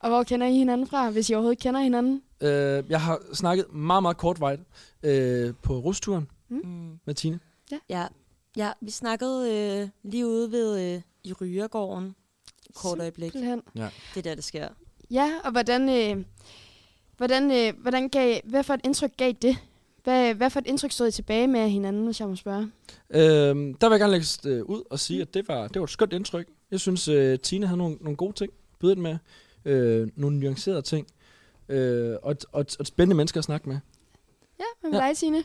Speaker 3: Og hvor kender I hinanden fra, hvis I overhovedet kender hinanden?
Speaker 5: øh, jeg har snakket meget, meget kort vej øh, på rusturen
Speaker 20: Mm.
Speaker 5: med Tine.
Speaker 20: Ja. ja. Ja, vi snakkede øh, lige ude ved øh, i Ryregården. Et Kort øjeblik.
Speaker 3: Simpelthen.
Speaker 5: Ja.
Speaker 20: Det er der, det sker.
Speaker 3: Ja, og hvordan, øh, hvordan, øh, hvordan gav, hvad for et indtryk gav det? Hvad, hvad for et indtryk stod I tilbage med af hinanden, hvis jeg må spørge?
Speaker 5: Øhm, der vil jeg gerne lægge øh, ud og sige, at det var, det var et skønt indtryk. Jeg synes, øh, Tina havde nogle, nogle gode ting, byde ind med. Øh, nogle nuancerede ting. Øh, og, et- og, et- og et spændende mennesker at snakke med.
Speaker 3: Ja, hvad med ja. dig, Signe?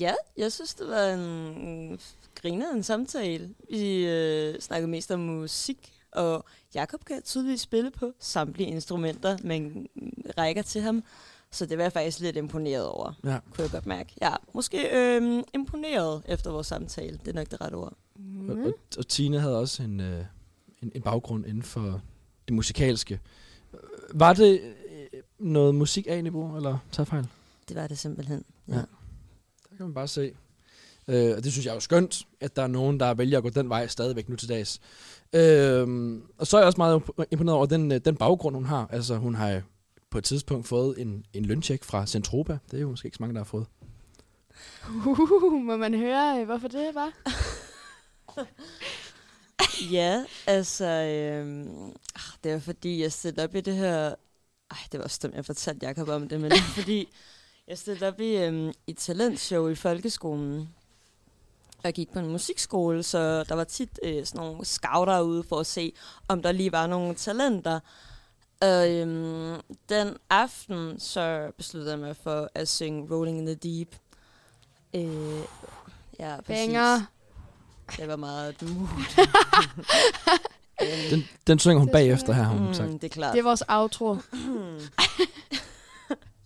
Speaker 20: Ja, jeg synes, det var en en grineren samtale. Vi øh, snakkede mest om musik, og Jakob kan tydeligvis spille på samtlige instrumenter, man rækker til ham. Så det var jeg faktisk lidt imponeret over,
Speaker 5: Ja.
Speaker 20: kunne jeg godt mærke. Ja, måske øh, imponeret efter vores samtale. Det er nok det rette ord.
Speaker 3: Mm.
Speaker 5: Og,
Speaker 20: Mhm.
Speaker 5: og, og Tina havde også en, øh, en, en baggrund inden for det musikalske. Øh, Var det øh, noget musik A-niveau, eller tager jeg fejl?
Speaker 20: Det var det simpelthen,
Speaker 5: ja. Der kan man bare se. Øh, og det synes jeg er jo skønt, at der er nogen, der vælger at gå den vej stadigvæk nu til dags. Øh, og så er jeg også meget imp- imponeret over den, øh, den baggrund, hun har. Altså, hun har på et tidspunkt fået en, en løntjek fra Centropa. Det er jo måske ikke så mange, der har fået.
Speaker 3: Uh, må man høre, øh, hvorfor det var?
Speaker 20: Ja, altså, øhm, ah, det var fordi, jeg stillede op i det her... Ej, det var også dumt, jeg fortalte Jacob om det, men det var fordi, jeg stillede op i, øhm, i et talentshow i folkeskolen. Og jeg gik på en musikskole, så der var tit øh, sådan nogle scouter ude for at se, om der lige var nogle talenter. Og øhm, den aften, så besluttede jeg mig for at synge Rolling in the Deep. Øh, ja, præcis.
Speaker 3: Banger.
Speaker 20: Det var meget Øhm, mood.
Speaker 5: Den, den synger hun bagefter her, har hun
Speaker 20: Mm,
Speaker 5: sagt.
Speaker 20: det er klart.
Speaker 3: Det er vores outro.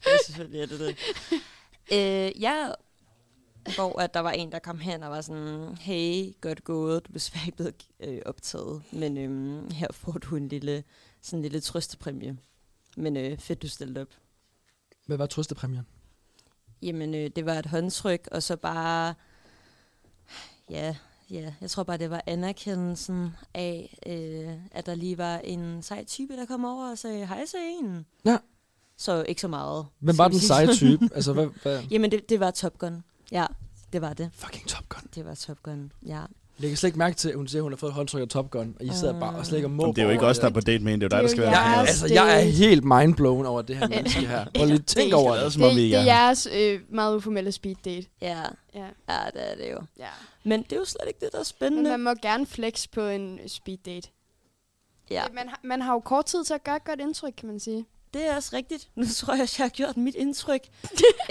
Speaker 20: Ja, selvfølgelig er det det. øh, jeg, hvor at der var en, der kom hen og var sådan, hey, godt gået, du er desværre ikke blevet øh, optaget, men øhm, her får du en lille, sådan en lille trøstepræmie. Men øh, fedt, du stillede op.
Speaker 5: Hvad var trøstepræmien?
Speaker 20: Jamen, øh, det var et håndtryk, og så bare, ja, ja, jeg tror bare, det var anerkendelsen af, øh, at der lige var en sej type, der kom over og sagde, hej til en.
Speaker 5: Ja.
Speaker 20: Så ikke så meget.
Speaker 5: Hvem var
Speaker 20: skal vi
Speaker 5: den
Speaker 20: sige
Speaker 5: seje
Speaker 20: sådan.
Speaker 5: type? Altså, hvad, hvad?
Speaker 20: Jamen, det, det var Top Gun. Ja, det var det.
Speaker 5: Fucking Top Gun.
Speaker 20: Det var Top Gun, ja.
Speaker 5: Jeg kan slet ikke mærke til, at hun siger, at hun har fået et håndtryk af Top Gun, og I sidder bare og slet ikke og
Speaker 2: Jamen, det er jo ikke os, der er på date med hende, det er jo dig, der skal være
Speaker 5: jeg,
Speaker 2: med.
Speaker 5: Altså, jeg er helt mindblown over det her menneske her. Prøv lige tænk over det.
Speaker 3: Det, det er jeres øh, meget uformelle speed date.
Speaker 20: Ja.
Speaker 3: ja.
Speaker 20: Ja, det er det jo.
Speaker 3: Ja.
Speaker 20: Men det er jo slet ikke det, der er
Speaker 3: Men
Speaker 20: spændende.
Speaker 3: man må gerne flex på en øh, speed date.
Speaker 20: Ja.
Speaker 3: Det- Man, har- man har jo kort tid til at gøre et godt indtryk, kan man sige.
Speaker 20: Det er også rigtigt. Nu tror jeg, at jeg har gjort mit indtryk.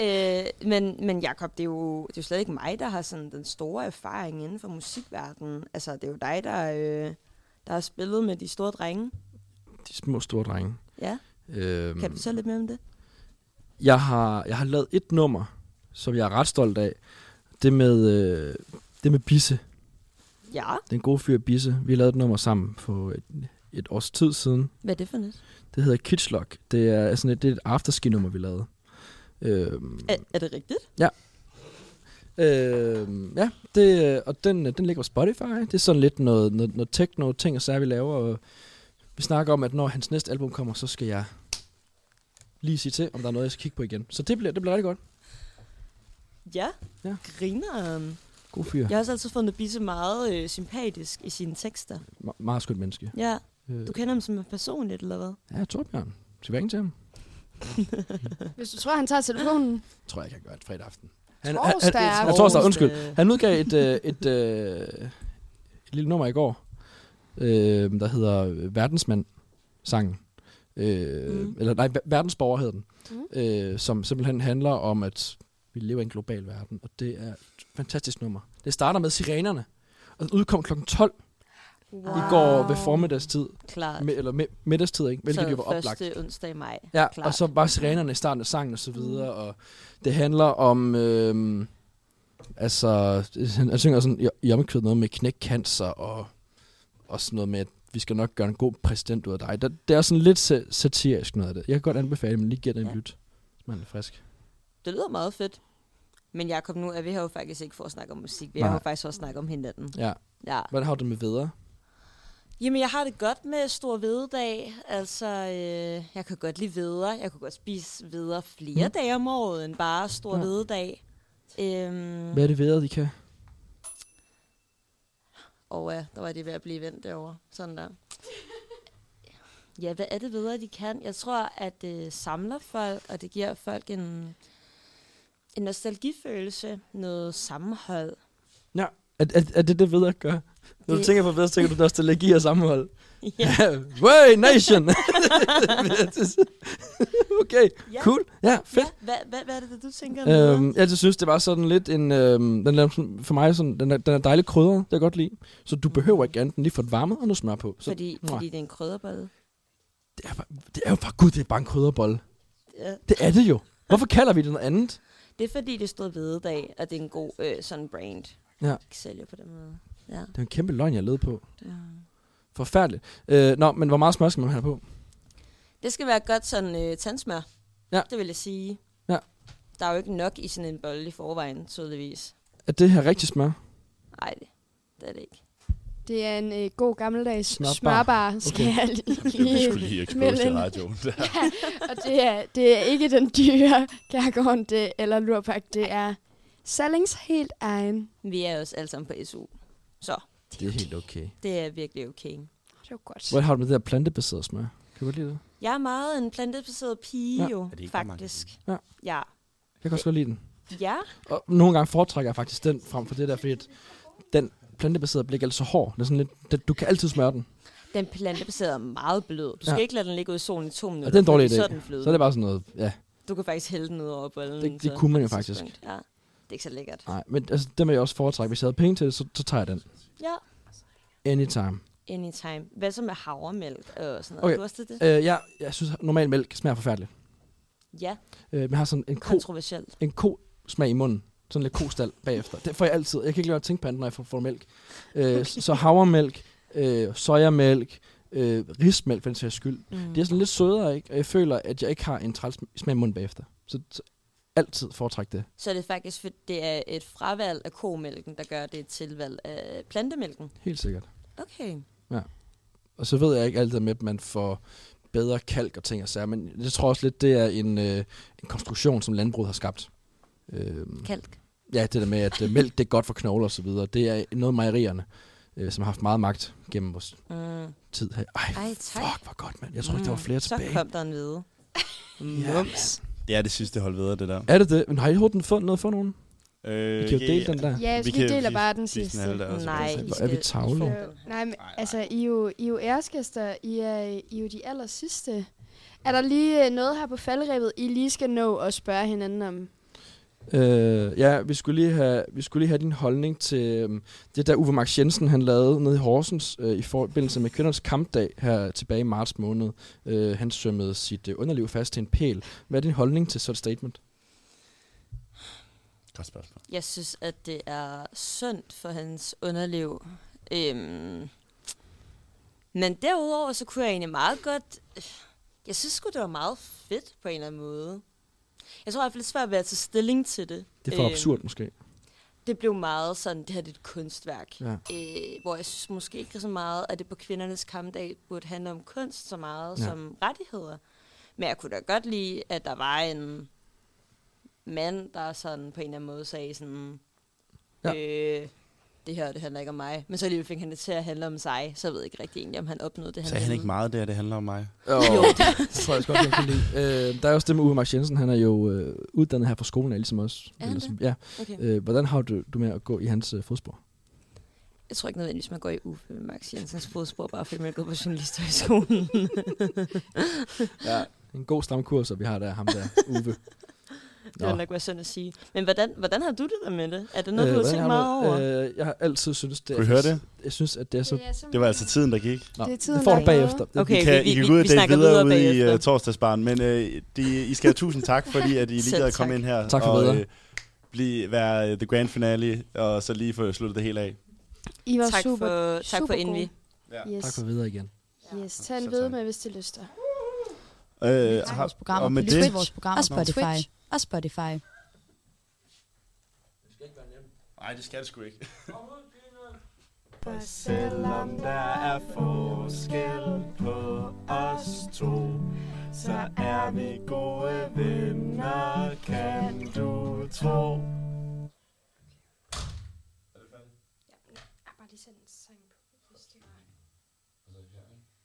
Speaker 20: øh, men, men Jacob, det er, jo, det er jo slet ikke mig, der har sådan den store erfaring inden for musikverdenen. Altså, det er jo dig, der, øh, der har spillet med de store drenge.
Speaker 5: De små store drenge.
Speaker 20: Ja.
Speaker 5: Øhm,
Speaker 20: Kan du fortælle lidt mere om det?
Speaker 5: jeg har, jeg har lavet et nummer, som jeg er ret stolt af. Det med, øh, det med Bisse.
Speaker 20: Ja.
Speaker 5: Den gode fyr Bisse. Vi lavede et nummer sammen for et, et års tid siden.
Speaker 20: Hvad er det for noget?
Speaker 5: Det hedder Kitschlock. Det er sådan et, det er et afterski-nummer, vi lavede. Øhm,
Speaker 20: Er, er det rigtigt?
Speaker 5: Ja. Øh, ja, det, øh, og den, øh, den ligger på Spotify. Det er sådan lidt noget, noget, noget techno-ting og særligt, vi laver. Og vi snakker om, at når hans næste album kommer, så skal jeg lige sige til, om der er noget, jeg skal kigge på igen. Så det bliver, det bliver rigtig godt.
Speaker 20: Ja. ja. Griner.
Speaker 5: God fyr.
Speaker 20: Jeg har også altid fundet Bisse meget øh, sympatisk i sine tekster.
Speaker 5: Me- meget skønt menneske.
Speaker 20: Ja.
Speaker 5: Øh,
Speaker 20: Du kender ham som en personligt, eller hvad?
Speaker 5: ja, Torbjørn. Skal vi ringe til ham?
Speaker 3: Hvis du tror, han tager telefonen.
Speaker 5: Tror jeg ikke, jeg gør det fredag aften.
Speaker 3: Torsdag
Speaker 5: han,
Speaker 3: aften.
Speaker 5: han, torsdag, undskyld.
Speaker 3: Torsdag.
Speaker 5: Han udgav et, øh, et, øh, et lille nummer i går, øh, der hedder Verdensmand sangen. Øh, mm. Eller nej, Ver- Verdensborger hedder den. Mm. Øh, som simpelthen handler om, at vi lever i en global verden, og det er et fantastisk nummer. Det starter med sirenerne, og den udkom kl. 12 wow. i går ved formiddagstid.
Speaker 20: Klart.
Speaker 5: Med, eller med, middagstid, ikke? hvilket
Speaker 20: så
Speaker 5: jo var oplagt.
Speaker 20: første onsdag i maj.
Speaker 5: Ja, Klart. og så var sirenerne i starten af sangen og så videre, mm. og det handler om, øhm, altså, han han synger sådan i, i omkvædet noget med knækkancer og, og sådan noget med, at vi skal nok gøre en god præsident ud af dig. Det, det er sådan lidt sa- satirisk noget af det. Jeg kan godt anbefale, at man lige giver den en lyt, hvis man er frisk.
Speaker 20: Det lyder meget fedt. Men Jacob, nu er vi her jo faktisk ikke for at snakke om musik. Vi er her
Speaker 5: Nej.
Speaker 20: jo faktisk for at snakke om hinanden.
Speaker 5: Ja.
Speaker 20: ja.
Speaker 5: Hvordan har du det med videre?
Speaker 20: Jamen, jeg har det godt med stor vededag. Altså, øh, jeg kan godt lide veder. Jeg kan godt spise veder flere
Speaker 5: Mm.
Speaker 20: mm. dage om året end bare stor
Speaker 5: Ja.
Speaker 20: ja. vededag. Øhm,
Speaker 5: Hvad er det videre, de kan?
Speaker 20: Og ja, der var det ved at blive vendt derovre. Sådan der. Ja, hvad er det videre, de kan? Jeg tror, at det samler folk, og det giver folk en, en nostalgifølelse, noget sammenhold.
Speaker 5: Ja. Er, er, er det det videre gør? Når du
Speaker 20: Det-
Speaker 5: tænker på videre, så tænker du nostalgi og sammenhold.
Speaker 20: Ja.
Speaker 5: Way nation! okay, cool. Ja, fedt.
Speaker 20: Ja, hvad, hvad, hvad er det, du tænker om? videre?
Speaker 5: Øhm, jeg altid synes, det var sådan lidt en... Øhm, den er sådan- for mig sådan, den er, den er dejligt krydret, det kan jeg godt lide. Så du behøver ikke andet end lige få det varmet og noget smør på. Så,
Speaker 20: Mm. Fordi,
Speaker 5: Mwah.
Speaker 20: fordi det er en krydderbolle.
Speaker 5: Det er jo for gud, det er bare en krydderbolle.
Speaker 20: Ja.
Speaker 5: Det er det jo. Hvorfor kalder vi det noget andet?
Speaker 20: Det er fordi, det stod vededag, og det er en god øh, sådan brand.
Speaker 5: Ja.
Speaker 20: Ikke sælger på den måde. Ja.
Speaker 5: Det er en kæmpe løgn, jeg led på.
Speaker 20: Ja.
Speaker 5: Forfærdeligt. Øh, nå, men hvor meget smør skal man have på?
Speaker 20: Det skal være godt sådan øh, tandsmør.
Speaker 5: Ja.
Speaker 20: Det vil jeg sige.
Speaker 5: Ja.
Speaker 20: Der er jo ikke nok i sådan en bolle i forvejen, tydeligvis.
Speaker 5: Er det her rigtig smør?
Speaker 20: Nej, det, det er det ikke.
Speaker 3: Det er en øh, god gammeldags
Speaker 5: Smørbar.
Speaker 3: smørbar, smørbar skal
Speaker 5: Okay.
Speaker 3: okay. jeg lige,
Speaker 2: Det er vi skulle lige expose
Speaker 3: melde
Speaker 2: til
Speaker 3: ind.
Speaker 2: radioen. Der.
Speaker 3: ja, og det er, det er ikke den dyre kærgården det, eller lurpak, det er Sallings helt egen.
Speaker 20: Vi er jo også alle sammen på SU. Så
Speaker 5: Det er helt okay.
Speaker 20: det er virkelig okay.
Speaker 3: Det var godt.
Speaker 5: Hvor har du med det der plantebaserede smør? Kan du godt lide det?
Speaker 20: Jeg er meget en plantebaseret pige
Speaker 5: Ja.
Speaker 20: ja. jo,
Speaker 5: Er det ikke bare mange
Speaker 20: faktisk.
Speaker 5: Ja.
Speaker 20: ja.
Speaker 5: Jeg kan også godt lide den.
Speaker 20: Ja.
Speaker 5: Og nogle gange foretrækker jeg faktisk den frem for det der, fordi at den plantebaserede bliver ikke altid så hård. Det er sådan lidt, det, du kan altid smøre den.
Speaker 20: Den plantebaserede er meget blød. Du skal
Speaker 5: Ja.
Speaker 20: ikke lade den ligge ud i solen i to minutter.
Speaker 5: Og det er en dårlig idé.
Speaker 20: fordi Så er, den
Speaker 5: Så er det bare sådan noget, ja.
Speaker 20: Du kan faktisk hælde den ud over bollen.
Speaker 5: Det- det
Speaker 20: så-
Speaker 5: kunne man
Speaker 20: på
Speaker 5: jo
Speaker 20: et
Speaker 5: faktisk.
Speaker 20: tidspunkt. Ja. Det er ikke så lækkert.
Speaker 5: Nej, men altså, den vil jeg også foretrække. Hvis jeg havde penge til det, så, så tager jeg den.
Speaker 20: Ja.
Speaker 5: Anytime.
Speaker 20: Anytime. Hvad så med havremælk og sådan noget?
Speaker 5: Okay.
Speaker 20: Du også det?
Speaker 5: Øh, jeg, jeg synes, at normal mælk smager forfærdeligt.
Speaker 20: Ja.
Speaker 5: Øh, men jeg har sådan en ko,
Speaker 20: Kontroversielt.
Speaker 5: en ko smag i munden. Sådan lidt kostal bagefter. Det får jeg altid. Jeg kan ikke lade være at tænke på andet, når jeg får, får mælk. Øh, så havremælk, øh, sojamælk, øh, rismælk for den sags skyld.
Speaker 20: Mm.
Speaker 5: Det er sådan lidt sødere, ikke? Og jeg føler, at jeg ikke har en træls smag i munden bagefter. Så, så altid foretræk det.
Speaker 20: Så er det faktisk, for det er et fravalg af komælken, der gør det er et tilvalg af plantemælken.
Speaker 5: Helt sikkert.
Speaker 20: Okay.
Speaker 5: Ja. Og så ved jeg ikke alt det med, at man får bedre kalk og ting og sager, men jeg tror også lidt, det er en, øh, en konstruktion, som landbruget har skabt. Øhm,
Speaker 20: Kalk?
Speaker 5: ja, det der med, at øh, mælk det er godt for knogler og så videre, det er noget af mejerierne, øh, som har haft meget magt gennem vores
Speaker 20: Mm.
Speaker 5: tid her. Ej,
Speaker 20: Ej, tak. Fuck,
Speaker 5: hvor godt, mand. Jeg troede ikke, der var flere
Speaker 20: så
Speaker 5: tilbage.
Speaker 20: Så kom der en hvide. Mums.
Speaker 2: Det er det sidste hold videre, det der.
Speaker 5: er det det? Men har I overhovedet fundet noget for nogen?
Speaker 2: Øh,
Speaker 5: I kan jo dele den der.
Speaker 3: Ja, vi, deler bare den sidste.
Speaker 5: Nej, Hvor er vi tavlige.
Speaker 3: Nej, men altså, I er jo, I er jo æreskæster. I er, I er jo de aller sidste. Er der lige øh, noget her på faldrebet, I lige skal nå at spørge hinanden om?
Speaker 5: Øh, ja, vi skulle, lige have, vi skulle lige have din holdning til øhm, det der Uwe Max Jensen, han lavede nede i Horsens øh, i forbindelse med kvindernes kampdag her tilbage i marts måned. Øh, han svømmede sit øh, underliv fast til en pæl. Hvad er din holdning til sådan et statement?
Speaker 2: Godt spørgsmål.
Speaker 20: Jeg synes, at det er synd for hans underliv. Øhm. Men derudover, så kunne jeg egentlig meget godt... Jeg synes sgu, det var meget fedt på en eller anden måde. Jeg tror i hvert fald, det er svært ved at tage stilling til det.
Speaker 5: Det er for
Speaker 20: Øhm,
Speaker 5: absurd måske.
Speaker 20: Det blev meget sådan, det her det er et kunstværk.
Speaker 5: Ja.
Speaker 20: Øh, hvor jeg synes måske ikke så meget, at det på kvindernes kampdag burde handle om kunst så meget
Speaker 5: Ja.
Speaker 20: ja. som rettigheder. Men jeg kunne da godt lide, at der var en mand, der sådan på en eller anden måde sagde sådan,
Speaker 5: ja.
Speaker 20: øh, det her det handler ikke om mig. Men så alligevel fik han det til at handle om sig, så jeg ved ikke rigtig egentlig, om han opnåede det, han ligesom
Speaker 2: Sagde han ikke meget der, det handler om mig?
Speaker 5: Jo, det tror jeg også godt, jeg kan lide. Øh, der er også det med Uwe Max Jensen, han er jo øh, uddannet her fra skolen, er ligesom os.
Speaker 20: Er han
Speaker 5: Eller
Speaker 20: det?
Speaker 5: som- Ja.
Speaker 20: Okay.
Speaker 5: Øh, hvordan har du, du med at gå i hans øh, fodspor?
Speaker 20: Jeg tror ikke nødvendigvis, man går i Uffe Max Jensens fodspor, bare fordi man er gået på journalisterhøjskolen.
Speaker 5: Ja. En god stamkurs, vi har der, ham der, Uwe.
Speaker 20: Det vil nok være synd at sige. Men hvordan, hvordan har du det der med det? Er det noget, øh, du har
Speaker 5: hvordan
Speaker 20: tænkt
Speaker 5: har
Speaker 20: meget
Speaker 5: du-
Speaker 20: over?
Speaker 5: Øh, jeg har altid synes det.
Speaker 2: Kunne I høre
Speaker 5: jeg-
Speaker 2: det?
Speaker 5: Jeg synes, at det er så...
Speaker 2: Det var altså tiden, der gik.
Speaker 5: Nå, Det er det tiden, får der du gik. bagefter. Det-
Speaker 20: Okay,
Speaker 2: I kan,
Speaker 20: okay, vi-
Speaker 2: I kan
Speaker 20: vi-
Speaker 2: gå ud og
Speaker 20: vi
Speaker 2: date
Speaker 20: snakker
Speaker 2: videre
Speaker 20: videre
Speaker 2: ude i
Speaker 20: bagefter.
Speaker 2: uh, torsdagsbaren, men uh, de, I skal have tusind tak, fordi at I lige
Speaker 20: Selv
Speaker 2: gad at komme
Speaker 20: tak.
Speaker 2: ind her
Speaker 5: Tak for
Speaker 2: og øh,
Speaker 5: bedre.
Speaker 2: blive, være uh, the grand finale, og så lige få sluttet det hele af.
Speaker 3: I var
Speaker 20: Tak
Speaker 3: super,
Speaker 20: for- tak for
Speaker 3: super
Speaker 20: indvi.
Speaker 2: Ja.
Speaker 3: Yes.
Speaker 5: Tak for videre igen.
Speaker 3: Yes, tag en ved med, hvis det lyster.
Speaker 2: Øh,
Speaker 17: til
Speaker 2: har-
Speaker 17: vores programmer.
Speaker 2: og med
Speaker 17: på
Speaker 2: det,
Speaker 17: Twitch, vores programmer. Og Spotify.
Speaker 2: Twitch.
Speaker 17: Og Spotify.
Speaker 2: Nej, det skal det sgu ikke.
Speaker 16: For selvom der er forskel på os to, så er vi gode venner, kan du tro.
Speaker 3: Bare lige send en sang på, hvis det var.